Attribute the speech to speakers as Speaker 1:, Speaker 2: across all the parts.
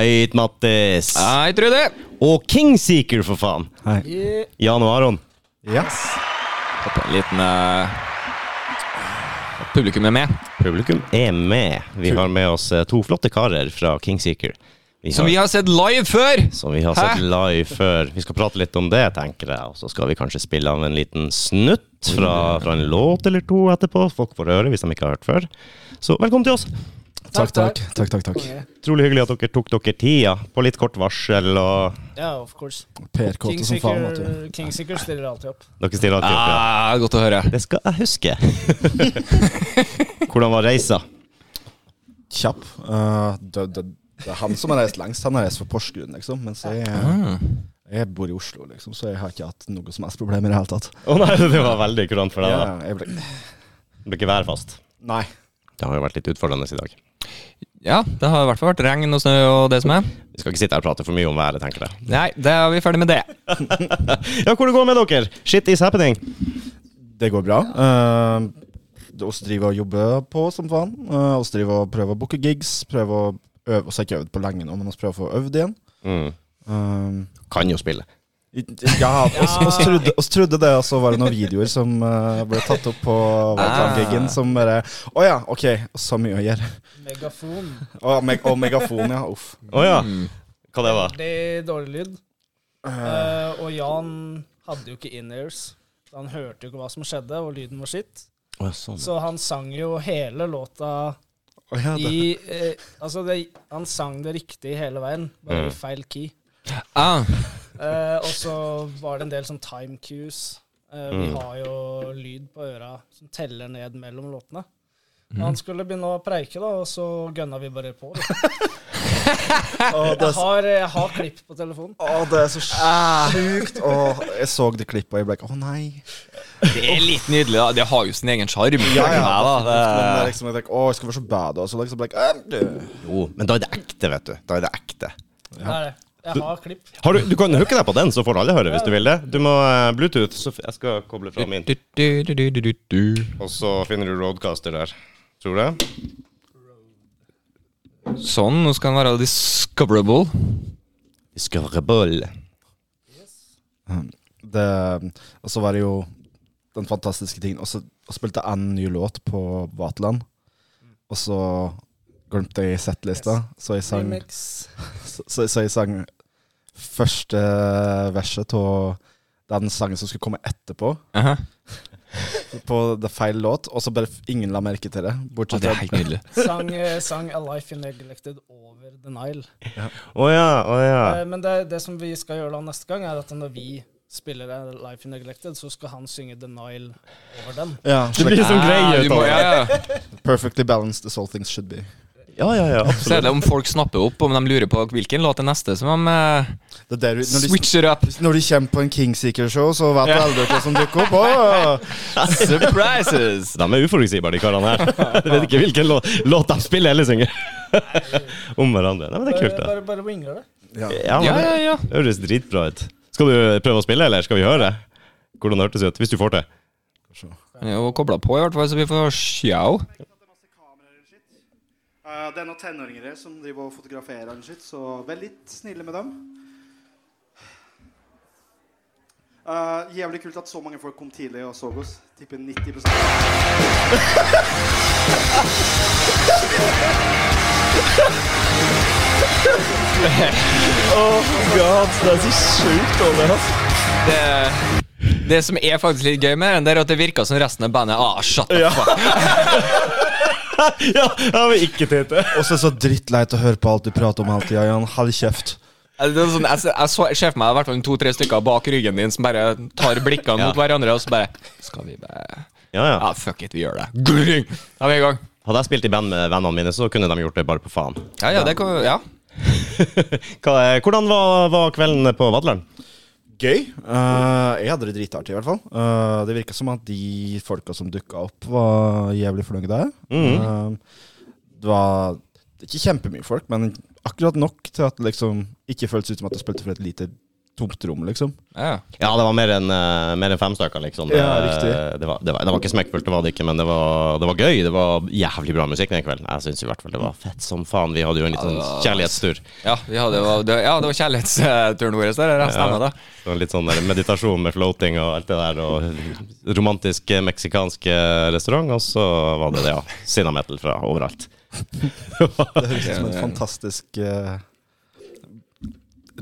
Speaker 1: Ait, Mattis.
Speaker 2: Ah,
Speaker 3: Hei, Trude!
Speaker 1: Og Kingseeker, for faen.
Speaker 2: Hei.
Speaker 1: Jan og Aron.
Speaker 2: Yes.
Speaker 3: Håper en liten eh, Publikum er med.
Speaker 1: Publikum er med. Vi har med oss eh, to flotte karer fra Kingseeker. Vi
Speaker 3: Som vi har sett live før!
Speaker 1: som vi har
Speaker 3: Hæ?
Speaker 1: sett live før. Vi skal prate litt om det, tenker jeg. Og så skal vi kanskje spille av en liten snutt fra, fra en låt eller to etterpå. Folk får høre hvis de ikke har hørt før. Så velkommen til oss.
Speaker 2: Takk, takk. takk, takk, takk.
Speaker 1: Utrolig hyggelig at dere tok dere tida på litt kort varsel. og
Speaker 4: Ja, of course.
Speaker 2: Per Kåte som faen, vet du.
Speaker 4: Kingseeker, Kingseeker stiller alltid opp.
Speaker 1: Dere stiller alltid opp. Ja.
Speaker 3: Ah, godt å høre.
Speaker 1: Det skal jeg huske. Hvordan var reisa?
Speaker 2: Kjapp. Uh, det, det, det er han som har reist lengst. Han har reist fra Porsgrunn, liksom. Mens jeg, eh,
Speaker 3: Ah.
Speaker 2: jeg bor i Oslo, liksom, så jeg har ikke hatt noe som helst problemer i det hele tatt.
Speaker 1: Å nei, det var veldig kurant for deg. da.
Speaker 2: Jeg ble,
Speaker 1: Det Ble ikke værfast.
Speaker 2: nei.
Speaker 1: Det har jo vært litt utfordrende i dag.
Speaker 3: Ja, det har i hvert fall vært regn og snø og det som er.
Speaker 1: Vi skal ikke sitte her og prate for mye om været, tenker jeg.
Speaker 3: Nei, da er vi ferdig med det.
Speaker 1: Ja, hvordan går det med dere? Shit is happening.
Speaker 2: Det går bra. Uh, det oss driver og jobber på som faen. Uh, oss driver og prøver å booke gigs. Prøver å øve. Oss har ikke øvd på lenge nå, men oss prøver å få øvd igjen.
Speaker 1: Mm.
Speaker 2: Uh,
Speaker 1: Kan jo spille.
Speaker 2: i- ja, oss, oss, trodde, oss trodde det, og så var det noen videoer som uh, ble tatt opp på Valgkamp-giggen som bare Å ja, ok, så mye å gjøre.
Speaker 4: Megafon.
Speaker 2: Og, meg, og megafon, ja. Uff.
Speaker 1: Å ja.
Speaker 3: Mm.
Speaker 1: Hva det var?
Speaker 4: Veldig dårlig lyd. Eh, og Jan hadde jo ikke in-ears. så Han hørte jo ikke hva som skjedde, og lyden var skitt.
Speaker 1: sånn,
Speaker 4: Så han sang jo hele låta
Speaker 2: Å ja, det.
Speaker 4: i eh, Altså, det, han sang det riktig hele veien, bare
Speaker 2: Mm.
Speaker 4: i feil key.
Speaker 3: Ah,
Speaker 4: Eh, og så var det en del sånn time cues. Eh, vi
Speaker 1: Mm.
Speaker 4: har jo lyd på øra som teller ned mellom låtene. Og
Speaker 1: Mm.
Speaker 4: Han skulle begynne å preike, da, og så gønna vi bare på. Da.
Speaker 2: Å, det,
Speaker 4: Jeg
Speaker 2: er så,
Speaker 4: har, jeg har klipp på telefonen.
Speaker 2: å, det er så sjukt. Å, jeg så det klippet, og jeg ble ikke Å nei.
Speaker 3: det er litt nydelig, da. Det har jo sin egen sjarm.
Speaker 2: Ja, ja.
Speaker 3: Ja,
Speaker 2: Men det er
Speaker 3: da. Det-
Speaker 2: liksom, jeg tenker, å, jeg skal være så bad, og så liksom ble jeg «Æm, du».
Speaker 1: Jo, men da er det ekte, vet du. Da er det ekte.
Speaker 4: Det er det. Jeg har klipp.
Speaker 1: Har du, du kan hooke deg på den, så får alle høre hvis du vil det. Du må eh, Bluetooth, så f jeg skal koble fra min.
Speaker 3: Du, du, du, du, du, du.
Speaker 1: Og så finner du roadcaster der. Tror du?
Speaker 3: Sånn, nå skal den være discoverable.
Speaker 1: Skrøbøll.
Speaker 2: det, Og så var det jo den fantastiske tingen Og så og spilte jeg en ny låt på Vaterland. Og så glemte jeg settlista, så jeg sang,
Speaker 4: Remix.
Speaker 2: så, så så jeg sang første verset av den sangen som skulle komme etterpå,
Speaker 3: Aha.
Speaker 2: på det feil låt, og så bare f- ingen la merke til det.
Speaker 3: Å,
Speaker 2: Bortsett
Speaker 3: det er
Speaker 2: fra
Speaker 3: helt nydelig.
Speaker 4: Sang, eh, sang A Life You Neglected over The Nile.
Speaker 1: Å ja, å ja.
Speaker 4: Eh, men det, det som vi skal gjøre da neste gang, er at når vi spiller A Life You Neglected, så skal han synge The Nile over den.
Speaker 2: ja,
Speaker 1: Det blir sånn
Speaker 3: Ah,
Speaker 1: greie
Speaker 3: du
Speaker 1: ut av
Speaker 3: må-
Speaker 1: det.
Speaker 3: ja, ja.
Speaker 2: Perfectly balanced as all things should be.
Speaker 1: Ja, ja, ja.
Speaker 3: Så er
Speaker 1: Absolutt.
Speaker 3: det om folk snapper opp, om de lurer på hvilken låt er neste, som de eh,
Speaker 2: Det er der du, når, du,
Speaker 3: switcher up.
Speaker 2: når du kommer på en Kingseeker-show, så vet du aldri hva som dukker opp. Å,
Speaker 3: Surprises!
Speaker 1: De er uforutsigbare, de karene her. Jeg vet ikke hvilken låt, låt de spiller eller synger. Om hverandre. Nei, men det er
Speaker 4: Bare,
Speaker 1: kult, det.
Speaker 4: bare, bare winger det.
Speaker 2: ja.
Speaker 1: Ja,
Speaker 3: Ja,
Speaker 1: men
Speaker 3: ja, ja.
Speaker 1: det høres dritbra ut. Skal du prøve å spille, eller skal vi høre? Hvordan hørtes det ut? Hvis du får til.
Speaker 3: Han er jo kobla på, i hvert fall, så vi får sjau.
Speaker 5: at det er masse kameraer og shit. Eh, det er noen tenåringer her som driver og fotograferer og shit, så vær litt snille med dem. Eh, jævlig kult at så mange folk kom tidlig og så oss. Tipper 90
Speaker 3: Det, det som er faktisk litt gøy med den, det er at det virker som resten av bandet ah, shut the fuck.
Speaker 1: Ja, jeg har ikke tid til.
Speaker 2: Og så er det så drittleit å høre på alt du prater om hele tida, Jan. Hold kjeft.
Speaker 3: Altså, det er sånn, jeg ser- jeg så- jeg ser for meg i hvert fall to-tre stykker bak ryggen din som bare tar blikkene mot hverandre, og så bare Skal vi bare
Speaker 1: Ja, ja.
Speaker 3: Ja, fuck it, vi gjør det. Gurring! Da er vi i gang.
Speaker 1: Hadde jeg spilt i band med vennene mine, så kunne de gjort det bare på faen.
Speaker 3: Ja, ja, det kan Ja.
Speaker 1: Hva, eh, hvordan var, var kvelden på Vadland?
Speaker 2: Gøy. Eh, jeg hadde det dritartig, i hvert fall. Eh, det virka som at de folka som dukka opp, var jævlig fornøyde der. Eh, det var ikke kjempemye folk, men akkurat nok til at det liksom ikke føltes ut som at jeg spilte for et lite tomt rom, liksom.
Speaker 3: Ja.
Speaker 1: Ja, det var mer enn eh, mer enn fem stykker, liksom. Det,
Speaker 2: Ja, riktig.
Speaker 1: Det, var, det, var, det var ikke smekkfullt, det var det ikke, men det var, det var gøy. Det var jævlig bra musikk den kvelden. Jeg syns i hvert fall det var fett som faen. Vi hadde jo en
Speaker 3: Ja, det
Speaker 1: liten
Speaker 3: var-
Speaker 1: kjærlighetstur.
Speaker 3: Ja, vi hadde, det var- det, ja, det var kjærlighetsturen vår. Der, det stemmer, det.
Speaker 1: Det var litt sånn der meditasjon med floating og alt det der, og romantisk eh, meksikansk eh, restaurant, og så var det det, ja. Cinnametal fra overalt.
Speaker 2: Det høres ut som en fantastisk eh,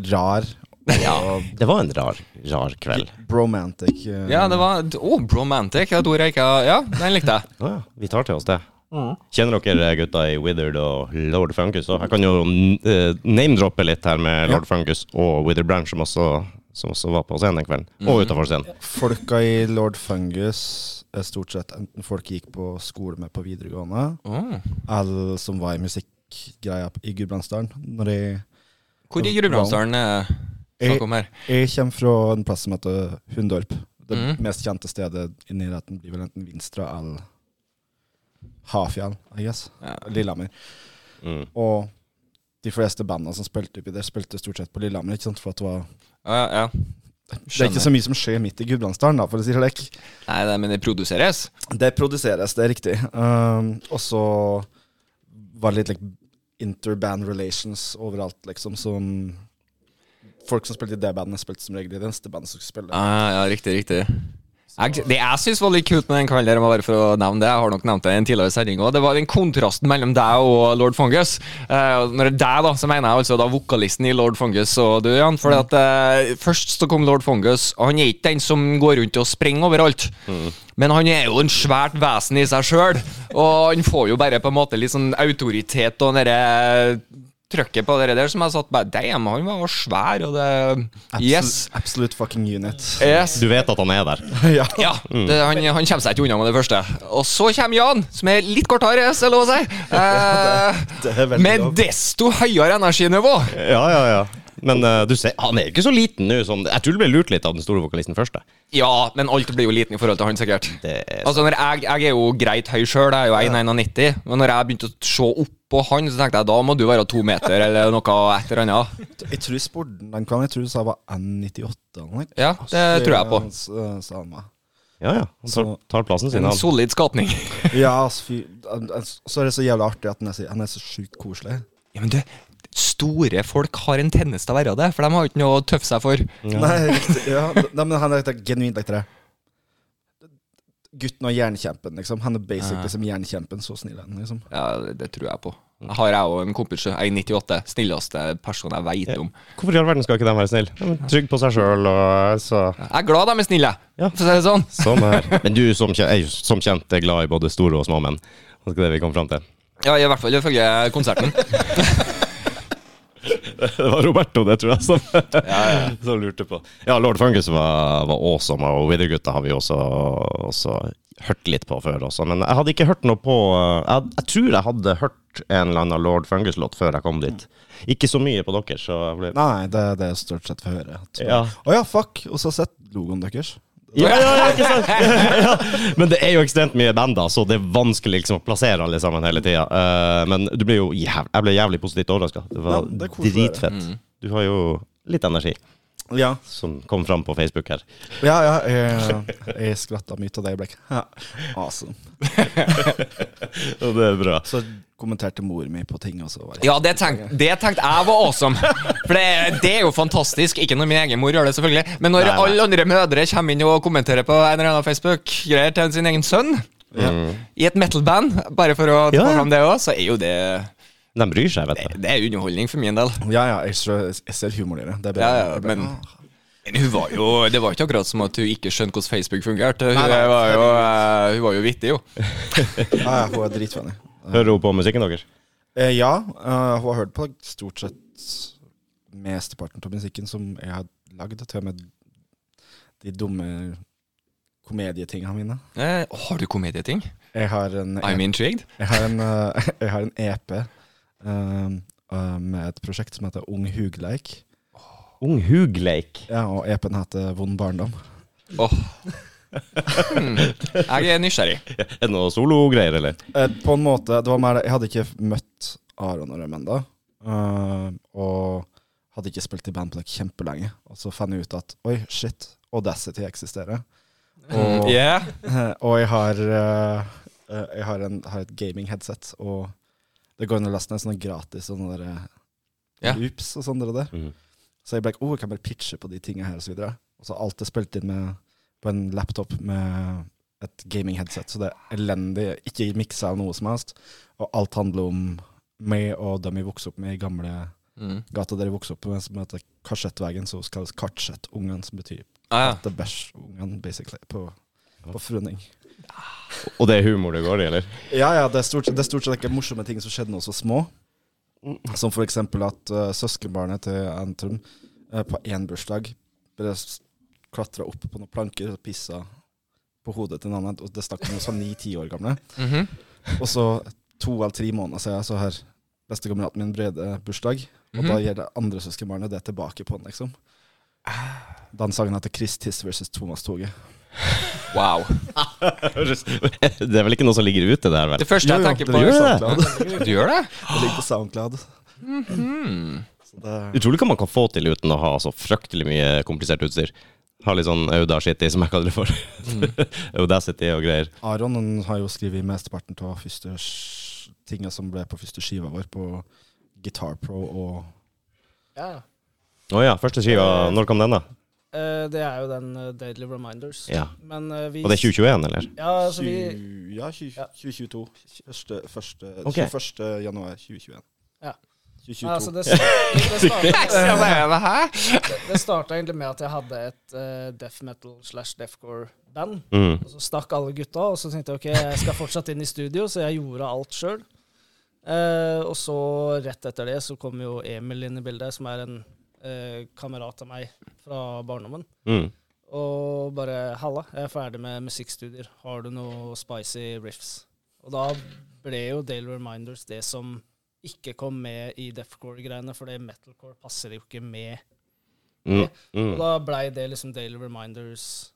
Speaker 2: rar og
Speaker 1: Det var en rar, rar kveld.
Speaker 2: bromantic eh,
Speaker 3: Ja, det var oh, bromantic. Det er et ord jeg ikke Ja, den likte jeg.
Speaker 1: Å ja, vi tar til oss det. Kjenner dere eh, gutta i Withered og Lord Funkus? Og jeg kan jo eh, name-droppe litt her med Lord Funkus og Withered Branch, som også, som også var på scenen den kvelden. Og utafor scenen.
Speaker 2: Folka i Lord Fungus er stort sett enten folk jeg gikk på skole med på videregående,
Speaker 3: Åh.
Speaker 2: eller som var i musikkgreia p- i Gudbrandsdalen. Når jeg,
Speaker 3: Hvor i Gudbrandsdalen er det snakk om her?
Speaker 2: jeg kommer fra en plass som heter Hundorp. Det
Speaker 3: Mhm.
Speaker 2: mest kjente stedet i nærheten blir vel enten Vinstra eller Hafjell, I guess.
Speaker 3: Ja.
Speaker 2: Lillehammer.
Speaker 1: Mm.
Speaker 2: Og de fleste bandene som spilte oppi der, spilte stort sett på Lillehammer. ikke sant? For at det, var,
Speaker 3: Ja, ja.
Speaker 2: det er ikke så mye som skjer midt i Gudbrandsdalen, da, for å si det slik.
Speaker 3: Nei, det, men det produseres.
Speaker 2: Det produseres, det er riktig. Um, og så var det litt like, interband relations overalt, liksom, som Folk som spilte i det bandet, spilte som regel i det neste bandet som skulle spille.
Speaker 3: Ja, ja, riktig, riktig. Jeg, det jeg syns var litt kult med den kvelden, der, bare for å nevne det, jeg har nok nevnt det i en tidligere sending også, det var den kontrasten mellom deg og lord Fungus. Eh, og når det er deg, da, så mener jeg altså da vokalisten i lord Fungus og du, Jan. For at, eh, først så kom lord Fungus, og han er ikke den som går rundt og springer overalt. Men han er jo en svært vesen i seg sjøl, og han får jo bare på en måte litt sånn autoritet og derre trøkket på det der som jeg satt bare Damn, han var svær, og det Yes.
Speaker 2: Absolute, absolute fucking unit.
Speaker 3: yes.
Speaker 1: Du vet at han er der.
Speaker 2: ja.
Speaker 3: Ja, det, han, han kommer seg ikke unna med det første. Og så kommer Jan, som er litt kortere, hvis det er lov å si. Eh,
Speaker 2: det er veldig
Speaker 3: med
Speaker 2: lov.
Speaker 3: desto høyere energinivå.
Speaker 1: Ja, ja, ja. Men eh, du ser, han er jo ikke så liten nå. Som, jeg tror du ble lurt litt av den store vokalisten først. da.
Speaker 3: Ja, men alt blir jo liten i forhold til han, sikkert.
Speaker 1: Det er
Speaker 3: Altså, når jeg, jeg er jo greit høy sjøl, jeg er jo 1,91, men når jeg begynte å se opp på han, så tenkte jeg da må du være to meter eller noe et eller annet.
Speaker 2: Jeg tror jeg spurte den kan, jeg tror du sa var N98 eller noe.
Speaker 3: Ja, det tror jeg på.
Speaker 2: s- eh, Sa han meg.
Speaker 1: Ja, ja. Han tar,
Speaker 2: Så-
Speaker 1: tar plassen sin,
Speaker 3: En
Speaker 1: han.
Speaker 3: solid skapning.
Speaker 2: Ja, altså, fy, han- han- så er det så jævlig artig at han er så, han er så sjukt koselig.
Speaker 3: Ja, men du, store folk har en tendens til å være det, for de har jo ikke noe å tøffe seg for.
Speaker 2: Nei, riktig, ja, nei, men han er et genuint etter det. Gutten og jernkjempen, liksom. Han er basically som jernkjempen. Så snill er han, liksom.
Speaker 3: Ja, det det tror jeg på. Jeg har jeg òg en kompis, jeg er 98, snilleste person jeg veit om.
Speaker 1: Hvorfor i all verden skal ikke de være snille? De er Trygg på seg sjøl og eh, så
Speaker 3: Jeg er glad de er snille,
Speaker 1: Ja.
Speaker 3: for å si det sånn.
Speaker 1: Sånn her. Men du som kjent, er jo som kjent er glad i både store og små menn. Det er det vi kom fram til.
Speaker 3: Ja, I hvert fall ifølge konserten.
Speaker 1: Det var Roberto, det tror jeg, som, som lurte på. Ja, Lord Fungus var, var awesome, og Wither-gutta har vi også, også hørt litt på før også. Men jeg hadde ikke hørt noe på eh, Jeg, jeg tror jeg hadde hørt en eller annen Lord Fungus-låt før jeg kom dit. Ikke så mye på dere, så jeg ble
Speaker 2: Nei, det, det er stort sett for å høre. Å ja.
Speaker 1: Ja.
Speaker 2: fuck! Og så har jeg sett logoen deres.
Speaker 1: Ja, ja, ja, ikke sant? ja. Men det er jo ekstremt mye band, da, så det er vanskelig liksom, å plassere alle sammen hele tida. men du ble jo jæv jeg ble jævlig positivt overraska. Det var
Speaker 2: Ja, det er koselig å høre.
Speaker 1: dritfett. Du har jo litt energi,
Speaker 2: Ja,
Speaker 1: som kom fram på Facebook her.
Speaker 2: ja, ja jeg, jeg skratta mye av det øyeblikket. Ja. Awesome.
Speaker 1: Og det er bra.
Speaker 2: Så kommenterte mor mi på ting, og så var jeg
Speaker 3: Ja, det tenkte det tenkte jeg var awesome. For det, det er jo fantastisk. Ikke når min egen mor gjør det, selvfølgelig. Men når
Speaker 1: Nei, nei.
Speaker 3: alle andre mødre kommer inn og kommenterer på en eller annen Facebook-greier til sin egen sønn i et metal-band, bare for å ta
Speaker 1: Ja, ja.
Speaker 3: fram det òg, så er jo det
Speaker 1: De bryr seg, vet du.
Speaker 3: Det er underholdning for min del.
Speaker 2: Ja, ja, jeg, ser- jeg ser humoren i det. Det er
Speaker 3: Ja,
Speaker 2: bedre.
Speaker 3: ja, men men hun var jo, Det var ikke akkurat som at hun ikke skjønte hvordan Facebook fungerte. Hun,
Speaker 2: nei,
Speaker 3: var, jo, eh, hun var jo vittig, jo.
Speaker 2: Ja, ja, hun er dritfunny.
Speaker 1: Hører hun på musikken deres?
Speaker 2: Eh, ja, eh, hun har hørt på stort sett mesteparten av musikken som jeg har lagd. Til og med de dumme komedietingene mine.
Speaker 3: Eh, har du komedieting?
Speaker 2: Jeg har en, E
Speaker 3: I'm intrigued.
Speaker 2: jeg har en, eh, jeg har en EP eh, eh, med et prosjekt som heter Ung hugleik.
Speaker 1: Ung Hugleik.
Speaker 2: Ja, og EP-en heter Vond barndom.
Speaker 3: Åh. Hmm. Jeg er nysgjerrig.
Speaker 1: Er det noe sologreier, eller?
Speaker 2: Eh, på en måte, det var mer, det- Jeg hadde ikke møtt Aron eh, og Røm ennå. og Hadde ikke spilt i band på det kjempelenge. Og så fant jeg ut at oi, shit, Audacity eksisterer. Og,
Speaker 3: Mm, Yeah.
Speaker 2: og jeg har eh, eh, Jeg har, en, har et gaming-headset, og det går an å laste ned sånne gratis sånne der, eh,
Speaker 3: Ja.
Speaker 2: loops og sånne der.
Speaker 1: Mhm.
Speaker 2: Så jeg ble like, oh, jeg kan bare pitche på de tinga her, og så videre. Og så alt er spilt inn med, på en laptop med et gaming-headset, så det er elendig. Ikke miksa eller noe som helst. Og alt handler om meg og dem jeg vokste opp med i gamle
Speaker 3: Mm.
Speaker 2: gata der jeg vokste opp med, som heter Karsettvegen, som kalles Kartsettungen, som betyr
Speaker 3: Ah, ja.
Speaker 2: kattebæsjungen, basically, på, på Frønning.
Speaker 1: Og det er humor det går i, eller?
Speaker 2: Ja, ja, det er stort, det er stort sett ikke morsomme ting som skjedde når vi var små. Som for eksempel at eh, søskenbarnet til Antrum eh, på én bursdag bare klatra opp på noen planker og pissa på hodet til en annen. Og det snakk om oss var ni-ti år gamle.
Speaker 3: Mhm.
Speaker 2: Og så to eller tre måneder siden så har bestekameraten min Brede bursdag. Og da
Speaker 3: Mhm.
Speaker 2: gir det andre søskenbarnet det tilbake på han, liksom. Den sangen heter Chris Tiss versus Thomas Toge.
Speaker 3: Wow.
Speaker 1: det er vel ikke noe som ligger ute der, vel?
Speaker 3: Det første jeg tenker
Speaker 2: det
Speaker 3: på sånn-
Speaker 1: gjør det.
Speaker 2: ligger på SoundCloud.
Speaker 3: Du gjør det?
Speaker 2: Det ligger på SoundCloud. Så det
Speaker 1: Utrolig hva man kan få til uten å ha så fryktelig mye komplisert utstyr. Ha litt sånn Audacity, som jeg kaller det for. Audacity og greier.
Speaker 2: Aron han har jo skrevet mesteparten av første sk- tinga som ble på første skiva vår, på Guitar Pro og
Speaker 4: Ja.
Speaker 1: Å ja, første skiva. Når kom den, da?
Speaker 4: Eh, det er jo den eh, Daily Reminders.
Speaker 1: Ja.
Speaker 4: Men eh, vi
Speaker 1: Og det er 2021, eller?
Speaker 4: Ja, altså vi
Speaker 2: Tju- ja, tju-
Speaker 4: Ja.
Speaker 2: 2022. Første, første,
Speaker 1: Ok.
Speaker 2: 21. januar 2021.
Speaker 4: Ja.
Speaker 2: 2022.
Speaker 4: Nei, altså det starta,
Speaker 3: Hæ?
Speaker 4: det starta egentlig med at jeg hadde et eh, death metal slash deathcore-band.
Speaker 1: Mm.
Speaker 4: Og så stakk alle gutta, og så tenkte jeg ok, jeg skal fortsatt inn i studio, så jeg gjorde alt sjøl. Eh, og så rett etter det så kom jo Emil inn i bildet, som er en eh, kamerat av meg fra barndommen.
Speaker 1: Mm.
Speaker 4: Og bare 'halla, jeg er ferdig med musikkstudier. Har du noe spicy riffs?' Og da ble jo Daily Reminders det som ikke kom med i deathcore-greiene, fordi metalcore passer jo ikke med.
Speaker 1: Mm.
Speaker 4: Og
Speaker 1: Mm.
Speaker 4: da blei det liksom Daily Reminders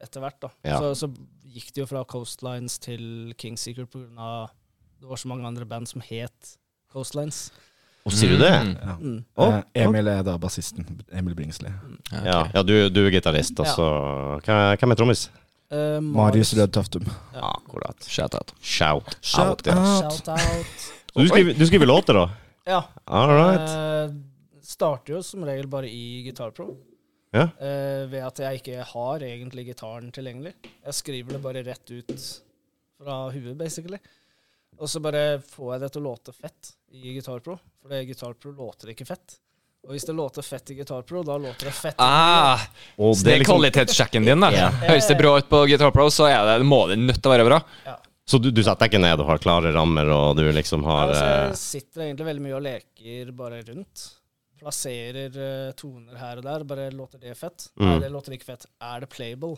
Speaker 4: etter hvert, da.
Speaker 1: Ja.
Speaker 4: Så, så gikk det jo fra Coastlines til Kingseeker på grunn av Det var så mange andre band som het Coastlines.
Speaker 1: Og sier du det?
Speaker 2: ja.
Speaker 4: Mm.
Speaker 1: Å,
Speaker 2: Eh, Emil er da bassisten. Emil Bringsli.
Speaker 1: Ja, ja du, du er gitarist, og
Speaker 4: Ja.
Speaker 1: så Hva- Hvem er trommis?
Speaker 4: Eh,
Speaker 2: Marius Rød Toftum.
Speaker 1: Akkurat.
Speaker 3: Shout out.
Speaker 1: Shout, out.
Speaker 2: Shout
Speaker 1: Ja.
Speaker 4: Shout out.
Speaker 1: Så du skriver, du skriver låter, da?
Speaker 4: Ja.
Speaker 1: All right.
Speaker 4: Eh, starter jo som regel bare i gitarpro.
Speaker 1: Ja.
Speaker 4: Eh, ved at jeg ikke har egentlig gitaren tilgjengelig. Jeg skriver det bare rett ut fra huet, basically. Og så bare får jeg det til å låte fett i gitarpro, for det gitarpro låter ikke fett. Og hvis det låter fett i gitarpro, da låter det fett.
Speaker 3: Ah,
Speaker 1: Og liksom-
Speaker 3: så det er kvalitetssjekken din, da.
Speaker 1: Ja.
Speaker 3: Høres det bra ut på Guitar Pro, så er det, må det nødt til å være bra.
Speaker 1: Så du, du setter deg ikke ned og har klare rammer, og du liksom har
Speaker 4: altså,
Speaker 1: eh,
Speaker 4: jeg sitter egentlig veldig mye og leker bare rundt. Plasserer eh, toner her og der. Bare låter det fett? Nei,
Speaker 1: Mm.
Speaker 4: det låter ikke fett. Er det playable?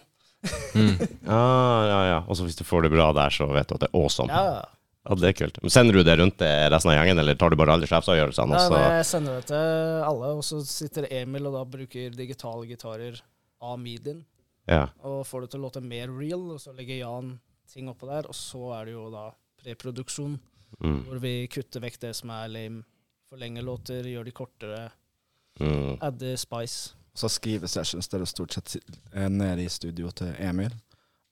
Speaker 1: ah, Ja, ja. Og så hvis du får det bra der, så vet du at det er awesome. Ja,
Speaker 4: Ja, ja.
Speaker 1: det er kult. Men Sender du det rundt til resten av gjengen, eller tar du bare alle sjefsavgjørelsene? altså? og
Speaker 4: Nei, men
Speaker 1: så-
Speaker 4: jeg sender det til alle, og så sitter Emil og da bruker digitale gitarer av midien,
Speaker 1: Ja.
Speaker 4: og får det til å låte mer real, og så legger Jan ting oppå der, og så er det jo da preproduksjon,
Speaker 1: Mm.
Speaker 4: hvor vi kutter vekk det som er lame, forlenger låter, gjør de kortere,
Speaker 1: Mm.
Speaker 4: adder spice.
Speaker 2: Så skriver sessions der det stort sett sit- er nede i studio til Emil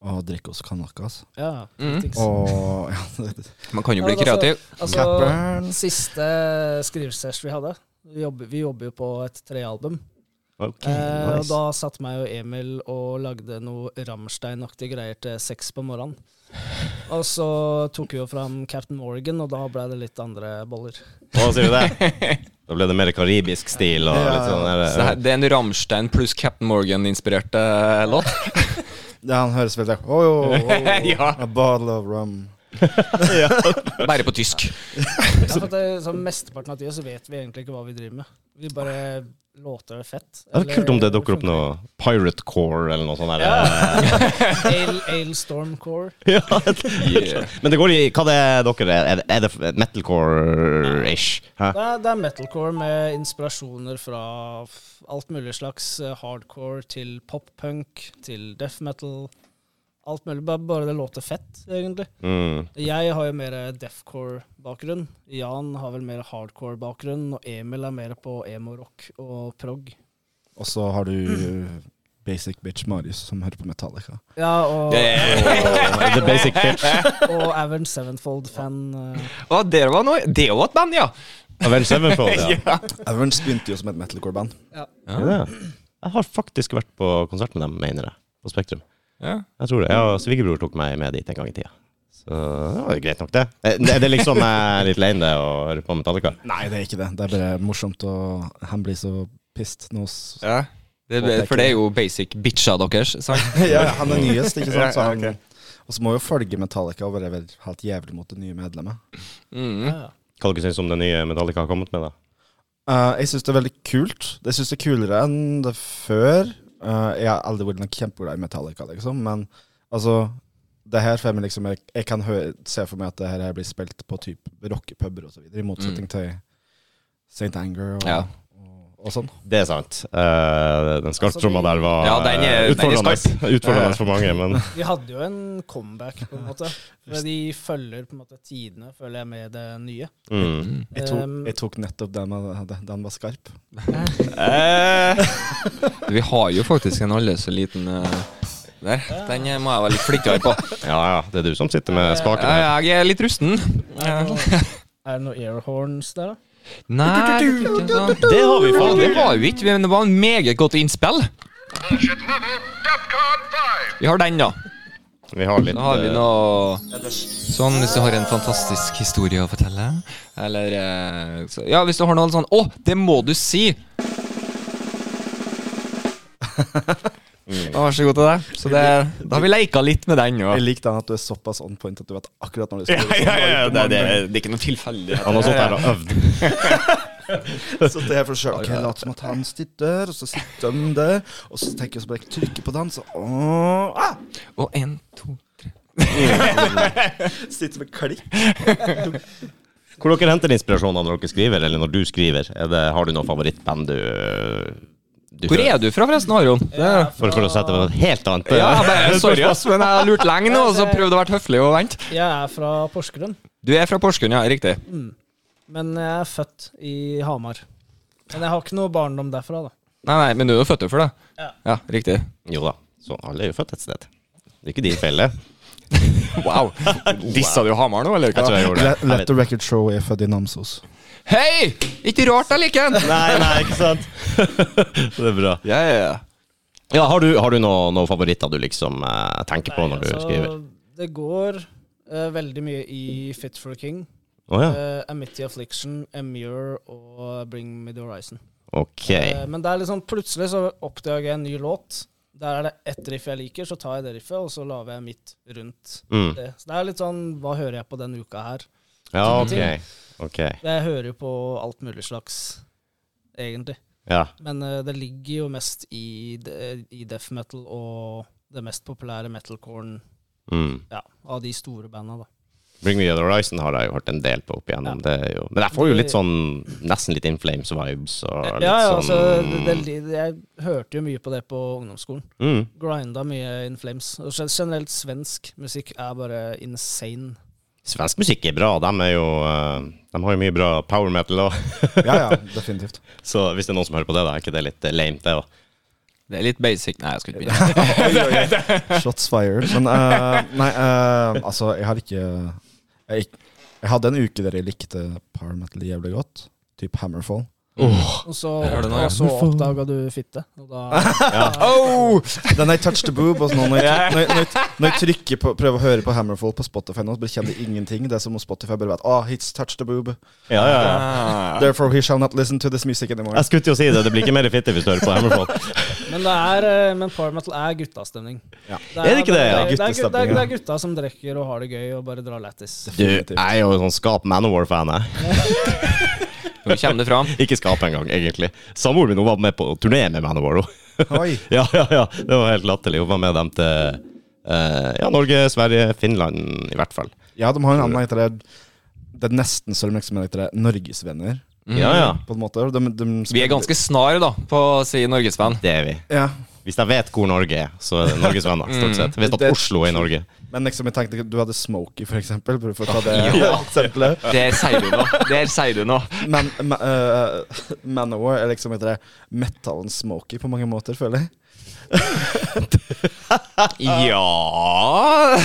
Speaker 2: og drikker oss kanakas.
Speaker 4: Ja,
Speaker 3: Mm.
Speaker 4: things.
Speaker 2: Og ja, det- det-
Speaker 3: Man kan jo bli
Speaker 4: Ja, men altså-
Speaker 3: kreativ.
Speaker 4: Altså,
Speaker 2: Cap'n.
Speaker 4: siste skrivesession vi hadde, vi jobber, vi jobber jo på et trealbum,
Speaker 1: Ok,
Speaker 4: Eh, og
Speaker 1: nice.
Speaker 4: da satt meg og Emil og lagde noe Rammstein-aktige greier til seks på morgenen. Og så tok vi jo fram Captain Morgan, og da ble det litt andre boller.
Speaker 1: Hva sier du det? Da ble det mer karibisk stil og litt sånn
Speaker 3: Så det,
Speaker 1: der,
Speaker 3: her, det er en Ramstein pluss Captain Morgan-inspirert eh, låt.
Speaker 2: Ja, han høres veldig oh, oh, oh,
Speaker 3: Ja.
Speaker 2: A bottle of rum.
Speaker 3: Bare på tysk.
Speaker 4: Ja, for at det, så mesteparten av tida så vet vi egentlig ikke hva vi driver med. Vi bare låter det fett.
Speaker 1: Det er kult om det dukker opp noe Pirate Core eller noe sånt. Der. eh.
Speaker 4: Ale, Ale Storm Core.
Speaker 1: Ja, et- Men det går i Hva det er dere er? Er det metalcore-ish? Hæ?
Speaker 4: Det er, det er metalcore med inspirasjoner fra f- alt mulig slags eh, hardcore til pop-punk til death metal. alt mulig. Bare, bare det låter fett, egentlig.
Speaker 1: Mm.
Speaker 4: Jeg har jo mer deathcore-bakgrunn. Jan har vel mer hardcore-bakgrunn. Og Emil er mer på emo-rock og prog.
Speaker 2: Og så har du uh, Basic Bitch Marius, som hører på Metallica.
Speaker 4: Ja, og,
Speaker 1: Og The Basic Pitch.
Speaker 4: og Avern Sevenfold-fan. eh.
Speaker 3: Å, det var noe Det er jo et band, ja!
Speaker 1: Avenged Sevenfold, ja.
Speaker 2: Avenge begynte jo som et metalcore-band.
Speaker 1: Er det det? Jeg har faktisk vært på konsert med dem, mener jeg. På Spektrum.
Speaker 3: ja.
Speaker 1: Jeg tror det. Jeg
Speaker 3: Mm.
Speaker 1: og svigerbror tok meg med dit en gang i tida. Så det var jo greit nok, det. Eh, Det det er liksom eh, litt lame, det, å høre på Metallica.
Speaker 2: Nei, det er ikke det. Det er bare morsomt, og han blir så pissed nå. s-
Speaker 3: ja. Det, ble- for det er jo basic bitcha deres. Sant?
Speaker 2: ja, han er nyest, ikke sant? Så han, og så må jo følge Metallica og være vel helt jævlig mot det nye medlemmet.
Speaker 3: Mm.
Speaker 4: Ja, ja.
Speaker 1: Hva dere syns om det nye Metallica har kommet med, da?
Speaker 2: Eh, jeg syns det er veldig kult. Jeg syns det er kulere enn det før. Eh, jeg har aldri vært noen kjempeglad i Metallica, liksom, men altså det her får jeg meg liksom Jeg, jeg kan høre, se for meg at det her her blir spilt på typ rockepuber og så videre, i motsetning til St. Anger og,
Speaker 3: Mm. Ja.
Speaker 2: og, og sånn.
Speaker 1: Det er sant. Eh, den skarptromma der var
Speaker 3: Altså, Ja, den er- den er
Speaker 1: utfordrende.
Speaker 3: skarp.
Speaker 1: utfordrende for mange, men
Speaker 4: De hadde jo en comeback, på en måte. For de følger på en måte tidene, føler jeg, med det nye.
Speaker 1: mm.
Speaker 2: Jeg tok,
Speaker 4: Um,
Speaker 2: jeg tok nettopp den jeg hadde. Den var skarp.
Speaker 3: Vi har jo faktisk en aldri så liten eh, Der. Den eh, må jeg være litt flinkere på.
Speaker 1: Ja ja, det er du som sitter med spaken her.
Speaker 3: Ja, Jeg er litt rusten. Ja.
Speaker 4: Er det noe- er det noe airhorns der, da?
Speaker 3: Nei det er ikke sånn.
Speaker 1: Det har vi
Speaker 3: Ja,
Speaker 1: faen
Speaker 3: det
Speaker 1: ikke!
Speaker 3: var jo ikke, men det var en meget godt innspill. Vi har den, da.
Speaker 1: Vi har litt
Speaker 3: Da har vi
Speaker 1: eh,
Speaker 3: noe Sånn, hvis du har en fantastisk historie å fortelle. Eller eh, så, Ja, hvis du har noe sånn Å, det må du si! Vær så god til deg. Så det, da har vi leika litt med den. Ja.
Speaker 2: Jeg liker den at du er såpass on point at du vet akkurat når du
Speaker 3: Ja,
Speaker 2: skal
Speaker 3: ja, ja, det, det, det er ikke noe tilfeldig.
Speaker 1: Han har stått her og øvd.
Speaker 2: sånn. Så det er for selv. Ok, lat som at han sitter, og så sitter de der. Og så tenker jeg så bare jeg trykker på den, så åh, ah,
Speaker 3: Og en, to
Speaker 2: Sitter med klikk.
Speaker 1: Hvor dere henter inspirasjoner når dere skriver, eller når du skriver? Er det, har du noe favorittband du, du
Speaker 3: Hvor er du fra, forresten, Aron? Ja,
Speaker 1: For, for å sette det på et helt annet
Speaker 3: ja, bare, sorry, ass, men jeg har lurt lenge nå, og så prøvde å være høflig og vente.
Speaker 4: Jeg er fra Porsgrunn,
Speaker 3: Du er fra Porsgrunn, ja. Riktig.
Speaker 4: men jeg er født i Hamar. Men jeg har ikke noe barndom derfra, da.
Speaker 3: Nei, nei, men du er jo født for det.
Speaker 4: Ja.
Speaker 3: ja, riktig.
Speaker 1: Jo da. Så alle er jo født et sted. Det er ikke din felle.
Speaker 3: Wow. Dissa du Hamar nå, eller
Speaker 1: Jeg tror jeg gjorde det.
Speaker 2: Let, let the record show jeg er født i Namsos.
Speaker 3: Hei! Ikke rart jeg liker den!
Speaker 1: Nei, nei, ikke sant? det er bra.
Speaker 3: Ja, ja, ja.
Speaker 1: Ja, Har du, har du noen noe favoritter du liksom eh, tenker på
Speaker 4: Nei,
Speaker 1: når du
Speaker 4: altså,
Speaker 1: skriver?
Speaker 4: Det går eh, veldig mye i Fit for a King,
Speaker 1: Å ja.
Speaker 4: eh, Amity Affliction, Emure og Bring Me The Horizon.
Speaker 1: Ok.
Speaker 4: Eh, men det er liksom plutselig så oppdager jeg en ny låt. Der er det ett riff jeg liker, så tar jeg det riffet, og så lager jeg mitt rundt
Speaker 1: Mm.
Speaker 4: det. Så det er litt sånn Hva hører jeg på denne uka her?
Speaker 1: Ja, ok. Ok.
Speaker 4: Jeg hører jo på alt mulig slags, egentlig.
Speaker 1: Ja.
Speaker 4: Men eh, det ligger jo mest i, de, i death metal og det mest populære metalcoren
Speaker 1: Mm.
Speaker 4: ja, av de store banda, da.
Speaker 1: Bring Me The Horizon har jeg jo hørt en del på opp igjennom. Det er jo, men jeg får jo litt sånn nesten litt In Flames-vibes. og
Speaker 4: Ja,
Speaker 1: litt
Speaker 4: ja,
Speaker 1: sånn-
Speaker 4: altså, det, det, li- jeg hørte jo mye på det på ungdomsskolen.
Speaker 1: mm.
Speaker 4: Grinda mye In Flames. Og gen- generelt svensk musikk er bare insane.
Speaker 1: Svensk musikk er bra. De, er jo, eh, de har jo mye bra power metal òg.
Speaker 2: Ja, ja, definitivt.
Speaker 1: Så hvis det er noen som hører på det, da er ikke det litt eh, lame, det òg?
Speaker 3: Det er litt basic. Nei, jeg skal ikke begynne.
Speaker 2: Shots fired. Men eh, nei, eh, altså, jeg har ikke jeg, ikk- jeg hadde en uke der jeg likte power metal jævlig godt. Typ Hammerfall.
Speaker 4: Og så,
Speaker 3: Hører du nå, ja?
Speaker 4: og så oppdaga du fitte. Og da,
Speaker 3: Oh!
Speaker 2: Den er touch the boob. Og sånn, når, jeg, når, jeg- når, jeg, når jeg trykker på prøver å høre på Hammerfall på Spotify nå, så bare kjenner jeg ingenting. Det er som om Spotify bare vet Ah, it's touch the boob.
Speaker 1: Ja, ja, ja. Altså,
Speaker 3: Ah.
Speaker 2: Therefore he shall not listen to this music anymore.
Speaker 1: Jeg skulle til å si det. Det blir ikke mer fitte hvis du hører på Hammerfall.
Speaker 4: men, det er, eh, men power metal er guttastemning.
Speaker 2: Ja.
Speaker 1: Er det ikke det, ja?
Speaker 4: Det er, det, er,
Speaker 2: Guttastemning, ja.
Speaker 4: det er gutta som drikker og har det gøy og bare drar lættis.
Speaker 1: Du, jeg er jo sånn skap Manowar-fan, jeg.
Speaker 3: Nå kommer det fram.
Speaker 1: Ikke skap engang, egentlig. Samboeren min hun var med på turné med Manowar. hun.
Speaker 2: Oi.
Speaker 1: ja, ja, ja. Det var helt latterlig. Hun var med dem til eh, ja, Norge, Sverige, Finland, i hvert fall.
Speaker 2: Ja, de har en annen heter det Det er nesten så de liksom er heter det Norgesvenner,
Speaker 1: Mm. Ja, ja.
Speaker 2: på en måte. De, de
Speaker 3: Vi er ganske snar da, på å si norgesvenn.
Speaker 1: Det er vi.
Speaker 2: Ja.
Speaker 1: Hvis jeg vet hvor Norge er, så er det Norges venner, stort sett. Hvis at
Speaker 2: Det-
Speaker 1: Oslo er i Norge.
Speaker 2: Men liksom, jeg tenkte du hadde Smokey, for eksempel. Bare for å ta det eksempelet.
Speaker 3: Der sier du noe. Der sier du noe.
Speaker 2: Men ma- eh, Manowar er liksom heter det metallen Smokey på mange måter, føler jeg.
Speaker 3: Ja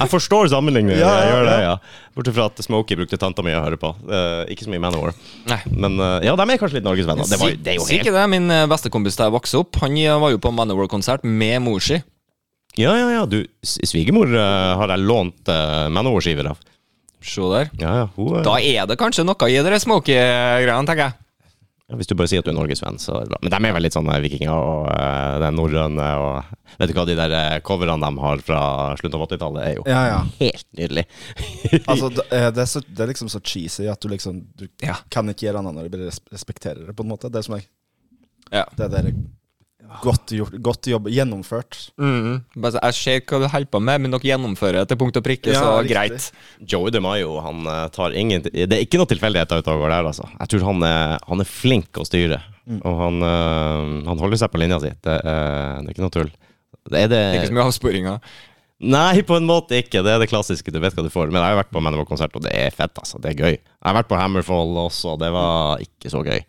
Speaker 1: Jeg forstår sammenligningen.
Speaker 2: Ja, ja,
Speaker 1: jeg gjør
Speaker 2: ja.
Speaker 1: det, ja. Bortsett fra at Smokey brukte tanta mi å høre på. Eh, ikke så mye Manowar.
Speaker 3: Nei.
Speaker 1: Men eh, ja, de er kanskje litt Norges venner. Det, var, det er jo
Speaker 3: Si
Speaker 1: helt
Speaker 3: ikke det. Min eh, bestekompis da jeg vokste opp, han eh, var jo på Manowar-konsert med mor si.
Speaker 1: Ja, ja, ja. Du, s- svigermor eh, har jeg lånt uh, Manowar-skiver av.
Speaker 3: Se der.
Speaker 1: Ja, ja, hun, eh,
Speaker 3: Da er det kanskje noe i de smoky-greiene, tenker jeg.
Speaker 1: ja, hvis du bare sier at du er norgesvenn, så er det bra. Men de er vel litt sånn eh, vikinger og uh, det er norrøne og Vet du hva de der eh, coverne de har fra slutten av 80-tallet, er jo
Speaker 2: Ja, ja.
Speaker 1: helt nydelig.
Speaker 2: Altså, det, eh, det, er så, det er liksom så cheesy at du liksom Du
Speaker 3: Ja.
Speaker 2: kan ikke gjøre annet når du res- respekterer det, på en måte. Det er som jeg
Speaker 3: Ja.
Speaker 2: Det der er godt, gjort, godt jobb, gjennomført.
Speaker 3: Mm. Bare så, Jeg ser hva du holder på med, men dere gjennomfører det til punkt og prikke, så
Speaker 2: Ja, riktig.
Speaker 3: greit.
Speaker 1: Joey DeMaio, han eh, tar ingen Det er ikke noe tilfeldigheter ute og går der, altså. Jeg tror han er, han er flink å styre.
Speaker 3: Mm.
Speaker 1: Og han, eh, han holder seg på linja si. Det, eh, det er ikke noe tull. Det er det,
Speaker 3: Det er ikke så mye avsporinger.
Speaker 1: Nei, på en måte ikke. Det er det klassiske. Du vet hva du får. Men jeg har jo vært på Manowar-konsert, og det er fett, altså. Det er gøy. Jeg har vært på Hammerfall også, og det var ikke så gøy,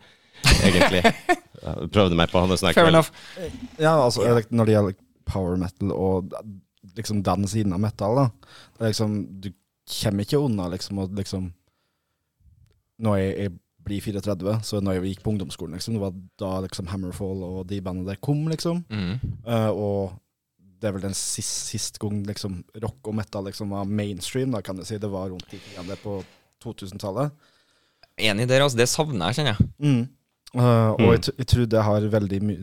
Speaker 1: egentlig. Jeg prøvde meg på hans
Speaker 3: Fair enough.
Speaker 2: Ja, altså like, Når det gjelder power metal og da- liksom den siden av metal, da det er liksom, Du kommer ikke unna liksom å liksom Når jeg, jeg blir 34, så når jeg gikk på ungdomsskolen, liksom, det var da liksom Hammerfall og de bandene der kom, liksom.
Speaker 3: Mm.
Speaker 2: Eh, og det er vel den sist, sist gang liksom, rock og metal liksom, var mainstream, da kan du si. Det var rundt i tiden der på 2000-tallet.
Speaker 3: Enig der, altså. Det savner jeg, kjenner jeg.
Speaker 2: Mm. Eh, og
Speaker 1: Mm.
Speaker 2: jeg, tr- jeg tror det har veldig my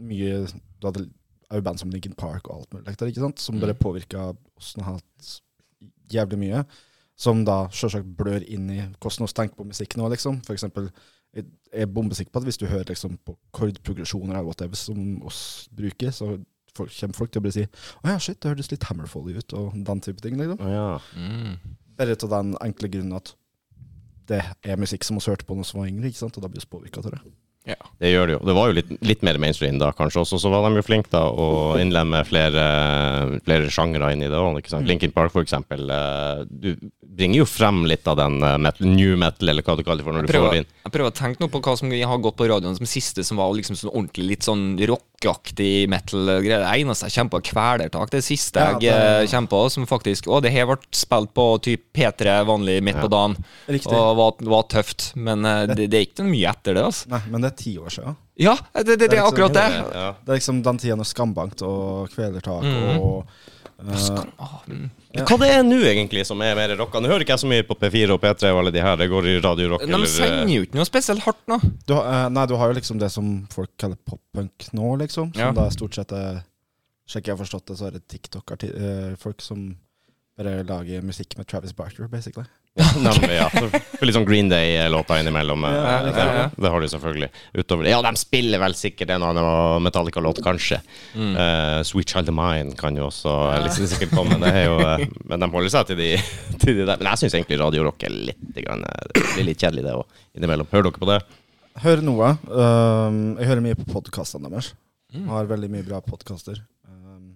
Speaker 2: mye Du hadde er jo band som Linkin Park og alt mulig der, ikke sant? Som bare
Speaker 3: Mm.
Speaker 2: påvirka oss noe helt jævlig mye. Som da sjølsagt blør inn i hvordan vi tenker på musikk nå, liksom. For eksempel, jeg jeg er bombesikker på at hvis du hører liksom, på kordprogresjoner eller whatever som oss bruker, så folk, kommer folk til å bare si 'Å ja, shit, det hørtes litt Hammerfolly ut', og den type ting, liksom.
Speaker 1: Ja.
Speaker 3: Mm.
Speaker 2: Bare av den enkle grunnen at det er musikk som vi hørte på da vi var yngre, ikke sant? og da blir vi påvirka av det.
Speaker 1: Det gjør det jo. Det var jo litt, litt mer mainstream da, kanskje også. Så var de jo flinke da å innlemme flere, flere sjangre inn i det òg.
Speaker 3: Mm.
Speaker 1: Linkin Park, for eksempel. eh, Du bringer jo frem litt av den eh, metal, new metal, eller hva du kaller det for, når du får det
Speaker 3: prøver,
Speaker 1: inn.
Speaker 3: jeg prøver å tenke noe på hva som har gått på radioen som siste, som var liksom sånn ordentlig litt sånn rockaktig metal-greier. Det eneste jeg kommer på, er Kvelertak. Det siste
Speaker 2: Ja,
Speaker 3: jeg eh,
Speaker 2: det-
Speaker 3: kommer på, som faktisk Å, det her ble spilt på typ P3 vanlig midt på dagen,
Speaker 2: Riktig.
Speaker 3: og var, var tøft, men eh, det, det er ikke mye etter det, altså.
Speaker 2: Nei, men det er ti år siden.
Speaker 3: Ja, det, det, det er akkurat det.
Speaker 1: Ja.
Speaker 2: Det er liksom den tida når Skambankt og Kvelertak og eh,
Speaker 3: Åh, mm.
Speaker 1: Hva det er nå egentlig som er mer rocka? Nå hører ikke jeg så mye på P4 og P3 og alle de her. Det går i Radio Rock
Speaker 3: De sender
Speaker 1: eh,
Speaker 3: jo ikke noe spesielt hardt nå.
Speaker 2: du, har- eh, Nei, du har jo liksom det som folk kaller pop-punk nå, liksom. Som
Speaker 3: Ja.
Speaker 2: da stort sett er Slik jeg har forstått det, så er det TikTok-folk som bare lager musikk med Travis Barker, basically.
Speaker 1: Nemlig, ja. Så Litt sånn Green Day-låter innimellom. eh,
Speaker 2: Ja,
Speaker 1: det,
Speaker 3: ja, ja.
Speaker 1: det har de selvfølgelig. Utover det. Ja, de spiller vel sikkert en og annen Metallica-låt, kanskje.
Speaker 3: Mm.
Speaker 1: Eh, Sweet Child of Mine kan jo også liksom, sikkert komme. Det er jo, eh, men de holder seg til de, til de der. Men jeg syns egentlig Radio Rock er litt grann, eh, Det blir litt kjedelig, det òg, innimellom. Hører dere på det?
Speaker 2: Hører noe. Um, jeg hører mye på podkastene deres. Har veldig mye bra podkaster. Um,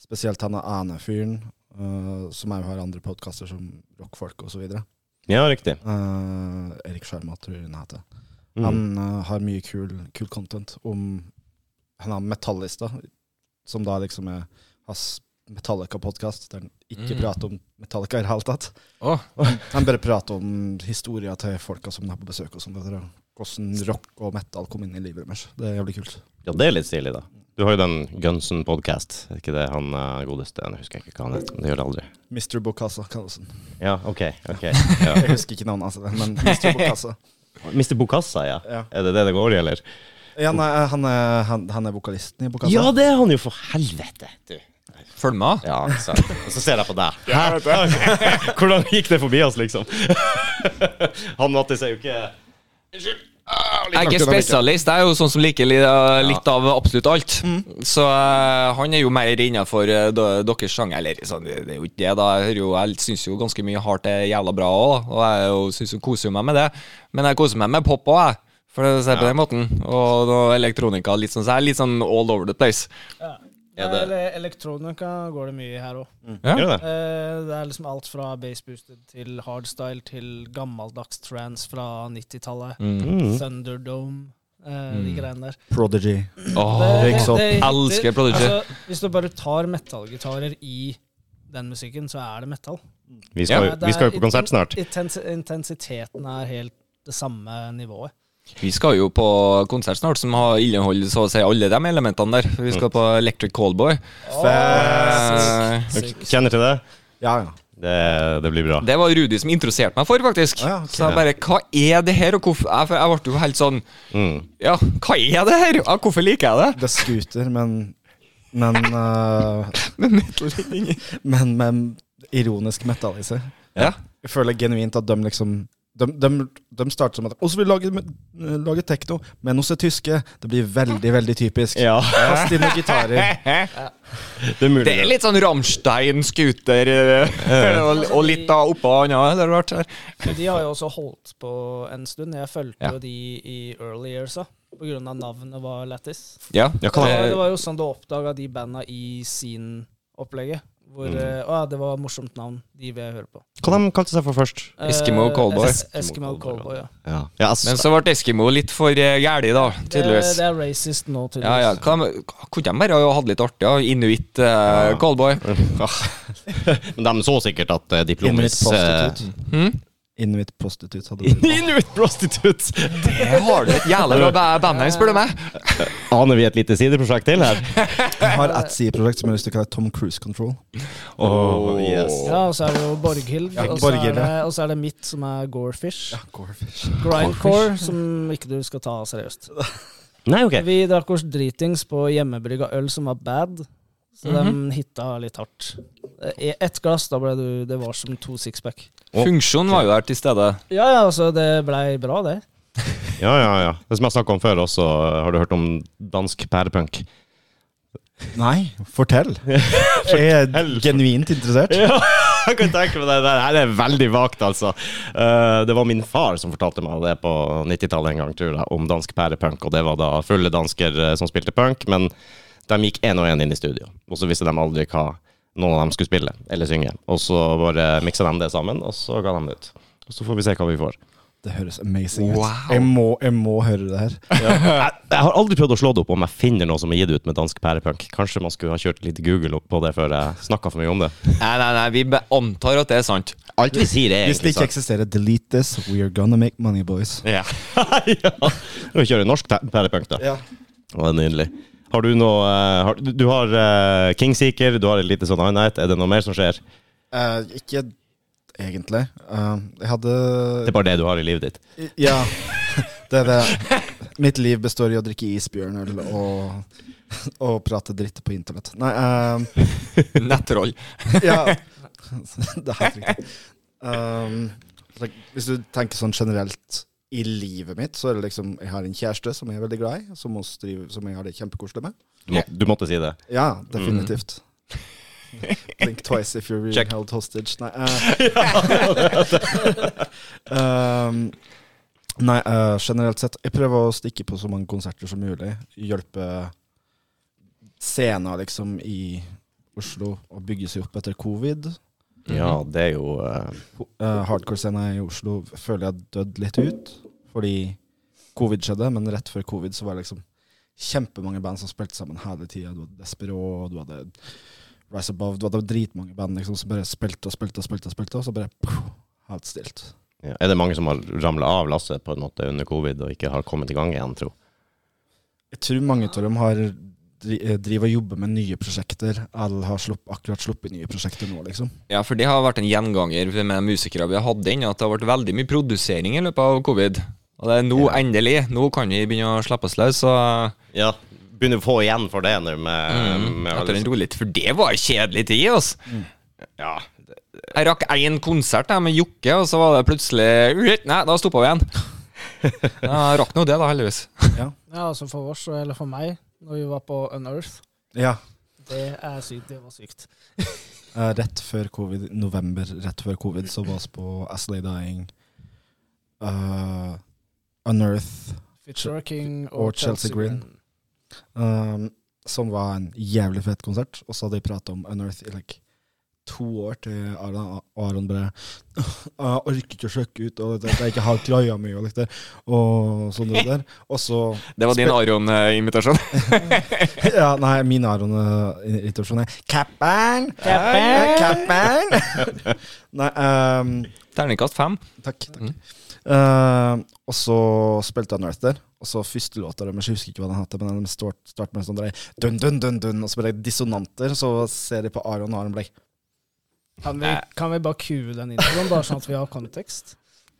Speaker 2: spesielt han Ane-fyren, uh, som òg har andre podkaster som Rockfolk osv.
Speaker 1: Ja, riktig.
Speaker 2: Uh, Erik Sjarma, tror jeg han heter.
Speaker 1: Mm.
Speaker 2: Han uh, har mye kul, kul content om Han har Metallista, som da liksom er hans Metallica-podkast, der han ikke
Speaker 3: Mm.
Speaker 2: prater om Metallica i det hele tatt.
Speaker 3: Åh.
Speaker 2: Han bare prater om historia til folka som er på besøk, og sånt, og hvordan rock og metal kom inn i livet deres. Det er jævlig kult.
Speaker 1: Ja, det er litt stilig, da. Du har jo den Gunson podcast. Er ikke det han eh, godeste? Jeg husker ikke hva han heter. men Det gjør det aldri.
Speaker 2: Mr. Bokassa Carlsen.
Speaker 1: Ja, ok. ok ja.
Speaker 2: Jeg husker ikke navnet hans, men Mr. Bokassa.
Speaker 1: Mr. Bokassa, ja.
Speaker 2: Ja.
Speaker 1: Er det det det går i, eller?
Speaker 2: Ja, nei, han er, han, han er vokalisten i Bokassa.
Speaker 1: Ja, det er han jo, for helvete! Du.
Speaker 3: Følg med.
Speaker 1: Ja, ikke sant. Og så ser jeg på deg. Hæ? Ok. Hvordan gikk det forbi oss, liksom? Han Mattis er jo ikke
Speaker 3: Jeg er ikke spesialist. Jeg er jo sånn som liker li- litt av absolutt alt. Så eh, han er jo mer innafor deres sjanger. Eller sånn, det det er jo ikke det, da. Jeg, hører jo- jeg syns jo ganske mye hardt er jævla bra òg, og jeg er jo, synes jo, koser jo meg med det. Men jeg koser meg med pop òg, jeg. For det ser på den måten. Og noe elektronika litt sånn, så er det litt sånn all over the place.
Speaker 4: Ja.
Speaker 1: Er
Speaker 4: Nei,
Speaker 1: det-
Speaker 4: Eller elektronika går det mye i her òg.
Speaker 3: Ja.
Speaker 1: Gjør det?
Speaker 4: Eh, Det er liksom alt fra baseboosted til hardstyle til gammeldags trans fra 90-tallet.
Speaker 3: Mm.
Speaker 1: Mm.
Speaker 4: Thunderdome, eh, de
Speaker 3: Mm.
Speaker 4: greiene der.
Speaker 2: Prodigy.
Speaker 3: Åh,
Speaker 4: Det-
Speaker 2: ikke sant.
Speaker 4: det- det-
Speaker 3: Elsker Prodigy.
Speaker 4: Altså, hvis du bare tar metallgitarer i den musikken, så er det metall.
Speaker 1: Vi skal,
Speaker 4: Ja,
Speaker 1: jo-
Speaker 4: det
Speaker 1: vi skal jo
Speaker 4: er-
Speaker 1: på konsert snart.
Speaker 4: Intens intensiteten er helt det samme nivået.
Speaker 3: Vi skal jo på konsert snart som har inneholder så å si alle de elementene der. Vi skal på Electric Callboy. Eh,
Speaker 4: Sykt.
Speaker 1: Kjenner til det?
Speaker 2: Ja, ja.
Speaker 1: Det, det blir bra.
Speaker 3: det var Rudi som introduserte meg for, faktisk.
Speaker 2: Ah, ja, ok.
Speaker 3: Så jeg bare Hva er det her, og hvorfor Jeg, for jeg ble jo helt sånn
Speaker 1: Mm.
Speaker 3: Ja, hva er det her? Ja, hvorfor liker jeg det?
Speaker 2: Det er scooter, men Men, eh,
Speaker 3: Med metal litt inni.
Speaker 2: men med ironisk metal i seg.
Speaker 3: Ja.
Speaker 2: Jeg føler genuint at de liksom de, de, de starter som at Og så vil vi lage, lage tekno, men hos det tyske. Det blir veldig, veldig typisk.
Speaker 1: Ja,
Speaker 2: Kast inn noen gitarer.
Speaker 1: det er mulig.
Speaker 3: Det er litt sånn Ramstein-scooter og, og litt da oppå annet. Det har vært her.
Speaker 4: Men de har jo også holdt på en stund. Jeg fulgte
Speaker 3: Ja.
Speaker 4: jo de i early years òg, pga. navnet var Lattis.
Speaker 3: Ja.
Speaker 1: Ja,
Speaker 4: Det
Speaker 1: kan
Speaker 4: var, det
Speaker 3: Eh,
Speaker 4: var jo sånn du oppdaga de banda i scene-opplegget. Hvor
Speaker 1: Mm.
Speaker 4: eh, Å ja, det var morsomt navn. De vil jeg høre på.
Speaker 1: Hva de kalte seg for først?
Speaker 4: Eh,
Speaker 3: Eskimo Callboy.
Speaker 4: Es Eskimo Callboy, ja.
Speaker 1: Ja, ja altså,
Speaker 3: Men
Speaker 1: s-
Speaker 3: så ble Eskimo litt for eh, gæli, da,
Speaker 4: Det,
Speaker 3: tydeligvis.
Speaker 4: det er racist nå,
Speaker 3: Ja, ja.
Speaker 4: tydeligvis.
Speaker 3: Hva, kunne de bare ha hatt litt artig? Ja. Inuit eh, callboy.
Speaker 1: men de så sikkert at eh,
Speaker 2: Inuit
Speaker 1: diplomis eh,
Speaker 2: prostitute.
Speaker 3: Hm?
Speaker 2: Inuit prostitute hadde det. vært.
Speaker 1: Inuit prostitute!
Speaker 3: Det har du et jævla bra ba- bandnavn, spør du meg.
Speaker 1: Aner vi et lite sideprosjekt til her?
Speaker 2: Jeg har et sideprosjekt som jeg har lyst til å kalle Tom Cruise Control.
Speaker 1: Oh, yes.
Speaker 4: Ja, og så er det jo Borghild,
Speaker 2: Ja,
Speaker 4: og, så er
Speaker 2: Borghild,
Speaker 4: det,
Speaker 2: ja.
Speaker 4: og så er det mitt, som er Gorefish.
Speaker 2: Gorfish.
Speaker 4: Grindcore, som ikke du skal ta seriøst.
Speaker 1: Nei, ok.
Speaker 4: Vi drakk oss dritings på hjemmebrygga øl som var bad, så de hitta litt hardt. Eh, Ett glass, da ble du Det var som to sixpack.
Speaker 1: Å.
Speaker 3: Funksjonen var jo der til stede.
Speaker 4: Ja, ja, altså, det blei bra, det.
Speaker 1: Ja, ja, ja. Det som jeg snakka om før også, eh, har du hørt om dansk pærepunk?
Speaker 2: Nei, fortell. Jeg er genuint interessert.
Speaker 1: Ja, jeg kan tenke meg det. Det her er veldig vagt, altså. Eh, det var min far som fortalte meg det på 90-tallet en gang, tror jeg, om dansk pærepunk. Og det var da fulle dansker eh, som spilte punk, men de gikk én og én inn i studio. Og så visste de aldri hva noen av dem skulle spille eller synge. Og så bare miksa de det sammen, og så ga de det ut. Og så får vi se hva vi får.
Speaker 2: Det høres amazing ut.
Speaker 3: Wow.
Speaker 2: Jeg må, jeg må høre det her.
Speaker 1: Jeg, jeg har aldri prøvd å slå det opp om jeg finner noe som er gitt ut med dansk pærepunk. Kanskje man skulle ha kjørt litt Google opp på det før jeg snakka for mye om det.
Speaker 3: Nei, nei, nei, vi be- antar at det er sant.
Speaker 1: Alt vi sier, er
Speaker 2: Hvis det ikke eksisterer, delete this. We are gonna make money, boys.
Speaker 1: Ja. ja. Vi kjører norsk te- pærepunk, da.
Speaker 2: Ja.
Speaker 1: Å, det er nydelig. Har du noe eh, har, Du du har eh, Kingseeker, du har et lite sånn High Night. Er det noe mer som skjer?
Speaker 2: Eh, ikke egentlig. Eh, jeg hadde
Speaker 1: Det er bare det du har i livet ditt.
Speaker 2: Ja. Det er det. Mitt liv består i å drikke isbjørnøl og, og prate dritt på internett. Nei eh,
Speaker 3: Nettroll.
Speaker 2: Ja. Det er helt riktig. Um, like, hvis du tenker sånn generelt i livet mitt, så er det liksom Jeg har en kjæreste som jeg er veldig glad i, som, også driver, som jeg har det kjempekoselig med.
Speaker 1: Du, må, du måtte si det.
Speaker 2: Ja, definitivt. Think twice if you're
Speaker 3: Check.
Speaker 2: held hostage. Nei, eh. um, nei eh, generelt sett. Jeg prøver å stikke på så mange konserter som mulig. Hjelpe scener liksom i Oslo å bygge seg opp etter covid.
Speaker 1: Ja, det er jo eh,
Speaker 2: Eh, Hardcore-scena i Oslo føler jeg har dødd litt ut, fordi covid skjedde. Men rett før covid så var det liksom kjempemange band som spilte sammen hele tida. Du hadde Despero, du hadde Rise Above, du hadde dritmange band liksom, som bare spilte og spilte og spilte, og spilte, og så bare poff, helt stilt.
Speaker 1: ja. Er det mange som har ramla av lasset på en måte under covid og ikke har kommet i gang igjen, tro?
Speaker 2: Jeg tror mange av dem har dri- eh, driver og jobber med nye prosjekter. Alle har slupp, akkurat sluppet nye prosjekter nå, liksom.
Speaker 3: Ja, for det har vært en gjenganger med musikere vi har hatt inn, at det har vært veldig mye produsering i løpet av covid. Og det er nå, endelig, nå kan vi begynne å slippe oss løs. Så mm,
Speaker 1: Ja. Begynner å få igjen for det nå med, med
Speaker 3: etter
Speaker 1: alle-
Speaker 3: en rolig For det var en kjedelig tid, altså.
Speaker 2: Mm.
Speaker 1: Ja.
Speaker 3: Jeg rakk én konsert jeg, med Jokke, og så var det plutselig Ui, Nei, da stoppa vi igjen. Jeg rakk nå det, da, heldigvis.
Speaker 4: Ja, altså for oss, eller for meg, når vi var på Unearth.
Speaker 2: Ja.
Speaker 4: Det er sykt. Det var sykt.
Speaker 2: Eh, rett før covid, november, rett før covid, så var vi på Aslay Dying, eh, Unearth
Speaker 4: Fitzroy King
Speaker 2: og Chelsea Green. Um, som var en jævlig fett konsert. Og så hadde de pratet om Unearth i like to år til Aron, og Aron bare Jeg orker ikke å sjekke ut, og det, jeg ikke har kløya mi, og litt det. Og sånn det der. Og så
Speaker 3: Det var din Aron-invitasjon.
Speaker 2: Ja, nei, min Aron eh, introduksjon er Cap'n!
Speaker 4: Cap'n!
Speaker 2: Cap'n! nei, um,
Speaker 3: Terningkast fem.
Speaker 2: Takk. takk.
Speaker 3: Mm.
Speaker 2: Eh, og så spilte jeg North der, og så første låta deres, jeg husker ikke hva den het, men den start, starter med en sånn der, dun, dun, dun, dun, og så ble det dissonanter, så ser de på Aron, og Aron ble
Speaker 4: Kan vi, kan vi bare kue den introen, bare sånn at vi har kontekst?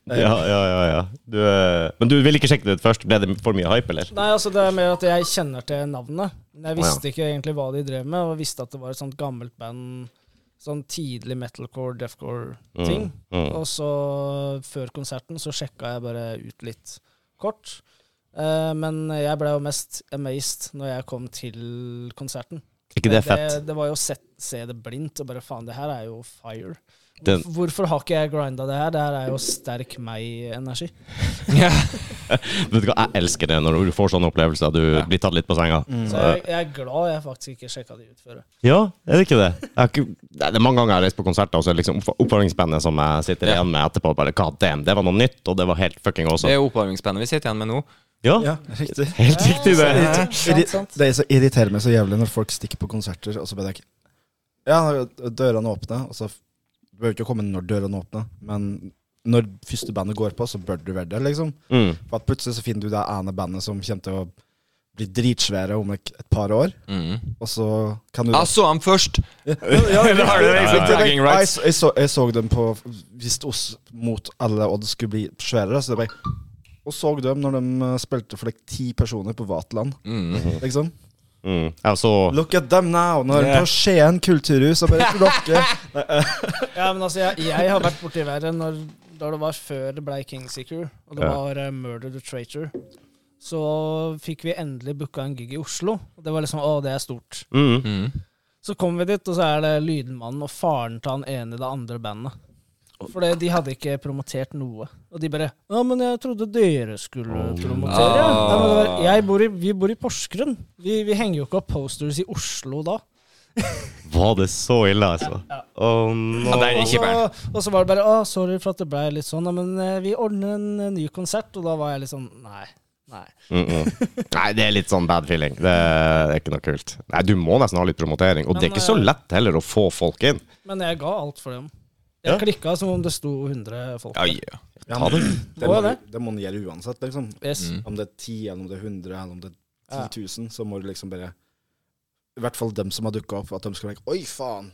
Speaker 1: Ja, ja, ja. ja. Du, eh, men du ville ikke sjekke det ut først? Ble det for mye hype, eller?
Speaker 4: Nei, altså det er mer at jeg kjenner til navnet. Men jeg visste ikke egentlig hva de drev med, og jeg visste at det var et sånt gammelt band. Sånn tidlig metalcore, deathcore-ting.
Speaker 1: Mm.
Speaker 4: Og så før konserten så sjekka jeg bare ut litt kort. Eh, men jeg ble jo mest amazed når jeg kom til konserten.
Speaker 1: Ikke det er fett?
Speaker 4: Det, var jo å se, se det blindt og bare faen, det her er jo fire.
Speaker 1: Den-
Speaker 4: Hvorfor, hvorfor har ikke jeg grinda det her? Det her er jo sterk meg-energi.
Speaker 3: Ja.
Speaker 1: Vet du hva, jeg elsker det når du får sånne opplevelser. Du blir tatt litt på senga.
Speaker 4: Så jeg, jeg er glad jeg faktisk ikke sjekka de ut før.
Speaker 1: Ja, er det ikke det? Jeg har ikke, det er mange ganger jeg har reist på konserter, og så er det liksom oppf- oppvarmingsbandet som jeg sitter
Speaker 3: Ja.
Speaker 1: igjen med etterpå, bare god damn, det var noe nytt, og det var helt fucking
Speaker 3: Det
Speaker 1: awesome.
Speaker 3: er oppvarmingsspennet vi sitter igjen med nå.
Speaker 1: Ja,
Speaker 2: Ja, riktig.
Speaker 1: helt riktig det.
Speaker 4: Sant, sant, sant.
Speaker 2: Det er så irriterer meg så jævlig når folk stikker på konserter, og så blir det ikke Ja, dørene åpner, og så f- Du behøver ikke å komme når dørene åpner, men når første bandet går på, så bør du være der, liksom.
Speaker 1: Mm.
Speaker 2: For at plutselig så finner du det ene bandet som kommer til å bli dritsvære om like, et par år,
Speaker 3: Mm.
Speaker 2: og så kan du da
Speaker 3: Jeg så dem først!
Speaker 2: Ja,
Speaker 3: Da har du liksom
Speaker 2: ja, ja. Jeg,
Speaker 3: bragging rights.
Speaker 2: så- jeg, så, jeg så dem på Hvis oss mot alle odds skulle bli sværere, så det bare Og så dem når de eh, spilte for like, ti personer på Vaterland,
Speaker 3: Mm.
Speaker 2: liksom.
Speaker 1: Mm. Jeg så
Speaker 2: Look at them now! Når de er på Skien kulturhus og bare klokke
Speaker 4: Ja, men altså, jeg, jeg har vært borti verre når, da det var før det ble Kingseeker, og det
Speaker 1: Ja.
Speaker 4: var eh, Murder the Traitor. Så fikk vi endelig booka en gig i Oslo. Og det var liksom Å, det er stort.
Speaker 1: mm.
Speaker 3: Mm.
Speaker 4: Så kom vi dit, og så er det Lydmannen og faren til han ene i det andre bandet. For det- de hadde ikke promotert noe. Og de bare 'Ja, men jeg trodde dere skulle promotere.'
Speaker 3: Ah.
Speaker 4: Ja, men det var, jeg bor i, vi bor i Porsgrunn. Vi, vi henger jo ikke opp posters i Oslo da.
Speaker 1: Var det så ille, altså? Å
Speaker 3: Ja,
Speaker 1: no.
Speaker 3: det er
Speaker 4: Og
Speaker 3: ikke bæren.
Speaker 4: så, og så var det bare 'Å, sorry for at det ble litt sånn', ja, men eh, vi ordner en eh, ny konsert. Og da var jeg litt sånn Nei. Nei.
Speaker 1: Mm -mm. Nei, det er litt sånn bad feeling. Det er ikke noe kult. Nei, du må nesten ha litt promotering, og det er
Speaker 4: Men,
Speaker 1: ikke så
Speaker 4: eh,
Speaker 1: lett heller å få folk inn.
Speaker 4: Men jeg ga alt for dem.
Speaker 1: Ja.
Speaker 4: Jeg klikka som om det sto 100 folk
Speaker 3: Ja,
Speaker 4: der.
Speaker 3: ja.
Speaker 1: Ta det.
Speaker 2: Det må, det må den gjøre uansett, liksom.
Speaker 4: Yes.
Speaker 3: Mm.
Speaker 2: Om det er ti, eller om det er 100, eller om det
Speaker 4: Ja.
Speaker 2: er 10 000, så må du liksom bare I hvert fall dem som har dukka opp, at de skal være Oi, faen!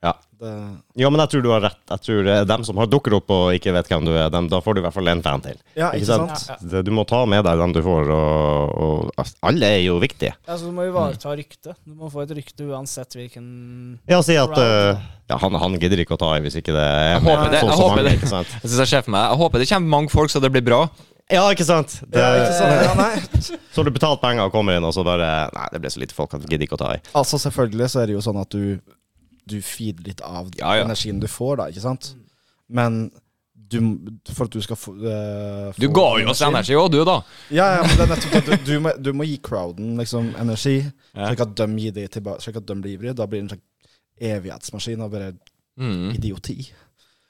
Speaker 1: Ja.
Speaker 2: Det,
Speaker 1: Ja, men jeg tror du har rett. Jeg tror eh, dem som har dukker opp og ikke vet hvem du er, dem, da får du i hvert fall en fan til.
Speaker 2: ja, ikke sant?
Speaker 4: Ja,
Speaker 1: Det- Du må ta med deg den du får, og, og altså, alle er jo viktige.
Speaker 4: Altså, du må
Speaker 3: Mm.
Speaker 4: ivareta ryktet. Du må få et rykte uansett hvilken
Speaker 1: Ja, si at
Speaker 4: Right.
Speaker 1: eh, ja, han, han gidder ikke å ta i hvis ikke det er
Speaker 3: Jeg håper det,
Speaker 1: sånn
Speaker 3: jeg
Speaker 1: som
Speaker 3: håper
Speaker 1: han,
Speaker 3: det.
Speaker 1: ikke sant?
Speaker 3: Jeg synes jeg ser for meg Jeg håper det kommer mange folk, så det blir bra.
Speaker 1: Ja, ikke sant? Det,
Speaker 2: Ja, ikke sant? Ja, nei.
Speaker 1: Så har du betalt penger og kommer inn, og så bare Nei, det ble så lite folk at vi gidder ikke å ta i.
Speaker 2: Altså Selvfølgelig så er det jo sånn at du Du feeder litt av
Speaker 3: Ja, ja.
Speaker 2: energien du får, da, ikke sant? Men du, for at du skal få, eh,
Speaker 3: Du
Speaker 2: få
Speaker 3: ga jo oss energi òg, du, da.
Speaker 2: Ja, ja, men det er nettopp det. Du, du, må, du må gi crowden liksom energi,
Speaker 3: Ja.
Speaker 2: slik at de gir det tilbake, slik at de blir ivrige. Da blir det en slags evighetsmaskin og bare
Speaker 3: Mm.
Speaker 2: idioti.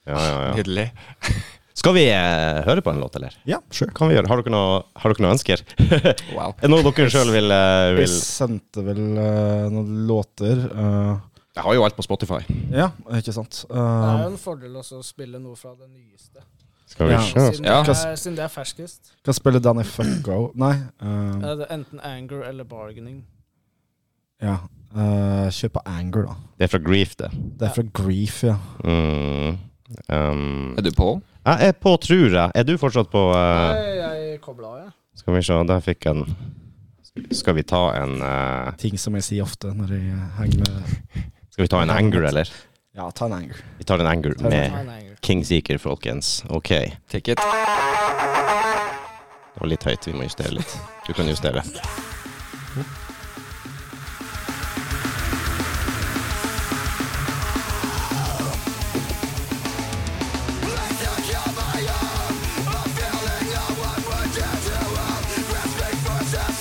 Speaker 1: Ja, ja, ja.
Speaker 3: Nydelig.
Speaker 1: Skal vi eh, høre på en låt, eller?
Speaker 2: Ja.
Speaker 1: sure. Kan vi gjøre. Har dere noe, har dere noe ønsker? er
Speaker 3: Wow.
Speaker 1: det noe dere sjøl vil, eh,
Speaker 2: Jeg
Speaker 1: vil
Speaker 2: sendte vel eh, noen låter eh,
Speaker 1: Jeg har jo alt på Spotify.
Speaker 2: Ja, ikke sant? Eh,
Speaker 4: Det er jo en fordel også å spille noe fra det nyeste.
Speaker 1: Skal vi
Speaker 2: Ja.
Speaker 1: se.
Speaker 4: Siden,
Speaker 3: Ja.
Speaker 4: det, er, siden det er ferskest.
Speaker 2: kan spille Danny Fucko Nei. eh,
Speaker 4: Er det enten anger eller bargaining.
Speaker 2: ja. eh, kjør på Anger, da.
Speaker 1: Det er fra Grief, det.
Speaker 2: Det er fra Grief, ja.
Speaker 1: Mm. Um,
Speaker 3: Er du på?
Speaker 1: jeg er på, tror jeg. Er du fortsatt på eh,
Speaker 4: Nei, jeg kobla av, jeg.
Speaker 1: Skal vi se, der fikk en Skal vi ta en eh,
Speaker 2: Ting som jeg sier ofte når jeg eh, henger med
Speaker 1: Skal vi ta en anger, eller?
Speaker 2: Ja, ta en anger.
Speaker 1: Vi tar en anger
Speaker 4: Ta
Speaker 1: med
Speaker 4: en anger.
Speaker 1: Kingseeker, folkens. Ok. Det
Speaker 3: Take it.
Speaker 1: var litt høyt, vi må justere litt. Du kan justere.
Speaker 6: Feeling of what would you do?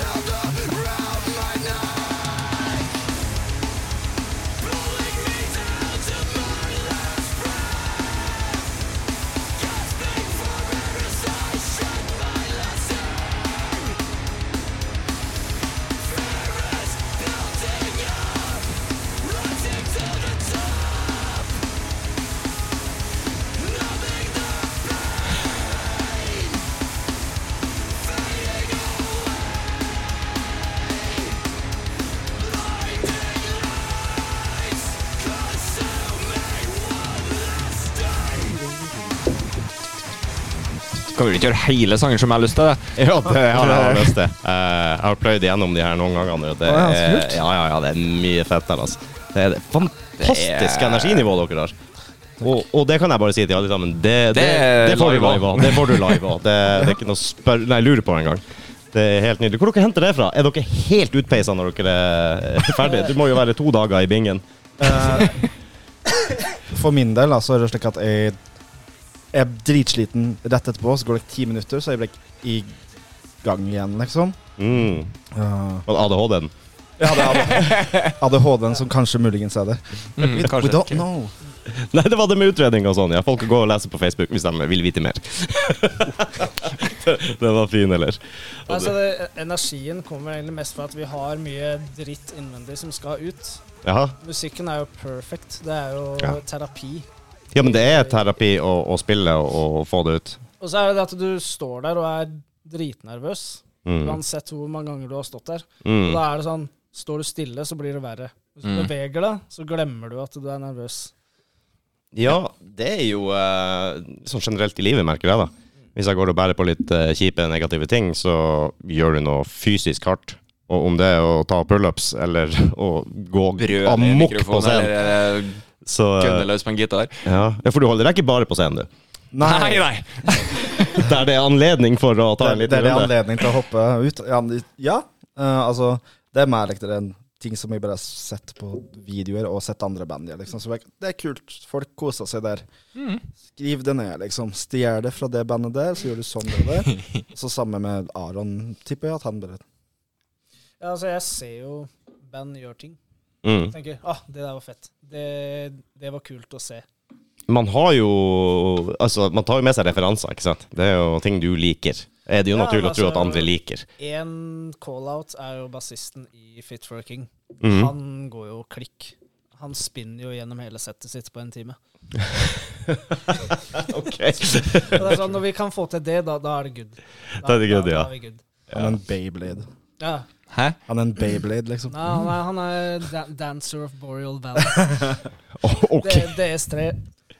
Speaker 3: Skal vi ikke gjøre hele sangen som jeg har lyst til?
Speaker 1: Ja, det har jeg lyst til. Eh, jeg har pløyd gjennom de her noen ganger. og Det
Speaker 2: Å, ja, så
Speaker 1: er,
Speaker 2: kult.
Speaker 1: ja, ja, ja, det er mye fett der, altså. Det er det fantastisk
Speaker 3: Det er-
Speaker 1: energinivå dere har. Og, og det kan jeg bare si til alle sammen. Det, det,
Speaker 3: er
Speaker 1: det får du
Speaker 3: live også.
Speaker 1: live av. Det får du live av. Det, det er ikke noe spør... Nei, jeg lurer på engang. Det er helt nydelig. Hvor dere henter dere det fra? Er dere helt utpeisa når dere er ferdige? Det må jo være to dager i bingen.
Speaker 2: For min del da, så er det slik at jeg jeg er dritsliten rett etterpå, så går det ti minutter, så er jeg like i gang igjen, liksom.
Speaker 1: Mm.
Speaker 2: Uh,
Speaker 1: Og ADHD-en.
Speaker 2: ja, det er ADHD-en som kanskje muligens er der.
Speaker 3: Mm, kanskje.
Speaker 2: We don't know.
Speaker 1: Nei, det var det med utredning og sånn. Ja, folk går og leser på Facebook hvis de vil vite mer. Den var fin, eller?
Speaker 4: Altså, det, energien kommer egentlig mest fra at vi har mye dritt innvendig som skal ut.
Speaker 1: Jaha.
Speaker 4: Musikken er jo perfect. Det er jo
Speaker 1: Ja.
Speaker 4: terapi.
Speaker 1: Ja, men det er terapi å, å spille og, og få det ut.
Speaker 4: Og så er det det at du står der og er dritnervøs,
Speaker 1: Mm.
Speaker 4: uansett hvor mange ganger du har stått der. Og
Speaker 1: Mm.
Speaker 4: da er det sånn Står du stille, så blir det verre. Hvis du
Speaker 3: Mm.
Speaker 4: beveger deg, så glemmer du at du er nervøs.
Speaker 1: Ja, det er jo eh, sånn generelt i livet, merker jeg, da. Hvis jeg går og bærer på litt eh, kjipe, negative ting, så gjør du noe fysisk hardt. Og om det er å ta pullups eller å gå
Speaker 3: Brød i
Speaker 1: amok på
Speaker 3: mikrofonen,
Speaker 1: scenen,
Speaker 3: eller eh,
Speaker 1: så
Speaker 3: gønne
Speaker 1: eh,
Speaker 3: løs på en gitar.
Speaker 1: ja. ja, for du holder deg ikke bare på scenen, du.
Speaker 3: Nei, nei!
Speaker 1: Der det er anledning for å ta en
Speaker 2: Det, det
Speaker 1: liten
Speaker 2: er det
Speaker 1: runde.
Speaker 2: anledning til å hoppe ut. Ja, men- ja eh, altså Det er mer like det er en ting som jeg bare har sett på videoer og sett andre band gjøre. Liksom. Så jeg- Det er kult. Folk koser seg der. Mm. Skriv det ned, liksom. Stjel det fra det bandet der, så gjør du sånn og det. Så samme med Aron, tipper jeg at han bare
Speaker 4: Ja, altså, jeg ser jo band gjør ting.
Speaker 1: Mm.
Speaker 4: Tenker ah, det der var fett. Det, det var kult å se.
Speaker 1: man har jo Altså, man tar jo med seg referanser, ikke sant? Det er jo ting du liker. Er det jo
Speaker 4: Ja,
Speaker 1: naturlig å tro
Speaker 4: altså-
Speaker 1: at andre liker.
Speaker 4: En call-out er jo bassisten i Fit for a King.
Speaker 1: Mhm.
Speaker 4: Han går jo klikk. Han spinner jo gjennom hele settet sitt på en time. Og det er sånn, Når vi kan få til det, da, da er det good. Da,
Speaker 1: Da er det good,
Speaker 4: da,
Speaker 1: ja.
Speaker 4: Da er vi good.
Speaker 2: Han er en Bayblade.
Speaker 4: Ja.
Speaker 3: Hæ?
Speaker 2: Han er en Bayblade, liksom.
Speaker 4: Nei, han er, han er da dancer of Boreal Valley.
Speaker 1: Å, ok.
Speaker 4: Det- DS3,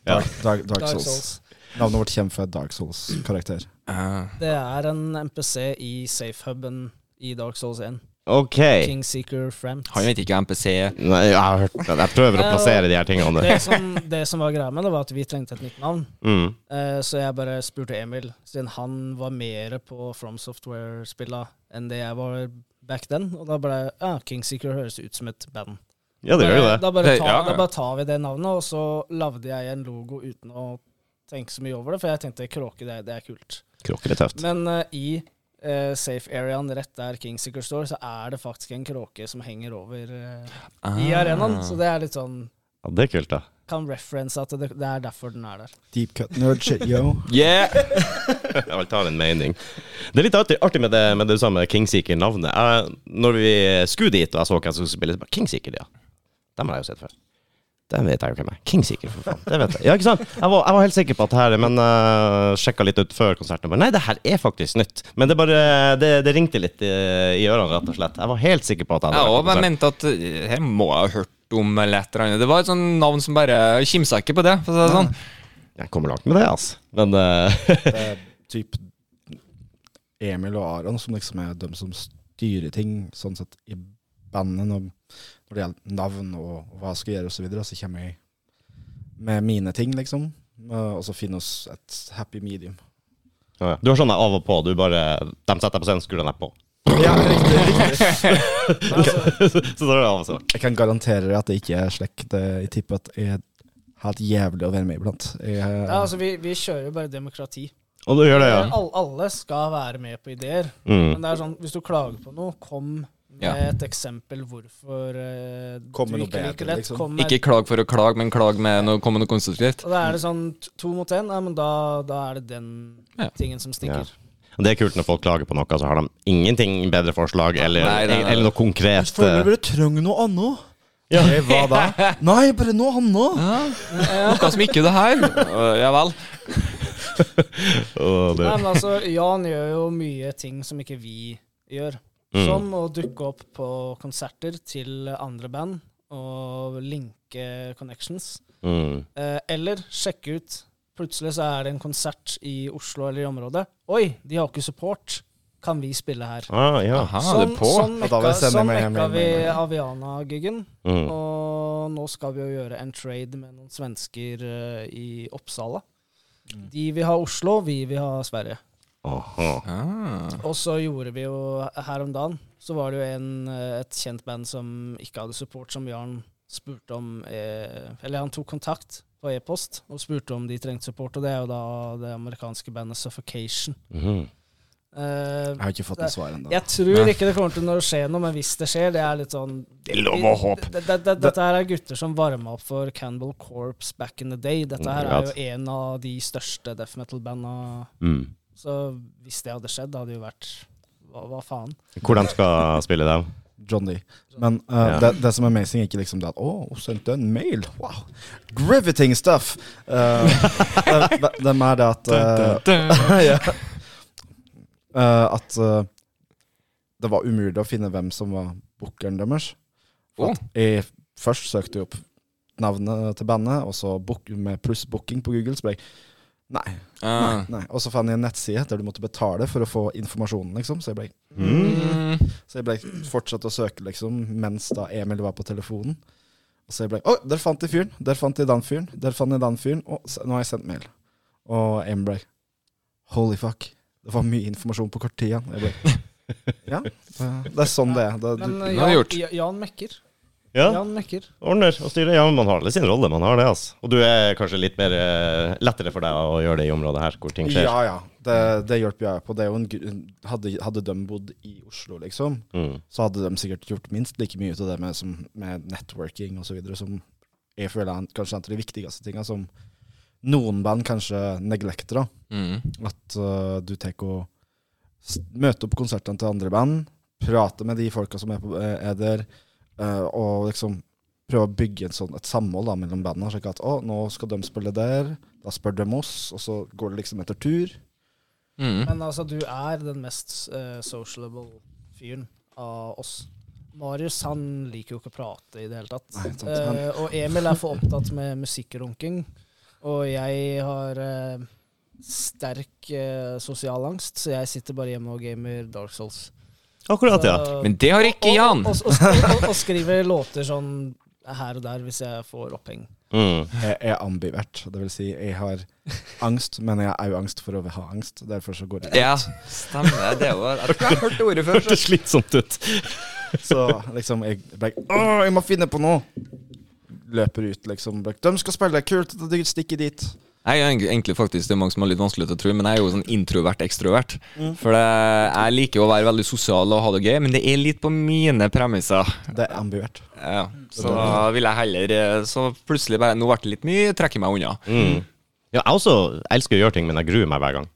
Speaker 1: Ja.
Speaker 2: Dark, Dark, Dark
Speaker 4: Dark
Speaker 2: Souls.
Speaker 4: Souls.
Speaker 2: Navnet vårt kommer fra Dark Souls-karakter.
Speaker 3: Eh,
Speaker 4: Det er en MPC i safehuben i Dark Souls 1.
Speaker 1: Ok.
Speaker 4: Kingseeker Framt.
Speaker 3: han vet ikke hva MPC er.
Speaker 1: Nei, jeg har hørt det. Jeg prøver å plassere de her tingene.
Speaker 4: Det som, det som var greia med det, var at vi trengte et nytt navn.
Speaker 1: Mm.
Speaker 4: Eh, Så jeg bare spurte Emil, siden han var mer på From Software-spilla enn det jeg var back then. Og da ble ja, Kingseeker høres ut som et band.
Speaker 1: Ja, det gjør jo det.
Speaker 4: Da bare,
Speaker 3: Det-
Speaker 4: tar,
Speaker 3: ja, ja.
Speaker 4: da bare tar vi det navnet, og så lagde jeg en logo uten å tenke så mye over det, for jeg tenkte kråke, det, det er kult.
Speaker 1: Kråker er tøft.
Speaker 4: Men eh, i eh, safe areaen rett der Kingseeker står, så er det faktisk en kråke som henger over eh, i
Speaker 3: Ah.
Speaker 1: Ah.
Speaker 4: arenaen. Så det er litt sånn
Speaker 1: Ja, det er kult, da.
Speaker 4: Kan reference at det, det er derfor den er der.
Speaker 2: Deep cut nerd shit, yo.
Speaker 3: Yeah!
Speaker 1: Jeg tar en mening. Det er litt artig, artig med, det, med det samme Kingseeker-navnet. Jeg- Når vi skulle dit, og jeg så hvem som skulle spille, så bare Kingseeker, ja. Dem har jeg jo sett før. Dem vet jeg jo hvem er. Kingseeker, for faen. Det vet jeg. Ja, ikke sant? Jeg var, jeg var helt sikker på at her Men uh, sjekka litt ut før konserten. og Bare, Nei, det her er faktisk nytt. Men det bare Det, det ringte litt i, i ørene, rett og slett. Jeg var helt sikker på at jeg
Speaker 3: Jeg
Speaker 1: hadde vært
Speaker 3: òg
Speaker 1: på konsert.
Speaker 3: mente at eh, her må jeg ha hørt om eller et eller annet. Det var et sånt navn som bare kimsa ikke på det. For å si det sånn.
Speaker 1: Jeg kommer langt med det, altså. Men eh,
Speaker 2: Det er typ Emil og Aron som liksom er de som styrer ting sånn sett i bandet når, når det gjelder navn og, og hva jeg skal gjøre og så videre. Så kommer jeg med mine ting, liksom. eh, Og så finne oss et happy medium.
Speaker 1: ja, ja. Du har sånn av og på. Du bare De setter deg på scenen, skrur deg på.
Speaker 2: Ja, riktig, riktig.
Speaker 1: Så tar du av og så.
Speaker 2: Jeg kan garantere deg at det ikke er slekk. Det- Jeg tipper at jeg har hatt jævlig å være med iblant. Jeg, eh,
Speaker 4: Ja, altså, vi, vi kjører jo bare demokrati.
Speaker 1: Og du gjør det, ja.
Speaker 4: Alle, alle skal være med på ideer. Men
Speaker 1: Mm.
Speaker 4: det er sånn, hvis du klager på noe, kom med
Speaker 3: Ja.
Speaker 4: et eksempel hvorfor eh,
Speaker 2: Kom med
Speaker 4: du
Speaker 2: noe
Speaker 4: ikke
Speaker 2: bedre,
Speaker 4: liker det.
Speaker 2: liksom.
Speaker 4: Kom med,
Speaker 3: Ikke klag for å klage, men klag med noe, kom med noe konstruktivt.
Speaker 4: Og da er det sånn t- to mot én, ja, men da, da er det den
Speaker 3: Ja.
Speaker 4: tingen som stikker.
Speaker 1: Og Det er kult når folk klager på noe, så har de ingenting bedre forslag eller,
Speaker 3: Nei, nei, nei.
Speaker 1: eller noe konkret. eh,
Speaker 2: bare trenger noe annet. Hva da? Nei, bare noe annet.
Speaker 3: Ja, noe som ikke det her. Eh, Ja vel.
Speaker 1: Og det,
Speaker 4: Nei, men altså, Jan gjør jo mye ting som ikke vi gjør.
Speaker 1: Mm.
Speaker 4: Som å dukke opp på konserter til andre band og linke connections.
Speaker 1: mm.
Speaker 4: Eh, eller sjekke ut Plutselig så er det en konsert i Oslo eller i området. Oi, de har ikke support. Kan vi spille her?
Speaker 1: Ah, ja.
Speaker 3: Aha, det
Speaker 4: Sånn,
Speaker 3: er på.
Speaker 4: sånn
Speaker 2: Ja, da vil
Speaker 4: mekka,
Speaker 2: jeg sende
Speaker 4: sånn
Speaker 2: meg hjem,
Speaker 4: mekka
Speaker 2: hjem,
Speaker 4: vi
Speaker 2: hjem, hjem.
Speaker 4: Aviana-giggen.
Speaker 1: Mm.
Speaker 4: Og nå skal vi jo gjøre en trade med noen svensker eh, i Oppsala.
Speaker 3: Mm.
Speaker 4: De vil ha Oslo, vi vil ha Sverige.
Speaker 1: Aha.
Speaker 3: Ah.
Speaker 4: Og så gjorde vi jo her om dagen, så var det jo en, eh, et kjent band som ikke hadde support, som Jarn spurte om eh, Eller han tok kontakt på e-post og spurte om de trengte support, og det er jo da det amerikanske bandet Suffocation.
Speaker 1: Mhm.
Speaker 4: Eh,
Speaker 2: Jeg har ikke fått noe svar ennå.
Speaker 4: jeg tror ikke det kommer til å skje noe, men hvis det skjer, det er litt sånn
Speaker 1: Det er lov å håpe.
Speaker 4: Det- det- det- Dette her er gutter som varma opp for Cannibal Corps back in the day. Dette her er jo en av de største death metal-banda.
Speaker 1: Mm.
Speaker 4: Så hvis det hadde skjedd, hadde det jo vært hva, hva faen?
Speaker 1: Hvor de skal spille dem?
Speaker 2: John Dee. Men eh, det, det som er amazing, er ikke liksom det at Å, hun sendte en mail! Wow! Griveting stuff! Eh, det, det, det er mer det at eh, ja. Eh, At eh, det var umulig å finne hvem som var bookeren deres. For at Jeg først søkte jeg opp navnet til bandet, og så book, med pluss booking på Google, så ble jeg Nei.
Speaker 3: Ah.
Speaker 2: nei. Og så fant jeg en nettside der du måtte betale for å få informasjonen, liksom. Så jeg ble
Speaker 3: Mm.
Speaker 2: så jeg ble fortsatt å søke, liksom, mens da Emil var på telefonen. Og så jeg ble Å, der fant jeg fyren! Der fant jeg den fyren! Der fant jeg den fyren! Og s- nå har jeg sendt mail. Og Emil ble Holy fuck. Det var mye informasjon på kort tid igjen. Jeg ble Ja. Det, det er sånn det er. Det, du,
Speaker 4: Men
Speaker 3: har
Speaker 4: eh,
Speaker 3: vi
Speaker 4: Jan,
Speaker 3: gjort.
Speaker 4: Ja- Jan mekker.
Speaker 1: Ja,
Speaker 4: Jan mekker.
Speaker 1: ordner og styrer. Ja, men man har alle sin rolle, man har det, altså. Og du er kanskje litt mer eh, lettere for deg å gjøre det i området her, hvor ting skjer.
Speaker 2: ja, ja. Det, det hjelper jeg på. Det er jo en, gru- hadde, hadde de bodd i Oslo, liksom,
Speaker 1: Mm.
Speaker 2: så hadde de sikkert gjort minst like mye ut av det med, som, med networking osv., som jeg føler er en- kanskje en av de viktigste tinga som noen band kanskje neglekter. da.
Speaker 3: Mm.
Speaker 2: At eh, du tar og s- møter opp på konsertene til andre band, prater med de folka som er, på, eh, er der, eh, og liksom prøver å bygge en sånn, et samhold da, mellom bandene. Slik at å, nå skal de spille der, da spør de oss, og så går det liksom etter tur.
Speaker 3: Mm.
Speaker 4: Men altså, du er den mest eh, socialable fyren av oss. Marius han liker jo ikke å prate i det hele tatt.
Speaker 2: Nei, sant.
Speaker 4: Eh, og Emil er for opptatt med musikkrunking. Og jeg har eh, sterk eh, sosial angst, så jeg sitter bare hjemme og gamer Dark Souls.
Speaker 1: Akkurat, ja.
Speaker 4: Så-
Speaker 3: Men det har ikke Jan!
Speaker 4: Og, og, og, og, og skriver låter sånn her og der hvis jeg får oppheng.
Speaker 1: Mm.
Speaker 2: Jeg er ambivert. Det vil si, jeg har angst, men jeg har òg angst for å ha angst. Derfor så går det.
Speaker 3: Ja, stemmer det. var- Jeg tror jeg har hørt ordet før. så-
Speaker 1: Hørtes slitsomt ut.
Speaker 2: Så liksom, jeg ble Å, jeg må finne på noe! Løper ut, liksom. ble, De skal spille, kult! Da stikker jeg dit.
Speaker 3: Jeg er egentlig- egentlig faktisk, Det er mange som har litt vanskelig til å tro, men jeg er jo sånn introvert-ekstrovert. For det, jeg liker jo å være veldig sosial og ha det gøy, men det er litt på mine premisser.
Speaker 2: Det er ambivert.
Speaker 3: Ja, så da vil jeg heller eh, Så plutselig bare Nå ble det litt mye, trekker meg unna.
Speaker 1: Mm. Ja, jeg også elsker å gjøre ting, men jeg gruer meg hver gang.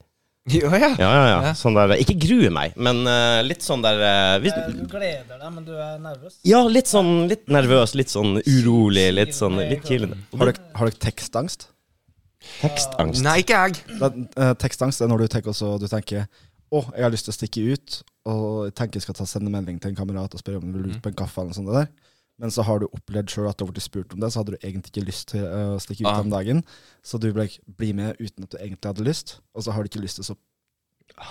Speaker 3: Ja, ja.
Speaker 1: Ja, ja, ja.
Speaker 3: Ja.
Speaker 1: Sånn der, ikke gruer meg, men eh, litt sånn der eh, hvis,
Speaker 4: Du gleder deg, men du er nervøs.
Speaker 1: Ja, litt sånn litt nervøs, litt sånn urolig, litt sånn litt kilende.
Speaker 2: Har dere, har dere tekstangst?
Speaker 1: Tekstangst.
Speaker 3: Nei, ikke jeg.
Speaker 2: Da, eh, tekstangst er når du tenker, også, du tenker å, jeg har lyst til å stikke ut, og jeg tenker jeg skal ta, sende melding til en kamerat og spørre om du vil
Speaker 3: Mm.
Speaker 2: ut på en kaffe. eller noe sånt der. Men så har du opplevd sjøl at du har blitt spurt om det, så hadde du egentlig ikke lyst til eh, å stikke ut
Speaker 3: Ah.
Speaker 2: den dagen. Så du ble, blir med uten at du egentlig hadde lyst, og så har du ikke lyst til så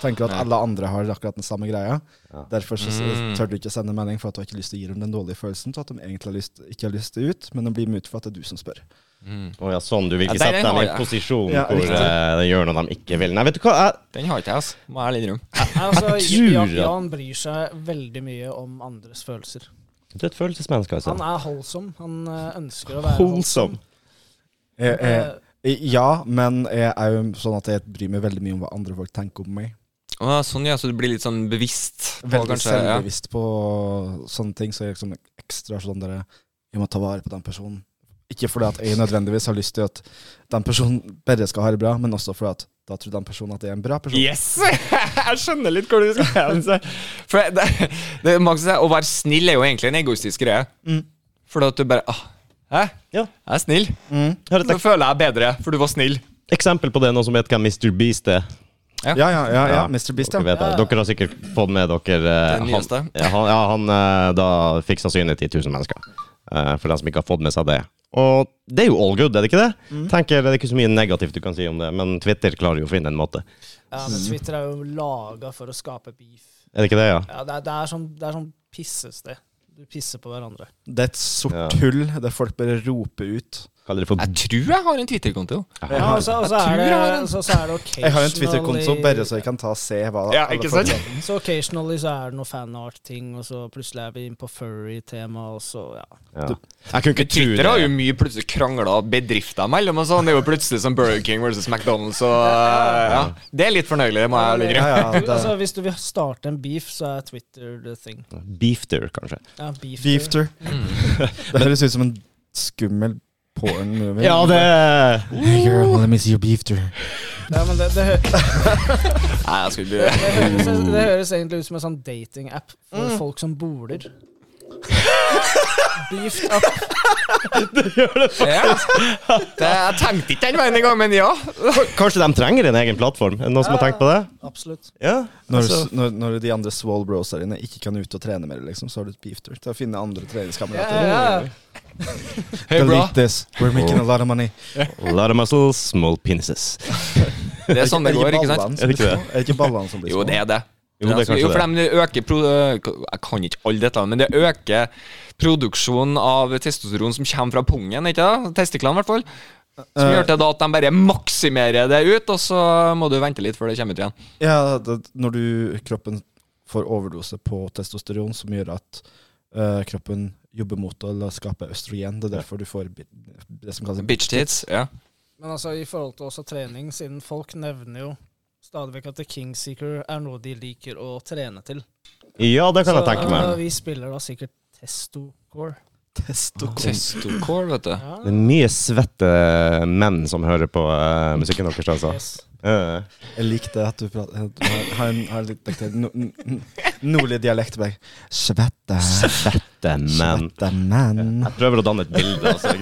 Speaker 2: tenker du at
Speaker 3: Nei.
Speaker 2: alle andre har akkurat den samme greia.
Speaker 1: Ja.
Speaker 2: Derfor så, så
Speaker 3: Mm.
Speaker 2: tør du ikke sende melding for at du har ikke lyst til å gi dem den dårlige følelsen til at de egentlig har lyst, ikke har lyst til ut, men de blir med ut for at det er du som spør.
Speaker 3: Mm.
Speaker 1: Å ja, sånn. Du vil ikke
Speaker 3: Ja, der
Speaker 1: sette dem
Speaker 3: har
Speaker 1: i
Speaker 3: jeg.
Speaker 1: en posisjon
Speaker 2: Ja,
Speaker 1: hvor
Speaker 2: riktig.
Speaker 1: eh, de gjør noe de ikke vil. Nei, vet du hva? Jeg,
Speaker 3: Den har ikke jeg, altså. Må jeg ærlig innrømme.
Speaker 4: Altså,
Speaker 1: tror
Speaker 4: Jan,
Speaker 1: at-
Speaker 4: Jan bryr seg veldig mye om andres følelser.
Speaker 1: du er et følelsesmenneske,
Speaker 4: Han
Speaker 1: altså.
Speaker 4: er holdsom. Han eh, ønsker å være
Speaker 1: Holdsom.
Speaker 4: holdsom.
Speaker 2: Jeg, jeg,
Speaker 4: Eh,
Speaker 2: Ja, men jeg er jo sånn at jeg bryr meg veldig mye om hva andre folk tenker om meg.
Speaker 3: Å, sånn, ja, så du blir litt sånn bevisst på
Speaker 2: Veldig
Speaker 3: kanskje ja.
Speaker 2: selvbevisst på sånne ting, så jeg er liksom ekstra sånn der Jeg må ta vare på den personen. Ikke fordi at jeg nødvendigvis har lyst til at den personen bare skal ha det bra, men også fordi at da tror den personen at jeg er en bra person.
Speaker 3: Yes! Jeg skjønner litt hvor du skal hen. så. For det, det, er mange som sier, Å være snill er jo egentlig en egoistisk greie. For at du bare ah, Hæ?
Speaker 1: Ja.
Speaker 3: Jeg er snill.
Speaker 1: Har et
Speaker 3: Nå føler jeg bedre, for du var snill.
Speaker 1: ek eksempel på det, noen som vet hvem Mr. Beast er.
Speaker 2: Ja, ja, ja, ja.
Speaker 1: Ja,
Speaker 2: Mr. Beast,
Speaker 1: Dere,
Speaker 2: ja.
Speaker 1: vet, det. dere har sikkert fått med dere eh,
Speaker 3: Den nyeste.
Speaker 1: Han, ja, han, ja, han eh, da fikk sannsynlig 10 000 mennesker. Eh, for dem som ikke har fått med seg det. Og det er jo all good, er det ikke det? Tenker Det er ikke så mye negativt du kan si om det, men Twitter klarer jo å finne en måte.
Speaker 4: Ja, men Twitter er jo laga for å skape beef.
Speaker 1: Er det ikke det, ja?
Speaker 4: Ja, det, er, det, er sånn, det er sånn pissested. Du pisser på hverandre.
Speaker 2: Det er et sort
Speaker 1: Ja.
Speaker 2: hull der folk bare roper ut.
Speaker 1: Kaller det for
Speaker 3: Jeg tror jeg har en Twitter-konto.
Speaker 4: Ja, altså, og så, og så, er,
Speaker 3: Jeg tror jeg har en-
Speaker 4: det, så, så er det occasionally
Speaker 2: Jeg har en Twitter-konto bare så jeg kan ta og se hva
Speaker 3: Ja,
Speaker 2: alle
Speaker 3: ikke
Speaker 2: folk
Speaker 3: sant?
Speaker 2: har.
Speaker 4: Så occasionally så er det noe fanart-ting, og så plutselig er vi inne på furry-tema, og så ja.
Speaker 1: ja. Jeg kunne ikke tro
Speaker 3: Twitter har jo
Speaker 1: det.
Speaker 3: mye plutselig krangla bedrifter mellom og sånn. Det er jo plutselig som Burger King versus McDonald's og ja. Det er litt fornøyelig, det må jeg
Speaker 2: Ja,
Speaker 3: ærlig innrømme.
Speaker 2: ja,
Speaker 4: Du,
Speaker 2: det
Speaker 4: altså, hvis du vil starte en beef, så er Twitter the thing.
Speaker 1: Beefter, kanskje.
Speaker 4: Ja, beef.
Speaker 2: Beefter. Mm. Det høres ut som en skummel porn-movie.
Speaker 1: Ja, det
Speaker 2: Hey girl, let me see your beefter.
Speaker 4: Ja, men det, det, hø
Speaker 3: Nei, jeg skulle bli
Speaker 4: det, høres,
Speaker 2: Mm.
Speaker 4: det høres egentlig ut som en sånn dating-app for
Speaker 1: Mm.
Speaker 4: folk som boler. Beefed up.
Speaker 3: ja. det, Jeg tenkte ikke den veien engang, men ja.
Speaker 1: Kanskje de trenger en egen plattform? Er det noen som har tenkt på det?
Speaker 4: Absolutt.
Speaker 1: Ja.
Speaker 2: Når,
Speaker 1: Altså,
Speaker 2: når, når de andre Swole Bros der inne ikke kan ut og trene mer, liksom, så har du et beefter til å finne andre
Speaker 4: Ja,
Speaker 2: treningskamerater.
Speaker 4: ja, ja.
Speaker 3: Hei, bra.
Speaker 2: Delete this. We're making a lot of money.
Speaker 1: a lot of muscles, small penises.
Speaker 3: Det er sånn det går, ikke sant?
Speaker 1: Er det ikke det?
Speaker 2: Er det ikke liksom. ballene som blir små?
Speaker 3: Jo, det er det.
Speaker 1: Jo, det er kanskje
Speaker 3: jo, for
Speaker 1: det.
Speaker 3: dem det øker pro Jeg kan ikke alle detaljene, men det øker produksjonen av testosteron som kommer fra pungen, ikke det? Testiklene, i hvert fall. Som gjør til da at de bare maksimerer det ut, og så må du vente litt før det kommer ut igjen.
Speaker 2: Eh, Ja, det, når du, kroppen får overdose på testosteron, som gjør at eh, kroppen jobber mot å la- skape østrogen. Det er derfor du får bi- det som
Speaker 1: Altså,
Speaker 2: kalles
Speaker 3: Bitch tits. Ja.
Speaker 4: Men altså, i forhold til også trening, siden folk nevner jo stadig vekk at The Kingseeker er noe de liker å trene til.
Speaker 1: Ja, det kan jeg tenke
Speaker 4: Så,
Speaker 1: meg.
Speaker 4: øh, vi spiller da sikkert testocore.
Speaker 2: testosteron.
Speaker 3: Testocore, vet du.
Speaker 1: Det er mye svette menn som hører på eh, musikken deres, altså.
Speaker 4: Yes.
Speaker 1: Ja, ja.
Speaker 2: Jeg likte at du, prat, at du har- har en, har en litt dialekt, no, n- nordlig dialekt på deg. Svette,
Speaker 1: Svette menn.
Speaker 2: svette menn.
Speaker 1: Jeg prøver å danne et bilde. Altså.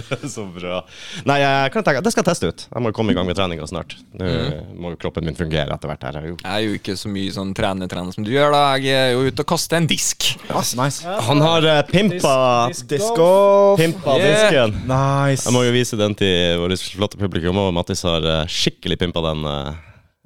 Speaker 1: det er så bra. Nei, jeg kan tenke, det skal jeg teste ut. Jeg må jo komme i gang med treninga snart. Nå må jo kroppen min fungere etter hvert. her. Jeg er jo-
Speaker 3: Jeg er jo ikke så mye sånn trener-trener som du gjør, da. Jeg er jo ute og kaster en disk.
Speaker 2: Nice, nice.
Speaker 1: Han har eh, pimpa,
Speaker 4: Disk-
Speaker 2: Disco.
Speaker 1: pimpa
Speaker 3: Yeah.
Speaker 1: disken.
Speaker 2: Nice.
Speaker 1: Jeg må jo vise den til vårt flotte publikum, og Mattis har eh, skikkelig pimpa den. eh.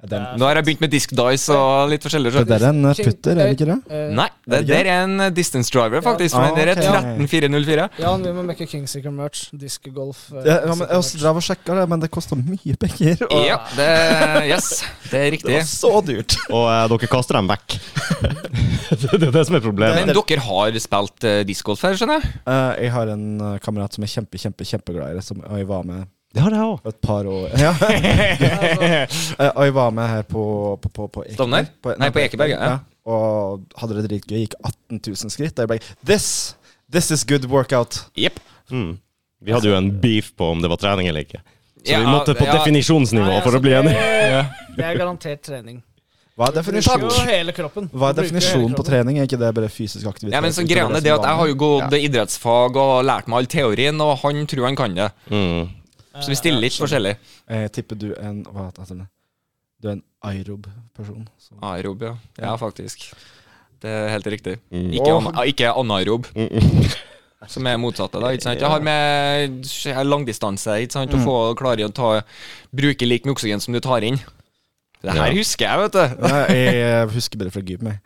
Speaker 2: Den,
Speaker 3: Nå har jeg begynt med disk dice og litt forskjellig.
Speaker 2: det
Speaker 3: så-
Speaker 2: der er en eh, putter, er det ikke det?
Speaker 4: Eh,
Speaker 3: Nei, det der er en distance driver, faktisk.
Speaker 2: Ja.
Speaker 3: For den der er
Speaker 2: Ah, ok.
Speaker 3: 13404.
Speaker 4: Jan, vi må mekke Kingseeker-merch. Diskegolf. eh,
Speaker 2: Ja, men altså, jeg også
Speaker 4: Kingseeker merch.
Speaker 2: drev og sjekka det, men det kosta mye penger. Og
Speaker 3: Ja, det, yes, det er
Speaker 2: det
Speaker 3: riktig.
Speaker 2: var så dyrt.
Speaker 1: Og eh, dere kaster dem vekk. det det er det som er
Speaker 3: Men
Speaker 1: problemet.
Speaker 3: dere har spilt uh, discgolf her, skjønner jeg?
Speaker 2: Eh, jeg har en eh, kamerat som er kjempe, kjempe, kjempeglad i det, som jeg var med
Speaker 1: Det har jeg òg.
Speaker 2: for et par år ja. Eh, Og jeg var med her på, på, på, på Ekeberg.
Speaker 3: Stovner? Nei, på Ekeberg, ja.
Speaker 2: Og hadde det dritgøy. Gikk 18 000 skritt. Og jeg ble This! This is good workout.
Speaker 3: Jepp.
Speaker 1: Mm. Vi hadde jo en beef på om det var trening eller ikke. Så
Speaker 3: Ja,
Speaker 1: vi måtte på
Speaker 3: ja.
Speaker 1: definisjonsnivå
Speaker 4: Nei,
Speaker 1: for
Speaker 4: altså,
Speaker 1: å bli
Speaker 4: det-
Speaker 1: enige.
Speaker 4: Det er garantert trening.
Speaker 2: Hva er
Speaker 4: Du bruker jo
Speaker 2: definisjonen,
Speaker 4: hele kroppen.
Speaker 2: hva er
Speaker 4: Du bruker jo hele
Speaker 2: definisjonen på
Speaker 4: kroppen.
Speaker 2: trening? Er ikke det bare fysisk aktivitet?
Speaker 3: Ja, men så
Speaker 2: utover
Speaker 3: greia er
Speaker 2: som
Speaker 3: det at jeg har jo
Speaker 2: vanlig?
Speaker 3: gått idrettsfag og lært meg all teorien, og han tror han kan det.
Speaker 1: Mm.
Speaker 3: Så vi stiller litt forskjellig.
Speaker 2: ja. Jeg Eh, tipper du er en Hva heter det? Du er en aerob-person. så-
Speaker 3: Aerob, ja. Ja, faktisk. Det er helt riktig.
Speaker 1: Mm.
Speaker 3: Ikke, an ah, ikke anaerob, som er motsatte, da. Ikke sant? Det har med s- langdistanse
Speaker 1: Mm.
Speaker 3: ikke sant? å få klare å ta, bruke like mye oksygen som du tar inn. Det her
Speaker 1: Ja.
Speaker 3: husker jeg, vet du.
Speaker 2: Nei, jeg husker bare fra gym. jeg.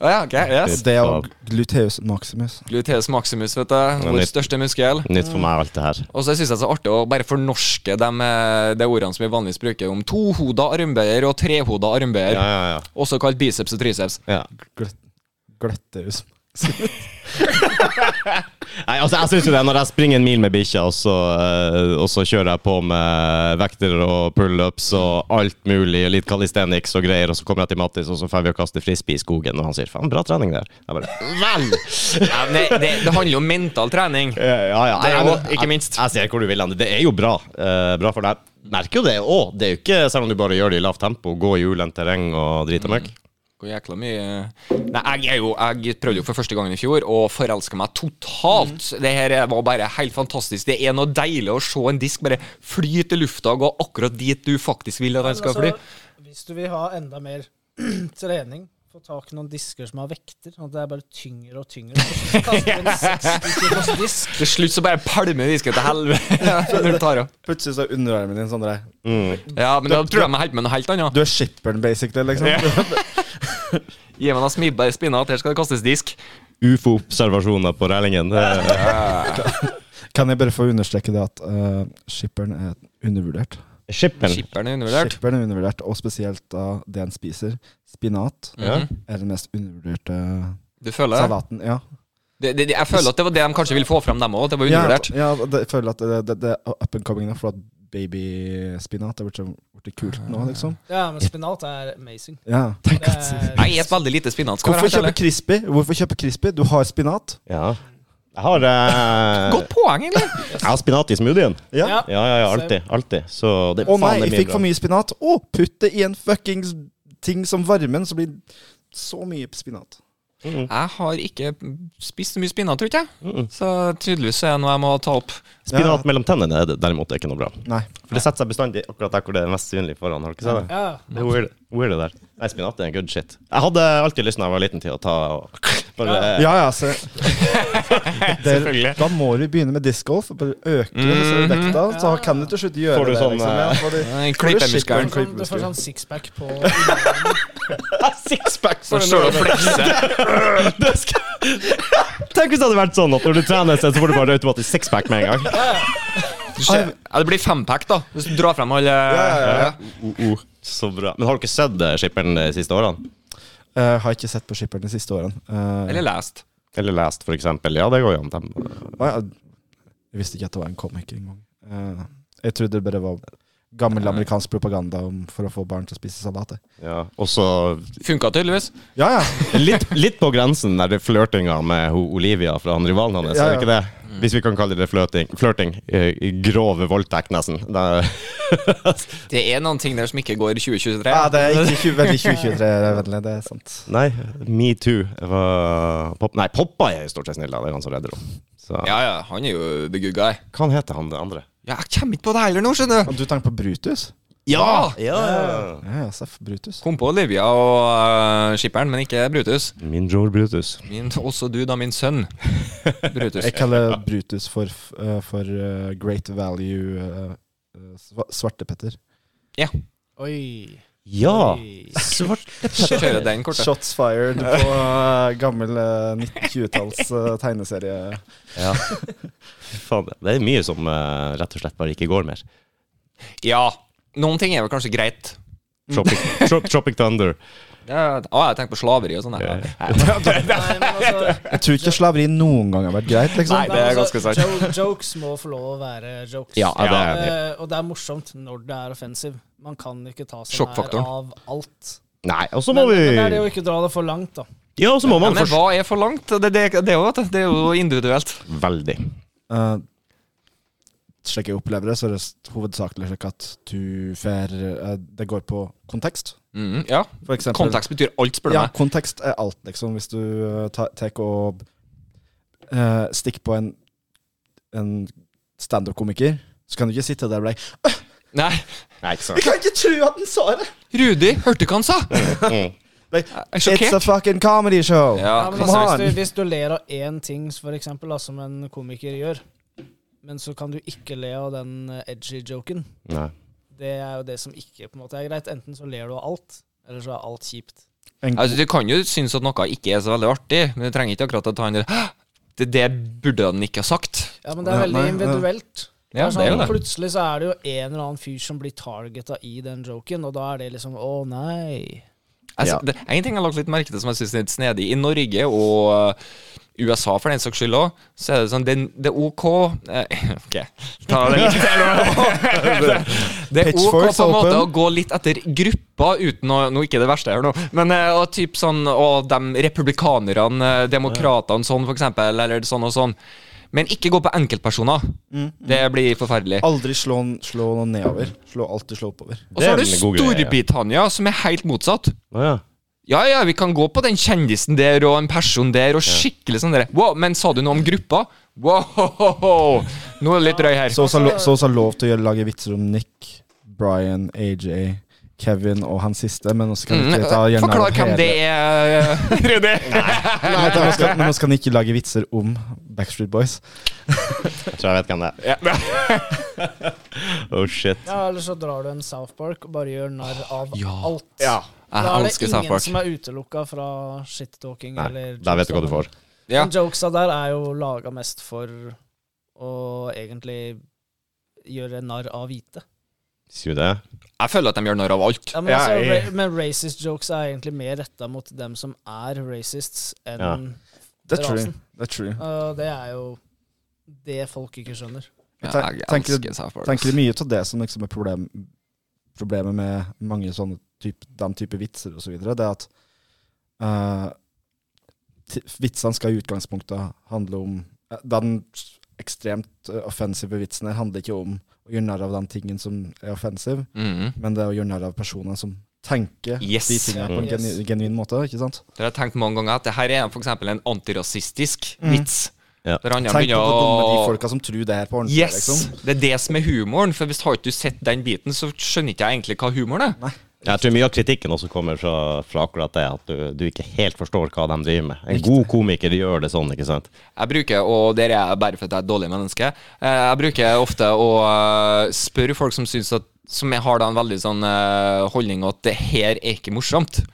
Speaker 3: Å ja, ok, yes.
Speaker 2: Det er jo gluteus maximus.
Speaker 3: Gluteus maximus, vet du. Vår
Speaker 1: nytt.
Speaker 3: største muskel.
Speaker 1: Nytt for meg, alt det her.
Speaker 3: Og så syns jeg det er så artig å bare fornorske de, eh, de ordene som vi vanligvis bruker om tohoda armbøyer og trehoda armbøyer,
Speaker 1: Ja, ja, ja.
Speaker 3: også kalt biceps og triceps.
Speaker 1: ja.
Speaker 2: Gløtteus.
Speaker 1: Nei, altså jeg synes jo det Når jeg springer en mil med bikkja, og, så, eh, og så kjører jeg på med vekter og pullups og alt mulig, og litt calisthenics og greier, og så kommer jeg til Mattis, og så får vi å kaste frisbee i skogen, og han sier 'faen, bra trening der'. Jeg bare Vel!
Speaker 3: Ja, men det, det, det handler jo om mental trening.
Speaker 1: Ja, ja.
Speaker 3: Det er
Speaker 1: jeg-
Speaker 3: jo-
Speaker 1: jeg-
Speaker 3: ikke minst.
Speaker 1: Jeg, jeg ser hvor du vil hen. Det er jo bra. eh, bra for deg. Merker jo det òg. Det er jo ikke selv om du bare gjør det i lavt tempo, gå i ulendt terreng og drite møkk.
Speaker 3: Hvor jækla mye Nei, jeg, er jo, jeg prøvde jo for første gangen i fjor å forelske meg totalt. Det her var bare helt fantastisk. Det er noe deilig å se en disk bare flyte i lufta og gå akkurat dit du faktisk vil at den skal fly.
Speaker 4: Altså, hvis du vil ha enda mer trening få tak i noen disker som har vekter. Sånn at det er bare tyngre og tyngre. Så kaster du en 60 kilos disk.
Speaker 3: Til slutt så bare pælmer disken til helvete når du tar av.
Speaker 2: Plutselig så er underarmen din sånn der
Speaker 1: Mm.
Speaker 3: Ja, men da tror jeg jeg holder på med noe helt annet.
Speaker 2: Du er skipperen, basically. liksom
Speaker 3: Gi meg noen smibber spinner at her skal det kastes disk.
Speaker 1: Ufo-observasjoner på Rælingen. Det er
Speaker 2: Kan jeg bare få understreke det at eh, skipperen er undervurdert?
Speaker 1: Skipperen.
Speaker 3: Skipperen er undervurdert.
Speaker 2: Skipperen er undervurdert, og spesielt da det en spiser. Spinat
Speaker 1: Ja.
Speaker 3: Mhm.
Speaker 2: er den mest undervurderte
Speaker 3: Du føler det?
Speaker 2: salaten. Ja.
Speaker 3: Det- det- det- Jeg føler at det var det de kanskje ville få fram, dem òg. Det var undervurdert.
Speaker 2: Ja, ja, det- jeg føler at det, det, det er up and coming nå, for at babyspinat er blitt så- blitt kult nå, liksom.
Speaker 4: Ja, men spinat er amazing.
Speaker 2: Ja.
Speaker 4: Det er,
Speaker 3: Jeg spiser veldig lite spinat. skal jeg
Speaker 2: Hvorfor
Speaker 3: være helt
Speaker 2: kjøpe
Speaker 3: ærlig.
Speaker 2: crispy? Hvorfor kjøpe crispy? Du har spinat.
Speaker 1: Ja. Jeg har, eh,
Speaker 3: Godt poeng, egentlig.
Speaker 1: jeg har spinat i smoothien.
Speaker 4: ja.
Speaker 1: Ja, ja, ja, alltid. alltid. Så det
Speaker 2: Å nei,
Speaker 1: faen, det er
Speaker 2: jeg
Speaker 1: mye
Speaker 2: fikk for mye spinat. Å, putt det i en fuckings ting som varmen, så blir det så mye spinat.
Speaker 1: Mm,
Speaker 3: Jeg har ikke spist så mye spinat, tror ikke jeg. Så tydeligvis er det noe jeg må ta opp.
Speaker 1: Spinat mellom tennene er det derimot ikke noe bra.
Speaker 2: Nei.
Speaker 1: For det setter seg bestandig akkurat der hvor det er mest synlig foran. Har du ikke sett det?
Speaker 4: ja.
Speaker 1: Det er weird, weird det der. Nei, spinat er good shit. Jeg hadde alltid lyst da jeg var liten til å ta og bare
Speaker 2: Ja, ja, se. Der, da må du begynne med discgolf. og Bare øke så vekta, så kan du til slutt gjøre
Speaker 1: Mhm. Får du
Speaker 2: det.
Speaker 1: sånn,
Speaker 2: liksom. ja,
Speaker 1: eh,
Speaker 2: får du, får
Speaker 3: Nei,
Speaker 2: du
Speaker 3: klippemuskelen.
Speaker 2: skikkelig
Speaker 4: Du får sånn- Du får
Speaker 2: klippemuskel.
Speaker 4: sånn sixpack på
Speaker 1: Sixpack
Speaker 3: Så står du og flekser.
Speaker 1: Tenk hvis det hadde vært sånn at når du trener seg, så får du bare automatisk sixpack med en gang.
Speaker 3: Du ser- Ja, det blir fempack, da. Hvis du drar frem alle
Speaker 1: Uh, uh. Så bra. Men har du ikke sett eh, Skipperen de siste årene?
Speaker 2: Eh, har ikke sett på skipperen de siste årene. Eh,
Speaker 3: Eller lest.
Speaker 1: Eller lest, for eksempel. Ja, det går jo an. dem.
Speaker 2: hva er- jeg visste ikke at det var en komiker engang. Eh, jeg trodde det bare var gammel amerikansk propaganda om, for å få barn til å spise salat. jeg.
Speaker 1: Ja. Og så
Speaker 3: Funka tydeligvis.
Speaker 2: Ja, ja.
Speaker 1: litt, litt på grensen er det flørtinga med ho Olivia fra han rivalen hans,
Speaker 2: Ja,
Speaker 1: er
Speaker 2: ja.
Speaker 1: det ikke det? Hvis vi kan kalle det flørting. flørting. Eh, Grov voldtekt, nesten. Det
Speaker 3: Det er noen ting der som ikke går i 2023.
Speaker 2: ja det er ikke 20, veldig 2023, vennlig. Det er sant.
Speaker 1: Nei, metoo var pop, Nei, Poppa er jo stort sett snill, da. Det er han som redder henne. Så,
Speaker 3: Ja, ja, han er jo the good guy.
Speaker 1: Hva heter han det andre?
Speaker 3: Ja, jeg kommer ikke på det heller nå, skjønner du.
Speaker 2: Og du tenker på Brutus?
Speaker 3: Ja!
Speaker 1: Ja,
Speaker 2: Ja, ja, Seff Brutus.
Speaker 3: Kom på Olivia og øh, skipperen, men ikke Brutus.
Speaker 1: Min Joel Brutus.
Speaker 3: Min, også du, da, min sønn. Brutus.
Speaker 2: Jeg kaller Brutus for, f- eh, for eh, Great Value eh, eh, sva- Svartepetter.
Speaker 4: Oi.
Speaker 1: Ja!
Speaker 4: Oi.
Speaker 1: Svarte
Speaker 3: Kjører den kortet.
Speaker 2: Shots fired på eh, gammel eh, 1920-talls eh, tegneserie.
Speaker 1: ja. Fy Faen, det er mye som eh, rett og slett bare ikke går mer.
Speaker 3: Ja. Noen ting er vel kanskje greit.
Speaker 1: Tropic, tro, Tropic Thunder.
Speaker 3: Det er- Å, jeg tenker på slaveri og sånn.
Speaker 1: Ja.
Speaker 3: der.
Speaker 4: Nei, men altså,
Speaker 2: Jeg tror ikke slaveri noen gang har vært greit, liksom.
Speaker 3: Nei, det er
Speaker 4: sånn-
Speaker 3: ganske sant.
Speaker 4: altså, jo- Jokes må få lov å være jokes.
Speaker 1: Ja, det er jeg enig i.
Speaker 4: Eh, og det er morsomt når det er offensive. Man kan ikke ta seg nær
Speaker 3: Sjokkfaktoren.
Speaker 4: av alt.
Speaker 1: Nei, og så
Speaker 4: Men,
Speaker 1: må vi
Speaker 4: men det er det å ikke dra det for langt, da.
Speaker 1: Ja, og så må
Speaker 3: Ja,
Speaker 1: man
Speaker 3: men
Speaker 1: forstå
Speaker 3: hva er for langt? Det, det, det, er jo- vet du, det er jo individuelt.
Speaker 1: Veldig.
Speaker 2: Eh, slik jeg opplever det, så er det s- hovedsakelig slik at du får eh, Det går på kontekst.
Speaker 3: Mhm, ja.
Speaker 2: For eksempel,
Speaker 3: Kontekst betyr alt, spør du
Speaker 2: ja,
Speaker 3: meg.
Speaker 2: kontekst er alt, liksom. Hvis du eh, ta- tar og eh, stikker på en, en standup-komiker, så kan du ikke sitte der og bli
Speaker 3: Nei.
Speaker 1: Nei, ikke
Speaker 2: Jeg
Speaker 1: sant.
Speaker 2: kan ikke tro at den sa det!
Speaker 3: Rudi, hørte du hva han sa?
Speaker 1: Mm.
Speaker 2: Nei,
Speaker 3: Jeg er
Speaker 2: It's a
Speaker 3: sjokkert.
Speaker 2: fucking comedy show!
Speaker 4: Ja,
Speaker 3: Ja,
Speaker 4: men
Speaker 2: come
Speaker 4: altså,
Speaker 2: on.
Speaker 4: hvis, du, hvis du ler av én ting, for eksempel, da, som en komiker gjør, men så kan du ikke le av den eh, edgy joken,
Speaker 1: Nei.
Speaker 4: det er jo det som ikke på en måte er greit. Enten så ler du av alt, eller så er alt kjipt.
Speaker 2: En,
Speaker 3: Altså, du kan jo synes at noe ikke er så veldig artig, men du trenger ikke akkurat å ta en der «Hæ? det, det burde han ikke ha sagt.
Speaker 4: Ja, men det er
Speaker 2: Ja,
Speaker 4: veldig
Speaker 2: nei,
Speaker 4: individuelt.
Speaker 3: Ja,
Speaker 4: Det
Speaker 3: det er jo
Speaker 4: sånn,
Speaker 3: det.
Speaker 4: Plutselig så er det jo en eller annen fyr som blir targeta i den joken, og da er det liksom å nei.
Speaker 3: Jeg,
Speaker 1: Ja.
Speaker 3: det en ting jeg har lagt litt merke til som jeg synes er litt snedig. I Norge og øh, USA for den saks skyld òg, så er det sånn Det, det er OK eh, OK. Ta det litt Det er OK
Speaker 2: Pitchforks
Speaker 3: på en måte
Speaker 2: open.
Speaker 3: å gå litt etter gruppa uten å Nå ikke det verste her nå, men eh, og typ sånn Og de republikanerne, eh, demokratene sånn, for eksempel, eller sånn og sånn. Men ikke gå på enkeltpersoner.
Speaker 1: Mm.
Speaker 3: Det blir forferdelig.
Speaker 2: aldri slå, slå noen nedover. Slå alltid slå oppover.
Speaker 3: Og så har du
Speaker 1: Det er en god greie, ja.
Speaker 3: Storbritannia, som er helt motsatt.
Speaker 1: Å ja.
Speaker 3: Ja, ja, vi kan gå på den kjendisen der og en person der og skikkelig sånn der. Wow, men sa du noe om gruppa? Wow, ho, ho, ho. nå er det litt drøy her.
Speaker 2: Så også, har lo- så også har lov til å gjøre, lage vitser om Nick, Brian, AJ, Kevin og han siste, men nå skal vi ikke ta gjerne
Speaker 3: Mm, Forklar
Speaker 2: av
Speaker 3: hvem
Speaker 2: hele-
Speaker 3: det er, Rudi.
Speaker 2: Nei, da, nå, skal, nå skal han ikke lage vitser om Backstreet Boys.
Speaker 1: Jeg tror jeg vet hvem det er. Oh shit.
Speaker 4: Ja, eller så drar du en South Park og bare gjør narr av
Speaker 3: ja.
Speaker 4: alt. Da
Speaker 3: Jeg
Speaker 4: er det
Speaker 3: elsker
Speaker 4: ingen
Speaker 3: South Park.
Speaker 4: som er utelukka fra shit-talking
Speaker 1: Nei,
Speaker 4: eller
Speaker 1: Da vet du hva du
Speaker 4: jokes.
Speaker 1: får.
Speaker 3: Ja.
Speaker 4: Men jokesa der er jo laga mest for å egentlig gjøre narr av hvite.
Speaker 1: Sier du det?
Speaker 3: Jeg føler at de gjør narr av alt.
Speaker 4: Ja, men,
Speaker 1: Ja,
Speaker 4: altså,
Speaker 1: jeg-
Speaker 4: ra men racist jokes er egentlig mer retta mot dem som er racists, enn
Speaker 1: Ja.
Speaker 2: Det tror jeg.
Speaker 4: rasen.
Speaker 2: Det tror jeg.
Speaker 4: Og det er jo det folk ikke skjønner.
Speaker 2: Jeg
Speaker 3: Ja,
Speaker 2: ten-
Speaker 3: Jeg
Speaker 2: tenker,
Speaker 3: elsker South Park.
Speaker 2: tenker mye av det som liksom er problem, problemet med mange sånne typ, den type vitser og så videre, det er at eh, ti- vitsene skal i utgangspunktet handle om eh, Den ekstremt eh, offensive vitsen her handler ikke om å gjøre narr av den tingen som er offensiv,
Speaker 3: Mhm.
Speaker 2: men det er å gjøre narr av personene som tenker
Speaker 3: Yes.
Speaker 2: de tingene på en
Speaker 4: Yes.
Speaker 2: genu- genuin måte, ikke sant?
Speaker 3: Det har jeg tenkt mange ganger at det her er for eksempel en antirasistisk
Speaker 2: Mm.
Speaker 3: vits.
Speaker 1: Ja.
Speaker 3: Der andre
Speaker 2: Tenk på hvor dumme de
Speaker 3: begynner å
Speaker 2: folka som tror det her på ordentlig,
Speaker 3: Yes!
Speaker 2: liksom.
Speaker 3: Det er det som er humoren. For hvis har ikke du sett den biten, så skjønner ikke jeg egentlig hva humoren er.
Speaker 1: Jeg tror mye av kritikken også kommer fra, fra akkurat det, at du, du ikke helt forstår hva de driver med. En god komiker gjør det sånn, ikke sant?
Speaker 3: Jeg bruker, og der er jeg bare for at jeg er et dårlig menneske, eh, jeg bruker ofte å eh, spørre folk som synes at som jeg har da en veldig sånn eh, holdning at det her er ikke morsomt.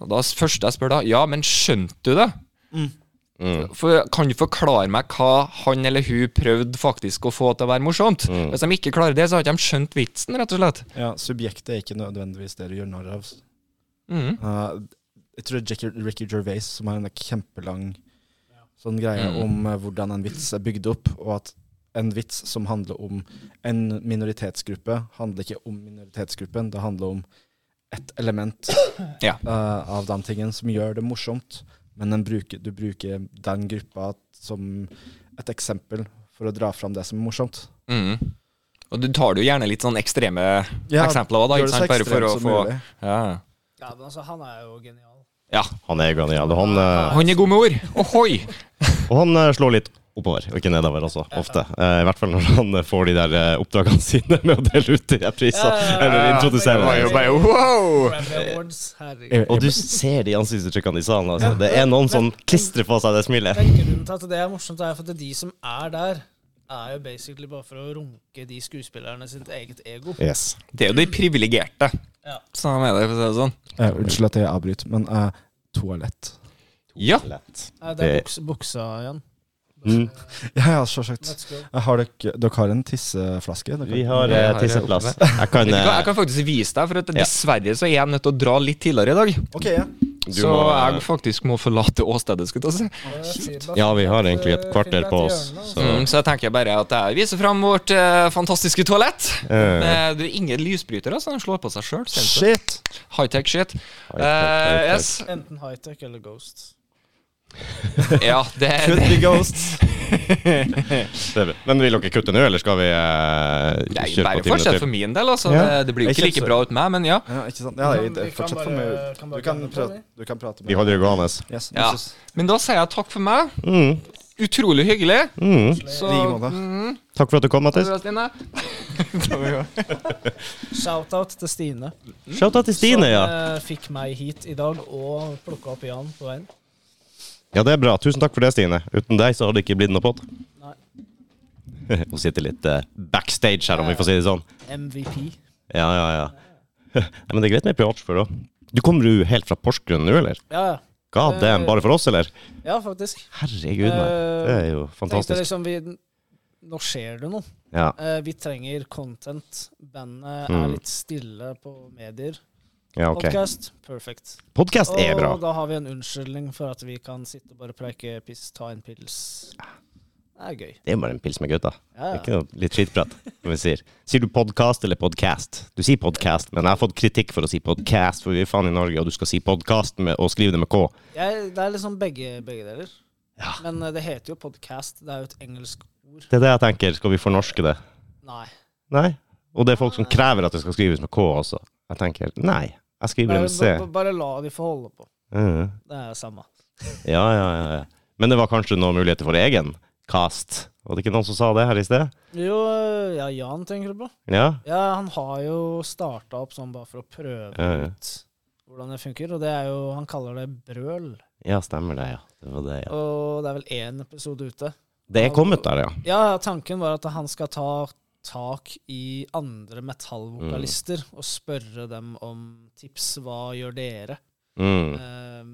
Speaker 3: Og da s- første jeg spør da, ja, men skjønte du det?
Speaker 2: Mm.
Speaker 3: For, kan du forklare meg hva han eller hun prøvde faktisk å få til å være morsomt? Hvis de ikke klarer det, så har ikke de skjønt vitsen, rett og slett.
Speaker 2: Ja, subjektet er ikke nødvendigvis det du gjør narr av.
Speaker 3: Mm.
Speaker 2: Uh, jeg tror det er Jackie, Ricky Gervais som har en kjempelang sånn greie
Speaker 3: Mm.
Speaker 2: om eh, hvordan en vits er bygd opp, og at en vits som handler om en minoritetsgruppe, handler ikke om minoritetsgruppen, det handler om et element
Speaker 3: Ja.
Speaker 2: eh, av den tingen som gjør det morsomt, men en bruker, du bruker den gruppa som et eksempel for å dra fram det som er morsomt.
Speaker 3: Mm. Og du tar det jo gjerne litt sånn ekstreme eksempler også da,
Speaker 2: gjør det så
Speaker 3: ikke sant? Bare for
Speaker 2: ekstremt
Speaker 3: å
Speaker 2: som
Speaker 3: få...
Speaker 2: mulig.
Speaker 3: Ja.
Speaker 4: Ja, men altså, han er jo genial.
Speaker 3: ja.
Speaker 1: Han er genial. og Han, eh,
Speaker 3: Han er god med ord. Ohoi!
Speaker 1: og han eh, slår litt oppover, og ikke nedover også, ofte. Eh, I hvert fall når han eh, får de der eh, oppdragene sine med å dele ut de der prisene,
Speaker 4: Ja, ja, ja.
Speaker 1: eller introdusere.
Speaker 4: Ja,
Speaker 1: dem.
Speaker 4: ja, ja.
Speaker 3: wow!
Speaker 4: Grammy Awards, herregud.
Speaker 3: Eh,
Speaker 2: Jeg-
Speaker 1: Og du ser de ansiktsuttrykkene i salen. Altså. Det er noen som klistrer på seg det smilet.
Speaker 4: Men grunnen til at det er morsomt, er for at de som er der, er jo basically bare for å runke de skuespillerne sitt eget ego.
Speaker 1: Yes.
Speaker 3: Det er jo de privilegerte.
Speaker 4: Ja.
Speaker 3: Sånn er det, for å si det sånn.
Speaker 2: Eh, unnskyld at jeg avbryter, men eh, toalett.
Speaker 3: Ja.
Speaker 1: Lett.
Speaker 4: Nei, det er buks, buksa igjen.
Speaker 1: Mm.
Speaker 2: Ja, ja, sjølsagt.
Speaker 4: Let's go.
Speaker 2: Eh, Har dere, dere har en tisseflaske? Dere?
Speaker 1: Vi har eh, tisseplass. Jeg kan,
Speaker 3: Vet du hva,
Speaker 1: eh,
Speaker 3: Jeg kan faktisk vise deg, for at
Speaker 1: Ja.
Speaker 3: dessverre så er jeg nødt til å dra litt tidligere i dag.
Speaker 2: Ok, ja.
Speaker 1: du
Speaker 3: Så
Speaker 1: må, eh,
Speaker 3: jeg faktisk må forlate åstedet. skulle jeg til å si.
Speaker 1: Ja, vi har egentlig et kvarter på oss. Så.
Speaker 3: Mm, så jeg tenker bare at jeg viser fram vårt eh, fantastiske toalett.
Speaker 1: Eh,
Speaker 3: Eh, det er ingen lysbrytere, så den slår på seg sjøl.
Speaker 2: Shit!
Speaker 3: High-tech shit.
Speaker 1: high-tech,
Speaker 3: Eh,
Speaker 1: high-tech.
Speaker 3: yes.
Speaker 4: Enten high-tech eller Ghost.
Speaker 3: Ja, det,
Speaker 2: Could be ghost.
Speaker 1: Det er bra. Men vil dere kutte nå, eller skal vi eh,
Speaker 3: det er jo
Speaker 1: kjøre på
Speaker 3: bare
Speaker 1: ti
Speaker 3: fortsett
Speaker 1: minutter?
Speaker 3: for min del, altså.
Speaker 2: Ja.
Speaker 3: Det, det blir jo
Speaker 2: Jeg
Speaker 3: ikke like
Speaker 2: kjenner-
Speaker 3: bra uten meg, men ja.
Speaker 2: Ja, ikke sant? Ja, jeg,
Speaker 4: Vi kan
Speaker 2: fortsett for
Speaker 4: bare-
Speaker 2: meg.
Speaker 4: kan bare
Speaker 2: Du kan
Speaker 4: gønne på,
Speaker 2: prate,
Speaker 4: vi.
Speaker 2: du kan prate med
Speaker 1: Vi holder det gående.
Speaker 2: Yes,
Speaker 3: Ja.
Speaker 2: Moses.
Speaker 3: Men da sier jeg takk for meg.
Speaker 1: Mm,
Speaker 3: Utrolig hyggelig.
Speaker 1: mm.
Speaker 3: Så,
Speaker 2: I like måte.
Speaker 3: mm,
Speaker 1: Takk for at du kom,
Speaker 3: takk
Speaker 1: Mattis.
Speaker 3: for det, Stine.
Speaker 4: Shout-out til Stine.
Speaker 1: Shout-out til Stine, ja.
Speaker 4: Som eh, fikk meg hit i dag og plukka opp Jan på veien.
Speaker 3: eh-
Speaker 1: Ja, det er bra. Tusen takk for det, Stine. Uten deg så hadde det ikke blitt noe pod.
Speaker 4: Nei.
Speaker 1: Hun sitter litt eh, backstage her, om vi får si det sånn.
Speaker 4: MVP.
Speaker 1: Ja, ja, ja. Nei, Men det er greit med privat sjåfør òg. Du kommer jo helt fra Porsgrunn nå, eller?
Speaker 4: Ja, ja.
Speaker 3: Eh,
Speaker 1: God damn, bare for oss, eller?
Speaker 4: ja faktisk. Eh,
Speaker 1: Herregud, nei. Det er jo
Speaker 4: Tenkte
Speaker 1: fantastisk.
Speaker 4: liksom vi Nå skjer det noe.
Speaker 1: Ja.
Speaker 4: Eh, vi trenger content. Bandet er
Speaker 1: Mm.
Speaker 4: litt stille på medier.
Speaker 1: ja, ok.
Speaker 4: Podcast, perfect.
Speaker 1: Podkast er bra.
Speaker 4: Og da har vi en unnskyldning for at vi kan sitte og bare preike piss, ta en pils. Det er gøy.
Speaker 1: Det er bare en pils med gutta.
Speaker 4: Ja,
Speaker 1: Ah. Det er
Speaker 4: ja.
Speaker 1: Ikke noe litt skitprat, som vi sier. Sier du podkast eller podcast? Du sier podcast, men jeg har fått kritikk for å si podcast, for vi er faen i Norge, og du skal si podcast med, og skrive det med K.
Speaker 4: Jeg, det er liksom begge, begge deler.
Speaker 1: Ja.
Speaker 4: Men eh, det heter jo podcast. Det er jo et engelsk ord.
Speaker 1: Det er det jeg tenker. Skal vi fornorske det?
Speaker 4: Nei.
Speaker 1: Nei. Og det er folk som krever at det skal skrives med K også. Jeg tenker nei, jeg skriver det
Speaker 4: Bare,
Speaker 1: med C.
Speaker 4: ba- bare la de få holde på.
Speaker 1: Mhm.
Speaker 4: Det er samme.
Speaker 1: Ja, ja, ja, ja. Men det var kanskje noen muligheter for egen cast, Var det ikke noen som sa det her i sted?
Speaker 4: Jo, ja, Jan tenker du på?
Speaker 1: Ja?
Speaker 4: Ja, han har jo starta opp sånn bare for å prøve
Speaker 1: Ja, ja.
Speaker 4: ut hvordan det funker, og det er jo Han kaller det brøl,
Speaker 1: Ja, stemmer det, ja. Det var det, ja.
Speaker 4: og det er vel én episode ute.
Speaker 1: Det er kommet der, ja.
Speaker 4: Ja, tanken var at han skal ta tak i andre metallvokalister
Speaker 1: Mm.
Speaker 4: og spørre dem om tips. Hva gjør dere?
Speaker 1: Mm.
Speaker 4: Eh,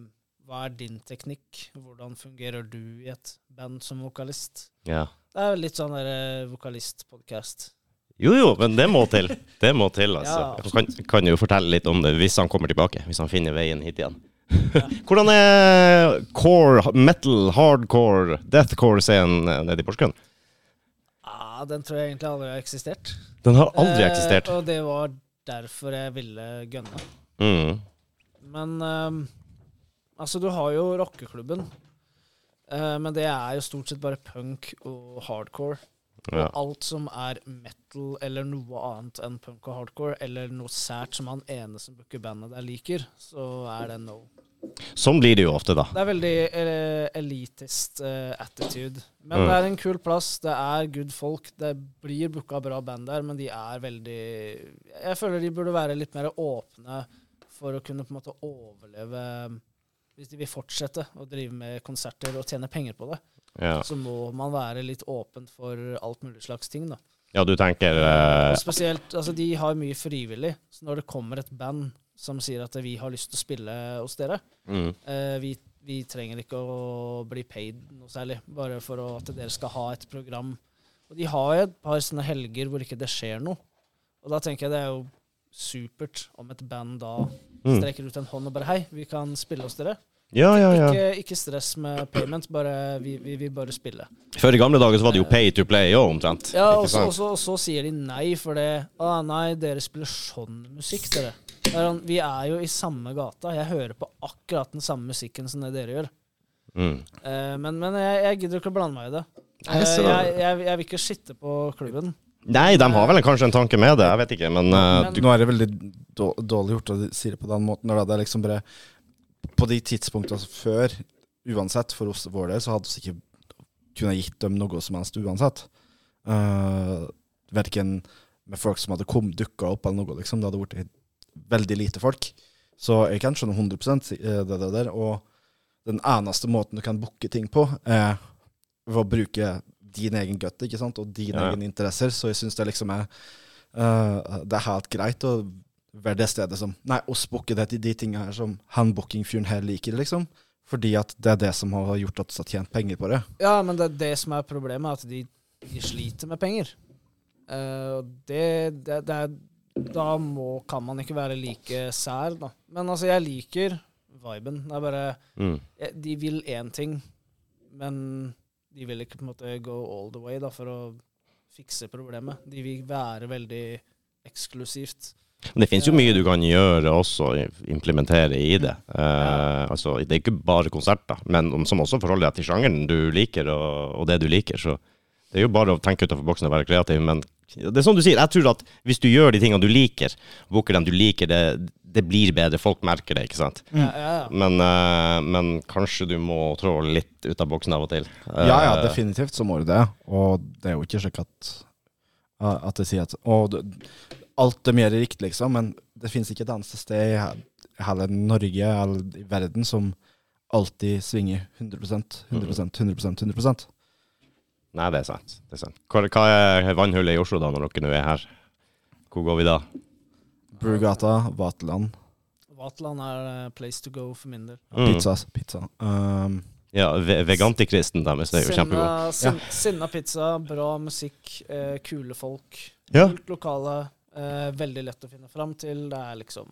Speaker 4: hva er din teknikk? Hvordan fungerer du i et band som vokalist?
Speaker 1: ja.
Speaker 4: Det er jo litt sånn der vokalistpodkast.
Speaker 1: Jo, jo, men det må til. Det må til,
Speaker 4: Ja.
Speaker 1: altså. Jeg kan, kan jo fortelle litt om det hvis han kommer tilbake. Hvis han finner veien hit igjen. Hvordan er core, metal, hardcore, deathcore-scenen nede i Porsgrunn?
Speaker 4: Ah, den tror jeg egentlig aldri har eksistert.
Speaker 1: Den har aldri
Speaker 4: Eh,
Speaker 1: eksistert.
Speaker 4: og det var derfor jeg ville gønne.
Speaker 1: Mm.
Speaker 4: Men ehm, altså, du har jo rockeklubben. Eh, men det er jo stort sett bare punk og hardcore.
Speaker 1: Ja.
Speaker 4: Og alt som er metal eller noe annet enn punk og hardcore, eller noe sært som han ene som booker bandet der liker, så er det no.
Speaker 1: Sånn blir det jo ofte, da.
Speaker 4: Det er veldig eh, elitist eh, attitude. Men
Speaker 1: Mm.
Speaker 4: det er en kul plass, det er good folk, det blir booka bra band der, men de er veldig Jeg føler de burde være litt mer åpne for å kunne på en måte overleve Hvis de vil fortsette å drive med konserter og tjene penger på det,
Speaker 1: Ja,
Speaker 4: så må man være litt åpen for alt mulig slags ting, da.
Speaker 1: ja du tenker
Speaker 4: Og
Speaker 1: eh,
Speaker 4: Spesielt, altså De har mye frivillig. Så når det kommer et band som sier at vi har lyst til å spille hos dere
Speaker 1: mm.
Speaker 4: eh, vi, vi trenger ikke å bli paid noe særlig, bare for å, at dere skal ha et program. Og de har jo et par sånne helger hvor ikke det skjer noe. Og da tenker jeg det er jo supert om et band da
Speaker 1: Mm.
Speaker 4: strekker ut en hånd og bare Hei, vi kan spille hos dere.
Speaker 1: Ja, ja, ja.
Speaker 4: Ikke, ikke stress med payment, bare vi, vi vil bare spille.
Speaker 1: Før i gamle dager så var det jo pay to play òg, omtrent.
Speaker 4: Ja,
Speaker 1: Ikke
Speaker 4: og så,
Speaker 1: sant?
Speaker 4: og, så, og så sier de nei for det. Å nei, dere spiller sånn musikk, dere. Det er sånn, Vi er jo i samme gata. Jeg hører på akkurat den samme musikken som det dere gjør.
Speaker 1: Mm.
Speaker 4: Eh, men men jeg, jeg gidder ikke å blande meg i det.
Speaker 1: Nei,
Speaker 4: Eh,
Speaker 1: så-
Speaker 4: jeg, jeg, jeg vil ikke skitte på klubben.
Speaker 1: Nei, de har vel kanskje en tanke med det, jeg vet ikke, men eh, du,
Speaker 2: Nå er det veldig då- dårlig gjort å si det på den måten. Når det er liksom bare På de tidspunktene altså før, uansett, for oss vår del, så hadde vi ikke kunnet gitt dem noe som helst uansett. Uh, Verken med folk som hadde kom, dukka opp eller noe, liksom. Det hadde blitt veldig lite folk. Så jeg kan skjønne 100 si- eh, det, det der. Og den eneste måten du kan booke ting på, er ved å bruke din egen gutt, ikke sant, og dine
Speaker 1: Ja.
Speaker 2: egne interesser. Så jeg syns det liksom er Eh, det er helt greit å være det stedet som Nei, oss booker det til de tinga her som han bookingfyren her liker, liksom. Fordi at det er det som har gjort at vi har tjent penger på det.
Speaker 4: Ja, men det er det som er problemet, at de, de sliter med penger. Eh, og det, det, det er Da må, kan man ikke være like sær, da. Men altså, jeg liker viben. Det er bare
Speaker 1: mm.
Speaker 4: jeg, De vil én ting, men de vil ikke på en måte go all the way da, for å fikse problemet. De vil være veldig eksklusivt.
Speaker 1: Men det finnes jo mye du kan gjøre også, implementere i det. Eh, altså, det er ikke bare konserter, men om- som også forholder deg til sjangeren du liker, og, og det du liker. Så det er jo bare å tenke utenfor boksen og være kreativ. Men det er som du sier, jeg tror at hvis du gjør de tingene du liker, booker dem du liker, det, det blir bedre. Folk merker det, ikke sant?
Speaker 4: Ja, ja, ja.
Speaker 1: Men, eh, men kanskje du må trå litt ut av boksen av og til. Eh,
Speaker 2: Ja, ja, definitivt så må du det. Og det er jo ikke slik at eh, At jeg sier at Å, du- alt er mer riktig, liksom. Men det finnes ikke et eneste sted i he- hele Norge eller i verden som alltid svinger 100
Speaker 1: Mm.
Speaker 2: 100 100 100
Speaker 1: Nei, det er sant. Det er sant. Hva, hva er vannhullet i Oslo da, når dere nå er her? Hvor går vi da?
Speaker 2: Brugata, Vaterland.
Speaker 4: Vatland er eh, place to go for min del.
Speaker 1: Mm.
Speaker 2: Pizza, altså, pizza. Um,
Speaker 1: Ja, ve vegantikristen deres, det er jo kjempegod.
Speaker 4: Sinna, sin, sinna pizza, bra musikk, eh, kule folk.
Speaker 1: Ja.
Speaker 4: Kult lokale. Eh, veldig lett å finne fram til. Det er liksom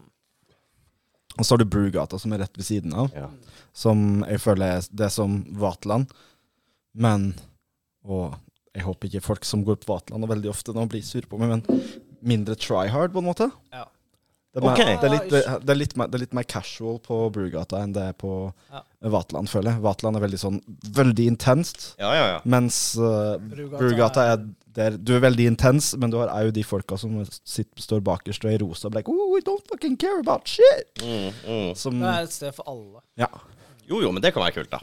Speaker 2: og så har du Brugata, som er rett ved siden av,
Speaker 1: Ja.
Speaker 2: som jeg føler er det som Vaterland. Men Og jeg håper ikke folk som går på Vaterland og veldig ofte nå blir sure på meg, men mindre try hard, på en måte.
Speaker 4: Ja.
Speaker 2: Det er, mer-
Speaker 1: Ok.
Speaker 2: det, er litt, eh, det, er litt mer, det er litt mer casual på Brugata enn det er på
Speaker 4: Ja.
Speaker 2: Vaterland, føler jeg. Vaterland er veldig sånn veldig intenst,
Speaker 1: Ja, ja, ja.
Speaker 2: mens eh,
Speaker 4: Brugata
Speaker 2: Brugata
Speaker 4: er-
Speaker 2: er der Du er veldig intens, men du har òg de folka som sitter, står bakerst og er i rosa og blir like, oh, we don't fucking care about shit.
Speaker 1: Mm, mm.
Speaker 2: Som,
Speaker 4: Det er et sted for alle.
Speaker 2: ja.
Speaker 1: Jo, jo, men det kan være kult, da.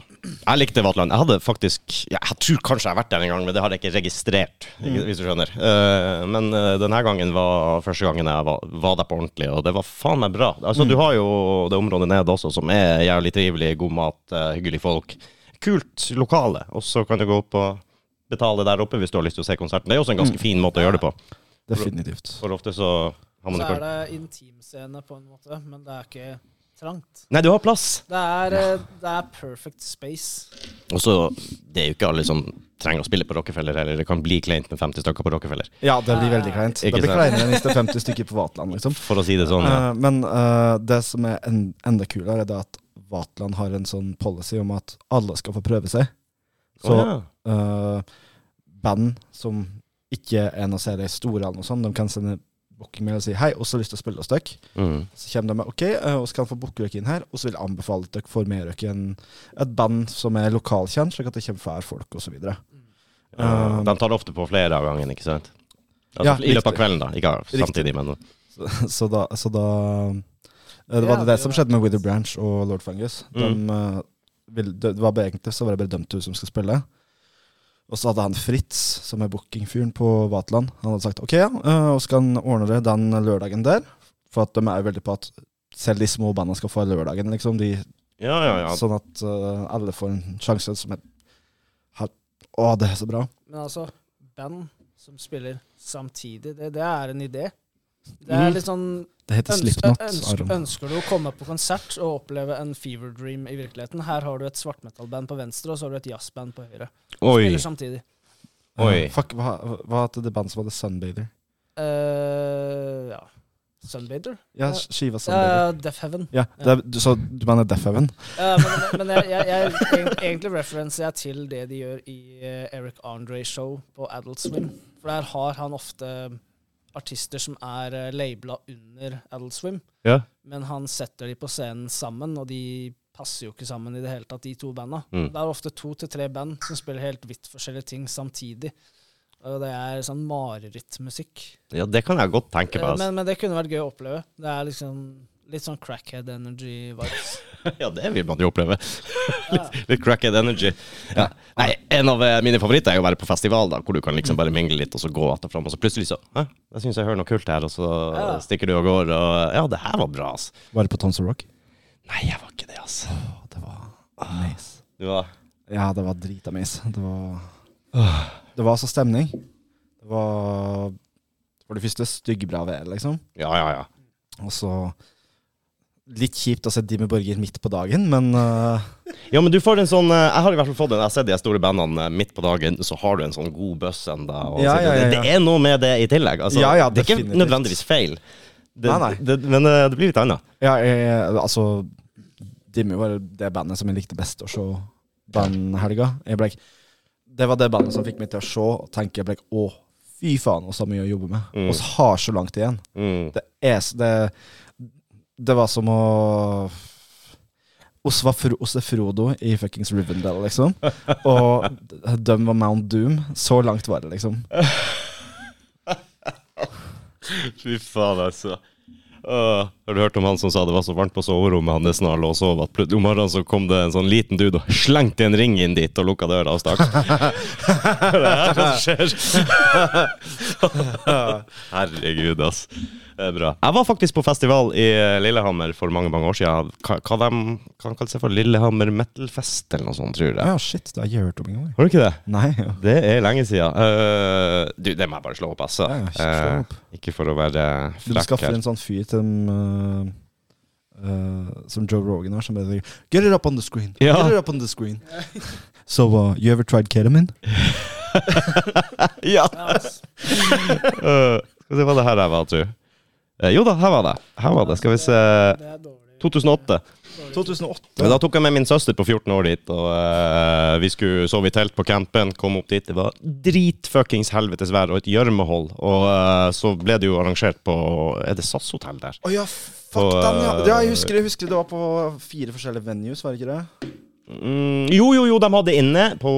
Speaker 1: Jeg likte Vatland. Jeg hadde faktisk ja, Jeg tror kanskje jeg har vært der en gang, men det har jeg ikke registrert,
Speaker 4: Mm.
Speaker 1: ikke, hvis du skjønner. Eh, men eh, denne gangen var første gangen jeg var, var der på ordentlig, og det var faen meg bra. Altså,
Speaker 4: Mm.
Speaker 1: Du har jo det området nede også, som er jævlig trivelig, god mat, eh, hyggelige folk. Kult lokale. Og så kan du gå opp og betale der oppe hvis du har lyst til å se konserten. Det er også en ganske
Speaker 4: Mm.
Speaker 1: fin måte å gjøre det på.
Speaker 2: Definitivt.
Speaker 1: For ofte så har man
Speaker 4: Så
Speaker 1: ikke
Speaker 4: er det intimscene på en måte, men det er ikke trangt.
Speaker 1: Nei, du har plass!
Speaker 4: Det er, eh, det er perfect space.
Speaker 1: Og så, det er jo ikke alle som trenger å spille på Rockefeller heller. Det kan bli kleint med 50 stykker på Rockefeller,
Speaker 2: Ja, det blir veldig kleint. Det
Speaker 1: Ikke
Speaker 2: blir
Speaker 1: sant?
Speaker 2: kleinere enn hvis det er 50 stykker på Vatland, liksom.
Speaker 1: for å si det sånn. Ja.
Speaker 2: Eh, men eh, det som er en, enda kulere, er det at Vatland har en sånn policy om at alle skal få prøve seg. Så
Speaker 1: Å, ja.
Speaker 2: eh, band som ikke er noe særlig store, eller noe sånt, de kan sende bookingmail og si 'hei, oss har lyst til å spille hos dere'.
Speaker 1: mm.
Speaker 2: Så kommer de med 'ok, eh, oss kan få booke dere inn her', og så vil jeg anbefale at dere får med dere en, et band som er lokalkjent, slik at det kommer flere folk, osv.
Speaker 1: Ja, De tar det ofte på flere av gangen, ikke sant? Altså,
Speaker 2: Ja,
Speaker 1: I løpet av
Speaker 2: riktig.
Speaker 1: kvelden, da. Ikke samtidig, men
Speaker 2: Så da, så da eh, Det
Speaker 4: Det
Speaker 2: var det,
Speaker 4: hadde
Speaker 2: det
Speaker 4: jo
Speaker 2: som
Speaker 4: vært
Speaker 2: skjedde med Wither Branch og Lord Fungus. De,
Speaker 1: Mm.
Speaker 2: eh, ville, det var bare egentlig så var det bare dømt hun som skulle spille. Og så hadde han Fritz, som er bookingfyren på Vaterland, han hadde sagt OK, ja, eh, og så kan han ordne det den lørdagen der. For at de er jo veldig på at selv de små bandene skal få lørdagen, liksom. De,
Speaker 1: Ja, ja, ja.
Speaker 2: Sånn at eh, alle får en sjanse som er har, Å, det er så bra.
Speaker 4: Men altså, band som spiller samtidig, det, det er en idé. Det
Speaker 2: Mhm.
Speaker 4: er litt sånn
Speaker 2: Det heter
Speaker 4: ønsker,
Speaker 2: Slipknot.
Speaker 4: ønsker,
Speaker 2: Aron.
Speaker 4: ønsker du å komme på konsert og oppleve en fever dream i virkeligheten? Her har du et svartmetallband på venstre, og så har du et jazzband på høyre.
Speaker 1: Oi.
Speaker 4: Spiller samtidig.
Speaker 1: Oi.
Speaker 2: Fuck, hva, hva het det bandet som hadde Sunbather?
Speaker 4: Eh, ja. Sunbather?
Speaker 2: Ja,
Speaker 4: Ja.
Speaker 2: skiva Sunbather.
Speaker 4: Uh, Deaf Heaven.
Speaker 2: Ja,
Speaker 4: Ja.
Speaker 2: det er, du, så du mener Death Heaven?
Speaker 4: Ja, men men jeg, jeg, jeg, egent- egentlig referenser jeg til det de gjør i eh, Eric Andre-show på Adult Swim. For der har han ofte artister som er eh, labela under Adult Swim,
Speaker 1: Ja.
Speaker 4: men han setter de på scenen sammen, og de passer jo ikke sammen i det hele tatt, de to banda.
Speaker 1: Mm.
Speaker 4: Det er ofte to til tre band som spiller helt vidt forskjellige ting samtidig. Og det er sånn marerittmusikk.
Speaker 1: ja, det kan jeg godt tenke meg.
Speaker 4: Eh,
Speaker 1: Altså.
Speaker 4: Men, men det kunne vært gøy å oppleve. Det er liksom litt sånn crackhead energy-vibes.
Speaker 1: Ja, det vil man jo oppleve. litt, litt cracked energy. Ja. Nei, en av eh, mine favoritter er jo å være på festival, da, hvor du kan liksom bare mingle litt, og så gå att og fram, og så plutselig så Hæ, jeg syns jeg hører noe kult her, og så
Speaker 4: Ja.
Speaker 1: stikker du av gårde, og Ja, det her var bra, altså.
Speaker 2: Var det på Tons of Rock?
Speaker 1: Nei, jeg var ikke det, altså.
Speaker 2: Å, det var amaze.
Speaker 1: Du var
Speaker 2: Ja, det var dritamaze. Det var Det var altså stemning. Det var for det første styggbra vær, liksom.
Speaker 1: Ja, ja, ja.
Speaker 2: Og så Litt kjipt å se Dimmy Borger midt på dagen, men eh,
Speaker 1: Ja, men du får en sånn eh, Jeg har i hvert fall fått den. Jeg har sett de store bandene eh, midt på dagen, så har du en sånn god buss enda. Og
Speaker 2: Ja,
Speaker 1: så-
Speaker 2: ja, ja,
Speaker 1: Det, det er noe med det i tillegg. Altså,
Speaker 2: Ja, ja,
Speaker 1: det er ikke
Speaker 2: definitivt.
Speaker 1: nødvendigvis feil, det,
Speaker 2: Nei, nei.
Speaker 1: Det, men eh, det blir litt annet.
Speaker 2: Ja, jeg, altså Dimmy var det bandet som jeg likte best å se den helga. Jeg ble, det var det bandet som fikk meg til å se og tenke jeg ble, Å, fy faen, oss har mye å jobbe med.
Speaker 1: Mm.
Speaker 2: Oss har så langt igjen.
Speaker 1: Mm.
Speaker 2: Det, er, s- det, det var som å oss var Fro, oss er Frodo i fuckings Rivendell, liksom. Og d- dem var Mount Doom. Så langt var det, liksom.
Speaker 1: Fy faen, altså. Åh, har du hørt om han som sa det var så varmt på soverommet hans når han lå og sov, at plut- om morgenen så kom det en sånn liten dude og slengte en ring inn dit og lukka døra og stakk? det er hva som skjer. Herregud, ass. Det er bra. Jeg var faktisk på festival i eh, Lillehammer for mange mange år siden. Hva, hva de kan kalle seg for Lillehammer Metalfest eller noe sånt, tror jeg.
Speaker 2: Ja, shit, det har jeg ikke hørt om engang.
Speaker 1: Har du ikke det?
Speaker 2: Nei. ja.
Speaker 1: Det er lenge siden. Eh, du, det må jeg bare slå opp, altså.
Speaker 2: Ja, ja, slå
Speaker 1: Eh,
Speaker 2: opp.
Speaker 1: ikke for å være
Speaker 2: Du
Speaker 1: frekk
Speaker 2: skaffer
Speaker 1: her.
Speaker 2: en sånn fyr til dem eh, eh, Som Joe Rogan har, som bare sier, Get it up on the screen.
Speaker 1: Ja.
Speaker 2: Get it up on the screen. so, uh, you ever tried ketamine?
Speaker 1: Ja!
Speaker 4: Ja, altså.
Speaker 1: Eh, skal vi se hva det her er, hva, tror du? Eh, jo da, her var det. Her var det. Skal vi se
Speaker 4: Det er dårlig.
Speaker 1: 2008.
Speaker 2: 2008.
Speaker 1: Men da tok jeg med min søster på 14 år dit, og eh, vi skulle sove i telt på campen. Kom opp dit, det var dritfuckings helvetes vær og et gjørmehold. Og eh, så ble det jo arrangert på Er det SAS-hotell der?
Speaker 2: Å ja, fuck
Speaker 1: Og,
Speaker 2: den, ja.
Speaker 1: eh,
Speaker 2: ja jeg, husker, jeg husker det var på fire forskjellige venues, var det ikke det?
Speaker 1: Mm, jo, jo, jo, de hadde inne. På,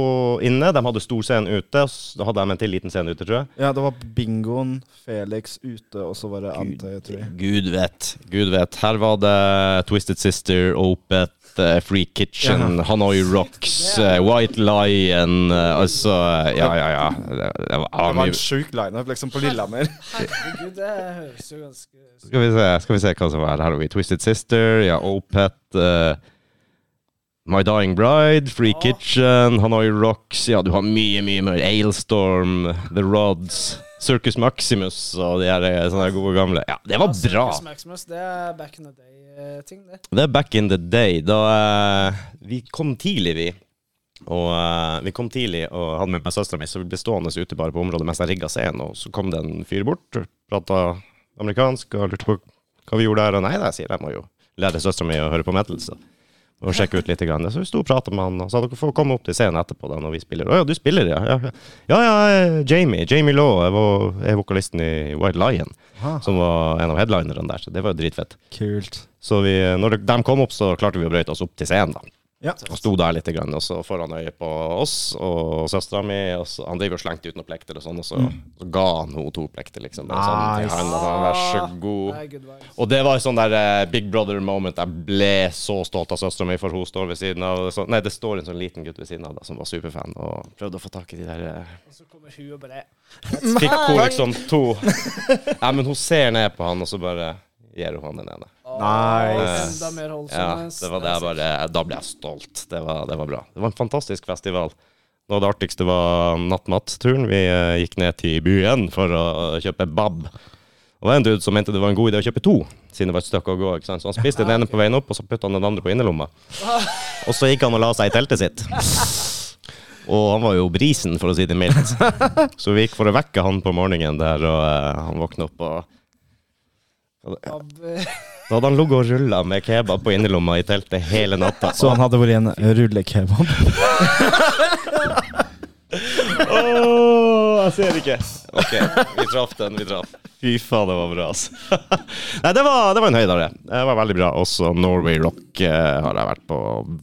Speaker 1: inne de hadde stor scene ute. s- Da hadde de en til liten scene ute, tror jeg.
Speaker 2: Ja, det var bingoen, Felix ute, og så var det Antøy, tror jeg.
Speaker 1: Gud vet. Gud vet. Her var det Twisted Sister, Opeth, eh, Free Kitchen,
Speaker 2: Ja.
Speaker 1: Hanoi Rocks, eh, White Lion eh, Altså, ja, ja, ja. Det, det var,
Speaker 2: Det
Speaker 1: ah,
Speaker 2: var
Speaker 1: mye.
Speaker 2: en sjuk lineup liksom, på Lillehammer.
Speaker 4: Herregud, det høres jo ganske
Speaker 1: Skal vi se, skal vi se hva som var her. Her har vi Twisted Sister, ja, Opet, eh, My Dying Bride, Free
Speaker 4: Ja.
Speaker 1: Kitchen, Hanoi Rocks Ja, du har mye, mye mer. Ailstorm, The Rods, Circus Maximus og de her eh, sånne gode gamle. Ja, det var
Speaker 4: Ja,
Speaker 1: bra.
Speaker 4: Circus Maximus, det er back in the day-ting, det.
Speaker 1: Det er back in the day. Da eh, Vi kom tidlig, vi. Og eh, vi kom tidlig og hadde med meg søstera mi, så vi ble stående ute bare på området mens jeg rigga scenen. Og så kom det en fyr bort, prata amerikansk og lurte på hva vi gjorde der. Og nei, nei, sier jeg, jeg må jo lære søstera mi å høre på metal, så og sjekke ut litt. Grann. Så vi sto og prata med han, og sa dere får komme opp til scenen etterpå da, når vi spiller. Å ja, du spiller, ja. Ja, ja, ja, jeg er Jamie. Jamie Law jeg var- er vokalisten i Wild Lion,
Speaker 2: Ah.
Speaker 1: som var en av headlinerne der, så det var jo dritfett.
Speaker 2: Kult.
Speaker 1: Så vi, når de kom opp, så klarte vi å brøyte oss opp til scenen. da.
Speaker 2: Ja.
Speaker 1: Og sto der litt, grann, og så får han øye på oss og søstera mi. Og så, han driver og slengte ut noen plekter, og sånn, og så, så ga han henne to plekter. liksom. Bare sånn til
Speaker 2: Nice.
Speaker 1: han, og sånn, Vær så
Speaker 4: Det
Speaker 1: god.
Speaker 4: er good vibes.
Speaker 1: Og det var et sånn der eh, Big Brother-moment. Jeg ble så stolt av søstera mi, for hun står ved siden av så, Nei, det står en sånn liten gutt ved siden av da, som var superfan, og prøvde å få tak i de der eh,
Speaker 4: Og så kommer hun og bare
Speaker 1: Fikk hun liksom to Nei, men hun ser ned på han, og så bare gir hun han den ene.
Speaker 4: «Åh,
Speaker 2: Nice.
Speaker 4: Enda mer
Speaker 1: Ja,
Speaker 4: holdsomme.
Speaker 1: det var det jeg bare Da ble jeg stolt. Det var, det var bra. Det var en fantastisk festival. Noe av det artigste var nattmatturen. Vi eh, gikk ned til byen for å kjøpe bab. Og det var en dude som mente det var en god idé å kjøpe to, siden det var et stykke å gå. ikke sant? Så han spiste den ene på veien opp, og så putta han den andre på innerlomma. Og så gikk han og la seg i teltet sitt. Og han var jo brisen, for å si det mildt. Så vi gikk for å vekke han på morgenen der, og eh, han våkna opp og Da hadde han ligget og rulla med kebab på innerlomma i teltet hele natta.
Speaker 2: Så han hadde vært en rullekebab?
Speaker 1: Åh, jeg ser ikke. Ok, vi traff den, vi traff. Fy faen, det var bra, altså. Nei, det var, det var en høydare. Det var veldig bra. Også Norway Rock eh, har jeg vært på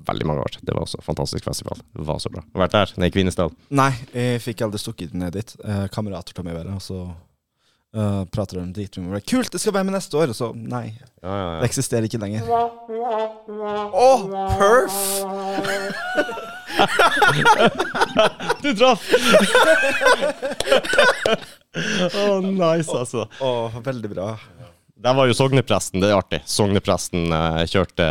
Speaker 1: veldig mange år. Det var også en fantastisk festival. Det var så bra. Har vært der, nede i Kvinesdal.
Speaker 2: Nei, jeg fikk aldri stukket ned dit. Eh, kamerater tar meg i været, og så eh, prater de om dritmye om det. Kult, det skal være med neste år! Og så nei.
Speaker 1: Ja, ja,
Speaker 2: Det eksisterer ikke lenger. Å, perf!
Speaker 1: Du traff! Åh, nice, altså.
Speaker 2: Å, veldig bra.
Speaker 1: Der var jo sognepresten, det er artig. Sognepresten eh, kjørte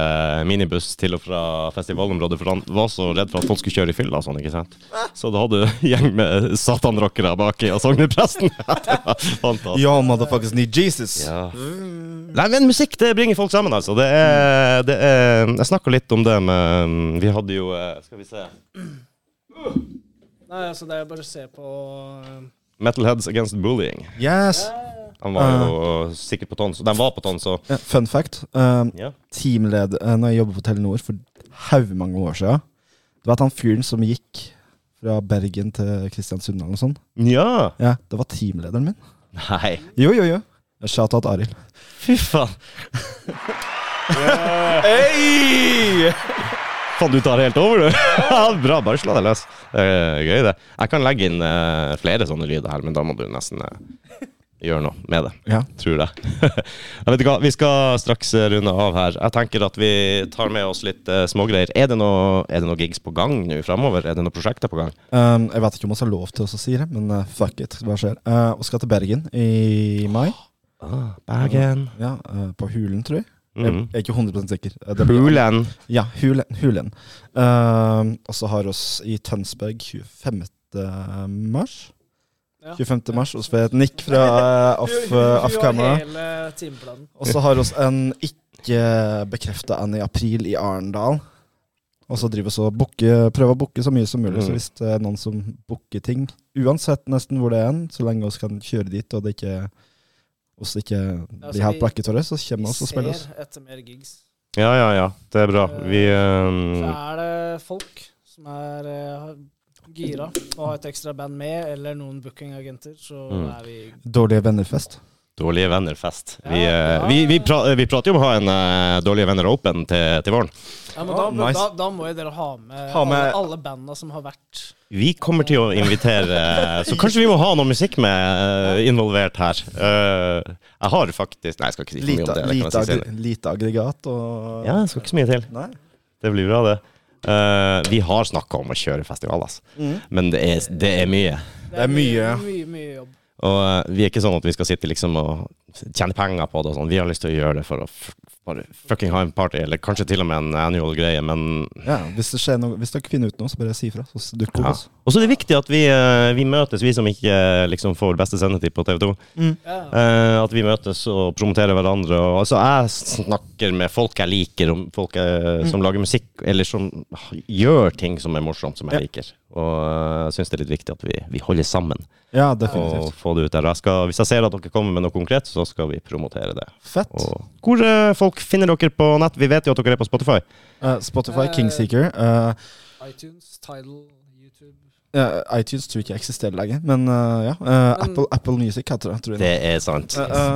Speaker 1: minibuss til og fra festivalområdet, for han var så redd for at folk skulle kjøre i fylla og sånn, ikke sant. Så da hadde du gjeng med satanrockere baki og sognepresten. Det var Fantastisk.
Speaker 2: Yo, motherfuckers need Jesus.
Speaker 1: Ja. Nei, men musikk, det bringer folk sammen, altså. Det er, det er Jeg snakka litt om det med mm, Vi hadde jo eh, Skal vi se
Speaker 4: Nei, altså, det er jo bare å se på eh,
Speaker 1: Metalheads Against Bullying.
Speaker 2: Yes.
Speaker 1: Han var jo sikkert på Tons, og de var på Tons, og
Speaker 2: Eh, Fun fact. Um,
Speaker 1: ja.
Speaker 2: teamled eh, når jeg jobbet på Telenor for haugmange år siden. Det var at han fyren som gikk fra Bergen til Kristiansund eller noe sånt,
Speaker 1: ja.
Speaker 2: ja, det var teamlederen min.
Speaker 1: Nei.
Speaker 2: Jo, jo, jo. Shout-out Arild.
Speaker 1: Fy faen. Hei! Faen, du tar helt over, du. Ja, Bra, bare slå deg løs. Det er gøy, det. Jeg kan legge inn eh, flere sånne lyder her, men da må du nesten eh, gjøre noe med det.
Speaker 2: Ja.
Speaker 1: Tror jeg. jeg vet ikke hva, Vi skal straks eh, runde av her. Jeg tenker at vi tar med oss litt eh, smågreier. Er det noe, er det noe gigs på gang nå framover? Er det noen prosjekter på gang?
Speaker 2: Um, jeg vet ikke om vi har lov til å si det, men eh, fuck it. Hva skjer? Eh, vi skal til Bergen i mai.
Speaker 1: Ah, Bergen.
Speaker 2: Ja, eh, På Hulen, tror jeg. Jeg
Speaker 1: Mm.
Speaker 2: jeg er ikke 100 sikker. Eh, det blir-
Speaker 1: Pulen.
Speaker 2: Ja, Hulen. hulen. Um, og så har oss i Tønsberg 25. mars.
Speaker 4: Ja.
Speaker 2: 25. mars, og så får jeg et nikk fra eh, off,
Speaker 4: Hun- hun- hun
Speaker 2: eh, off
Speaker 4: har
Speaker 2: camera.
Speaker 4: Hele timeplanen.
Speaker 2: Og så har oss en ikke bekrefta en i april i Arendal. Og så driver vi og booker- prøver å booke så mye som mulig. Så
Speaker 1: Mm.
Speaker 2: hvis det er noen som booker ting, uansett nesten hvor det er, en, så lenge vi kan kjøre dit, og det ikke oss ikke
Speaker 4: Ja,
Speaker 2: blir
Speaker 4: så
Speaker 2: helt
Speaker 4: vi-
Speaker 2: blakke tårer, så kommer
Speaker 4: Vi
Speaker 2: vi oss og spiller oss.
Speaker 4: ser etter mer gigs.
Speaker 1: Ja, ja, ja. Det er bra. Vi eh,
Speaker 2: Mm.
Speaker 4: Så er det folk som er eh, gira og har et ekstra band med, eller noen bookingagenter, så
Speaker 1: Mm.
Speaker 4: er vi
Speaker 2: Dårlige vennerfest.
Speaker 1: Dårlige venner-fest. Vi,
Speaker 4: Ja,
Speaker 1: eh,
Speaker 4: ja.
Speaker 1: vi, vi, pra, vi prater jo om å ha en eh, Dårlige venner open til, til våren.
Speaker 4: ja, men da,
Speaker 2: Ah, nice.
Speaker 4: da, da må jo dere ha med,
Speaker 2: Ha med-
Speaker 4: alle, alle banda som har vært
Speaker 1: Vi kommer til å invitere eh, Så kanskje vi må ha noe musikk med eh, involvert her. Eh, jeg har faktisk Nei, jeg skal ikke si for mye om det.
Speaker 2: Lite,
Speaker 1: det kan
Speaker 2: lite,
Speaker 1: jeg si
Speaker 2: aggre-
Speaker 1: senere.
Speaker 2: lite aggregat og
Speaker 1: ja, jeg skal ikke så mye til.
Speaker 2: Nei.
Speaker 1: Det blir bra, det. Eh, vi har snakka om å kjøre festival, altså. Men det er, det er mye.
Speaker 2: Det er mye.
Speaker 4: Mye, mye jobb.
Speaker 1: Og eh, vi er ikke sånn at vi skal sitte liksom og tjene penger på det og sånn. Vi har lyst til å gjøre det for å f bare fucking ha en party, eller kanskje til og med en annual greie, men
Speaker 2: Ja, hvis, det skjer noe, hvis dere finner ut noe, så bare si ifra. Så dukker det
Speaker 1: ja.
Speaker 2: opp. altså.
Speaker 1: Og så er det viktig at vi, eh, vi møtes, vi som ikke eh, liksom får beste sendetid på TV 2.
Speaker 4: Ja.
Speaker 1: Eh, at vi møtes og promoterer hverandre. Og, altså, jeg snakker med folk jeg liker, om folk eh, som lager musikk, eller som gjør ting som er morsomt, som jeg
Speaker 2: Ja.
Speaker 1: liker. Og eh, jeg syns det er litt viktig at vi, vi holder sammen
Speaker 2: Ja,
Speaker 1: og
Speaker 2: definitivt.
Speaker 1: får det ut der. Jeg skal, hvis jeg ser at dere kommer med noe konkret, så skal vi promotere det.
Speaker 2: Fett.
Speaker 1: Og hvor eh, folk finner dere på nett? Vi vet jo at dere er på Spotify.
Speaker 2: Eh, Spotify,
Speaker 4: Eh,
Speaker 2: Kingseeker. eh,
Speaker 4: iTunes, Tidal, YouTube.
Speaker 2: eh, iTunes tror ikke jeg eksisterer lenger, men eh, ja. eh,
Speaker 4: Men-
Speaker 2: Apple, Apple Music heter det, tror jeg.
Speaker 1: Det er sant.
Speaker 2: Eh, eh,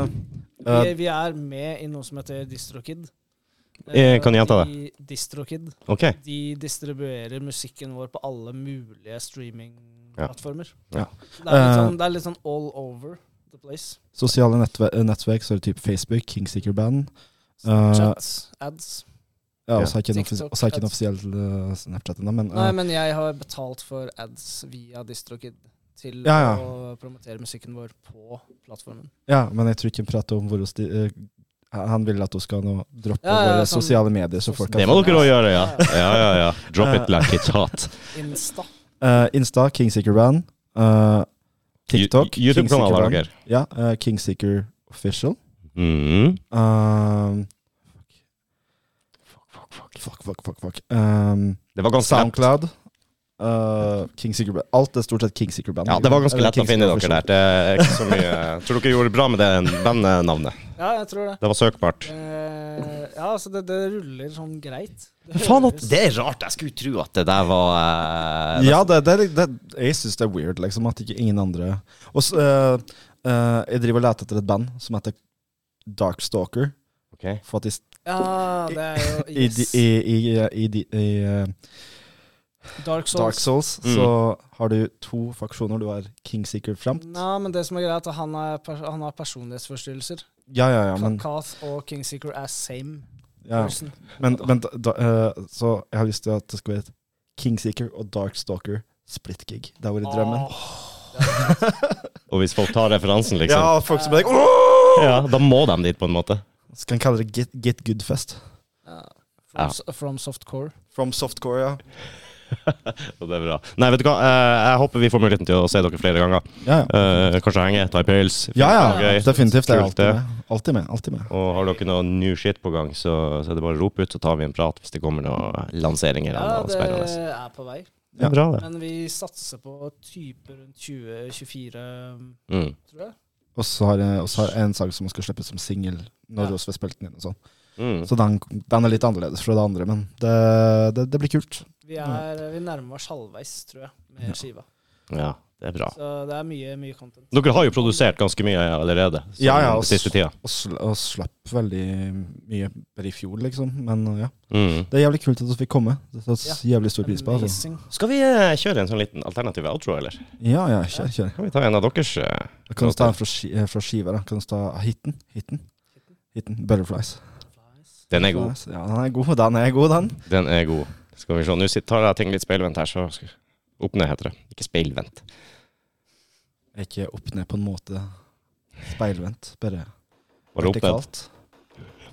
Speaker 2: eh,
Speaker 4: Vi, vi er med i noe som heter DistroKid.
Speaker 1: Eh, kan jeg gjenta
Speaker 4: det? DistroKid.
Speaker 1: Ok.
Speaker 4: De distribuerer musikken vår på alle mulige streamingplattformer.
Speaker 1: Ja.
Speaker 4: Det, er litt
Speaker 2: Eh.
Speaker 4: sånn, det er litt sånn all over the place.
Speaker 2: sosiale nettve eh, nettverk, så er det type Facebook, Kingseeker-band. Eh,
Speaker 4: Chats, ads.
Speaker 2: Ja,
Speaker 1: Ja.
Speaker 2: og så har jeg ikke en offis-
Speaker 4: TikTok,
Speaker 2: og så har jeg ikke en
Speaker 4: ads.
Speaker 2: offisiell eh, Snapchat ennå, men, eh,
Speaker 4: Nei, men jeg har betalt for ads via DistroKid til
Speaker 2: Ja, ja.
Speaker 4: å promotere musikken vår på plattformen.
Speaker 2: ja, men jeg tror ikke han prater om hvor hos de, eh, Han vil at hun skal nå droppe
Speaker 4: Ja, ja,
Speaker 2: våre
Speaker 4: sånn-
Speaker 2: sosiale medier, så folk
Speaker 1: Det
Speaker 2: kan
Speaker 1: må dere òg gjøre, ja. Ja, ja, ja. Drop it like it's hot.
Speaker 4: Insta.
Speaker 2: Eh, Insta, Kingseeker-band. eh, TikTok.
Speaker 1: Ju- YouTube-kanal har
Speaker 2: Kingseeker-band.
Speaker 1: dere.
Speaker 2: Ja, eh, Kingseeker Official.
Speaker 1: Mm.
Speaker 2: Um, fuck, fuck, fuck. fuck. Um,
Speaker 1: Det var ganske lett.
Speaker 2: Soundcloud. Uh, Kingseeker Band. Alt er stort sett Kingseeker Band.
Speaker 1: Ja, det var ganske
Speaker 2: Eller
Speaker 1: lett å finne dere
Speaker 2: Kingseeker
Speaker 1: der. Det er ikke så mye Tror dere gjorde bra med det bandnavnet.
Speaker 4: Ja, jeg tror det.
Speaker 1: Det var søkbart.
Speaker 4: Eh, ja, altså, det, det ruller sånn greit. høres.
Speaker 1: Det er rart. Jeg skulle tro at det der var eh,
Speaker 2: Official. Ja, det, det, er- det, jeg syns det er weird, liksom, at ikke ingen andre Og så eh, eh, Jeg driver og leter etter et band som heter Darkstalker.
Speaker 1: Ok.
Speaker 2: For at de, s-
Speaker 4: Ja, det er jo
Speaker 2: i,
Speaker 4: yes.
Speaker 2: i, i, i, i, i eh,
Speaker 4: Dark Souls.
Speaker 2: Dark Souls
Speaker 1: Mm.
Speaker 2: så har du to faksjoner. Du har Kingseeker Framt.
Speaker 4: Nei, men det som er greia, er at han, er, pers- han har personlighetsforstyrrelser.
Speaker 2: Ja, ja, ja,
Speaker 4: Ja,
Speaker 2: men,
Speaker 4: og Kingseeker er same
Speaker 2: ja.
Speaker 4: person.
Speaker 2: Men, men da, da, eh, så jeg har lyst til at det skal være et Kingseeker og Darkstalker split-gig. Det har vært drømmen.
Speaker 4: Åh,
Speaker 1: Og hvis folk tar referansen, liksom,
Speaker 2: Ja, folk som bare Åh!
Speaker 1: ja, da må de dit, på en måte.
Speaker 2: Så kan jeg kalle det Get, get Good Fest.
Speaker 4: ja.
Speaker 1: Ja.
Speaker 4: From, s- from softcore.
Speaker 2: From softcore, ja.
Speaker 1: Og det er bra. Nei, vet du hva, Eh, jeg håper vi får muligheten til å se dere flere ganger.
Speaker 2: Ja, ja.
Speaker 1: Eh, kanskje henge, ta en pils.
Speaker 2: ja, ja.
Speaker 1: Gøy.
Speaker 2: Definitivt. Jeg er
Speaker 1: Kult,
Speaker 2: alltid
Speaker 1: det.
Speaker 2: med. Alltid med. Alltid med.
Speaker 1: Og har dere noe new shit på gang, så, så er det bare å rope ut, så tar vi en prat hvis det kommer noen lanseringer.
Speaker 4: Ja,
Speaker 1: eller noe
Speaker 4: det
Speaker 1: spennende.
Speaker 4: er på vei.
Speaker 1: Det er bra, det.
Speaker 4: Men vi satser på typer rundt 2024,
Speaker 1: Mm.
Speaker 4: tror jeg.
Speaker 2: Og så har jeg og så har jeg en sang som skal slippes som singel når
Speaker 4: Ja.
Speaker 2: vi får spilt den inn. og sånn.
Speaker 1: Mm.
Speaker 2: Så den, den er litt annerledes fra det andre, men det, det, det blir kult.
Speaker 4: Vi, er, vi nærmer oss halvveis, tror jeg, med
Speaker 2: Ja.
Speaker 4: skiva.
Speaker 1: Ja, det er bra.
Speaker 4: Så det er mye, mye content.
Speaker 1: Dere har jo produsert ganske mye allerede som
Speaker 2: Ja, ja, og
Speaker 1: den siste tida.
Speaker 2: Og, sl og slapp veldig mye bare i fjor, liksom. Men ja.
Speaker 1: Mm.
Speaker 2: Det er jævlig kult at vi fikk komme. Det setter jeg jævlig stor pris på. Altså.
Speaker 4: Amazing.
Speaker 1: Skal vi eh, kjøre en sånn liten alternativ outro, eller?
Speaker 2: Ja, ja, kjør, kjør.
Speaker 1: Kan vi ta en av deres? eh?
Speaker 2: Da Kan du ta en fra, ski- eh, fra skiva, da? Kan du ta hiten? Hiten? Hiten. Butterflies.
Speaker 4: Nice.
Speaker 1: Den er god.
Speaker 2: Ja, den er god, den er god, den.
Speaker 1: Den er god. Skal vi se, nå sit- tar jeg ting litt speilvendt her, så skal- Opp ned heter det. Ikke speilvendt.
Speaker 2: Er ikke opp ned på en måte speilvendt, bare
Speaker 1: Bare opp ned.
Speaker 2: vertikalt.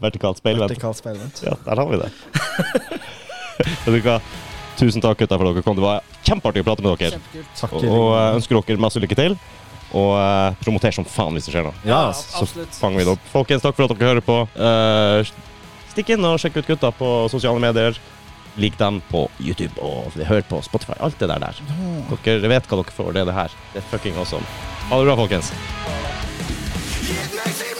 Speaker 1: Vertikalt speilvendt.
Speaker 2: Vertikalt speilvendt.
Speaker 1: Ja, der har vi det. Vet du hva? Tusen takk, gutta, for dere kom. Det var kjempeartig å prate med dere.
Speaker 4: Kjempekult.
Speaker 2: Takk.
Speaker 1: Og, og eh, ønsker dere masse lykke til. Og eh, promoter som faen hvis det skjer noe.
Speaker 2: ja, altså.
Speaker 1: Så fanger vi det opp. Folkens, takk for at dere hører på. Eh, stikk inn og sjekk ut gutta på sosiale medier. Lik dem på YouTube og hør på Spotify. Alt det der der. Dere vet hva dere får. Det er det her. Det er fucking awesome. Ha det bra, folkens.
Speaker 6: Jednak zima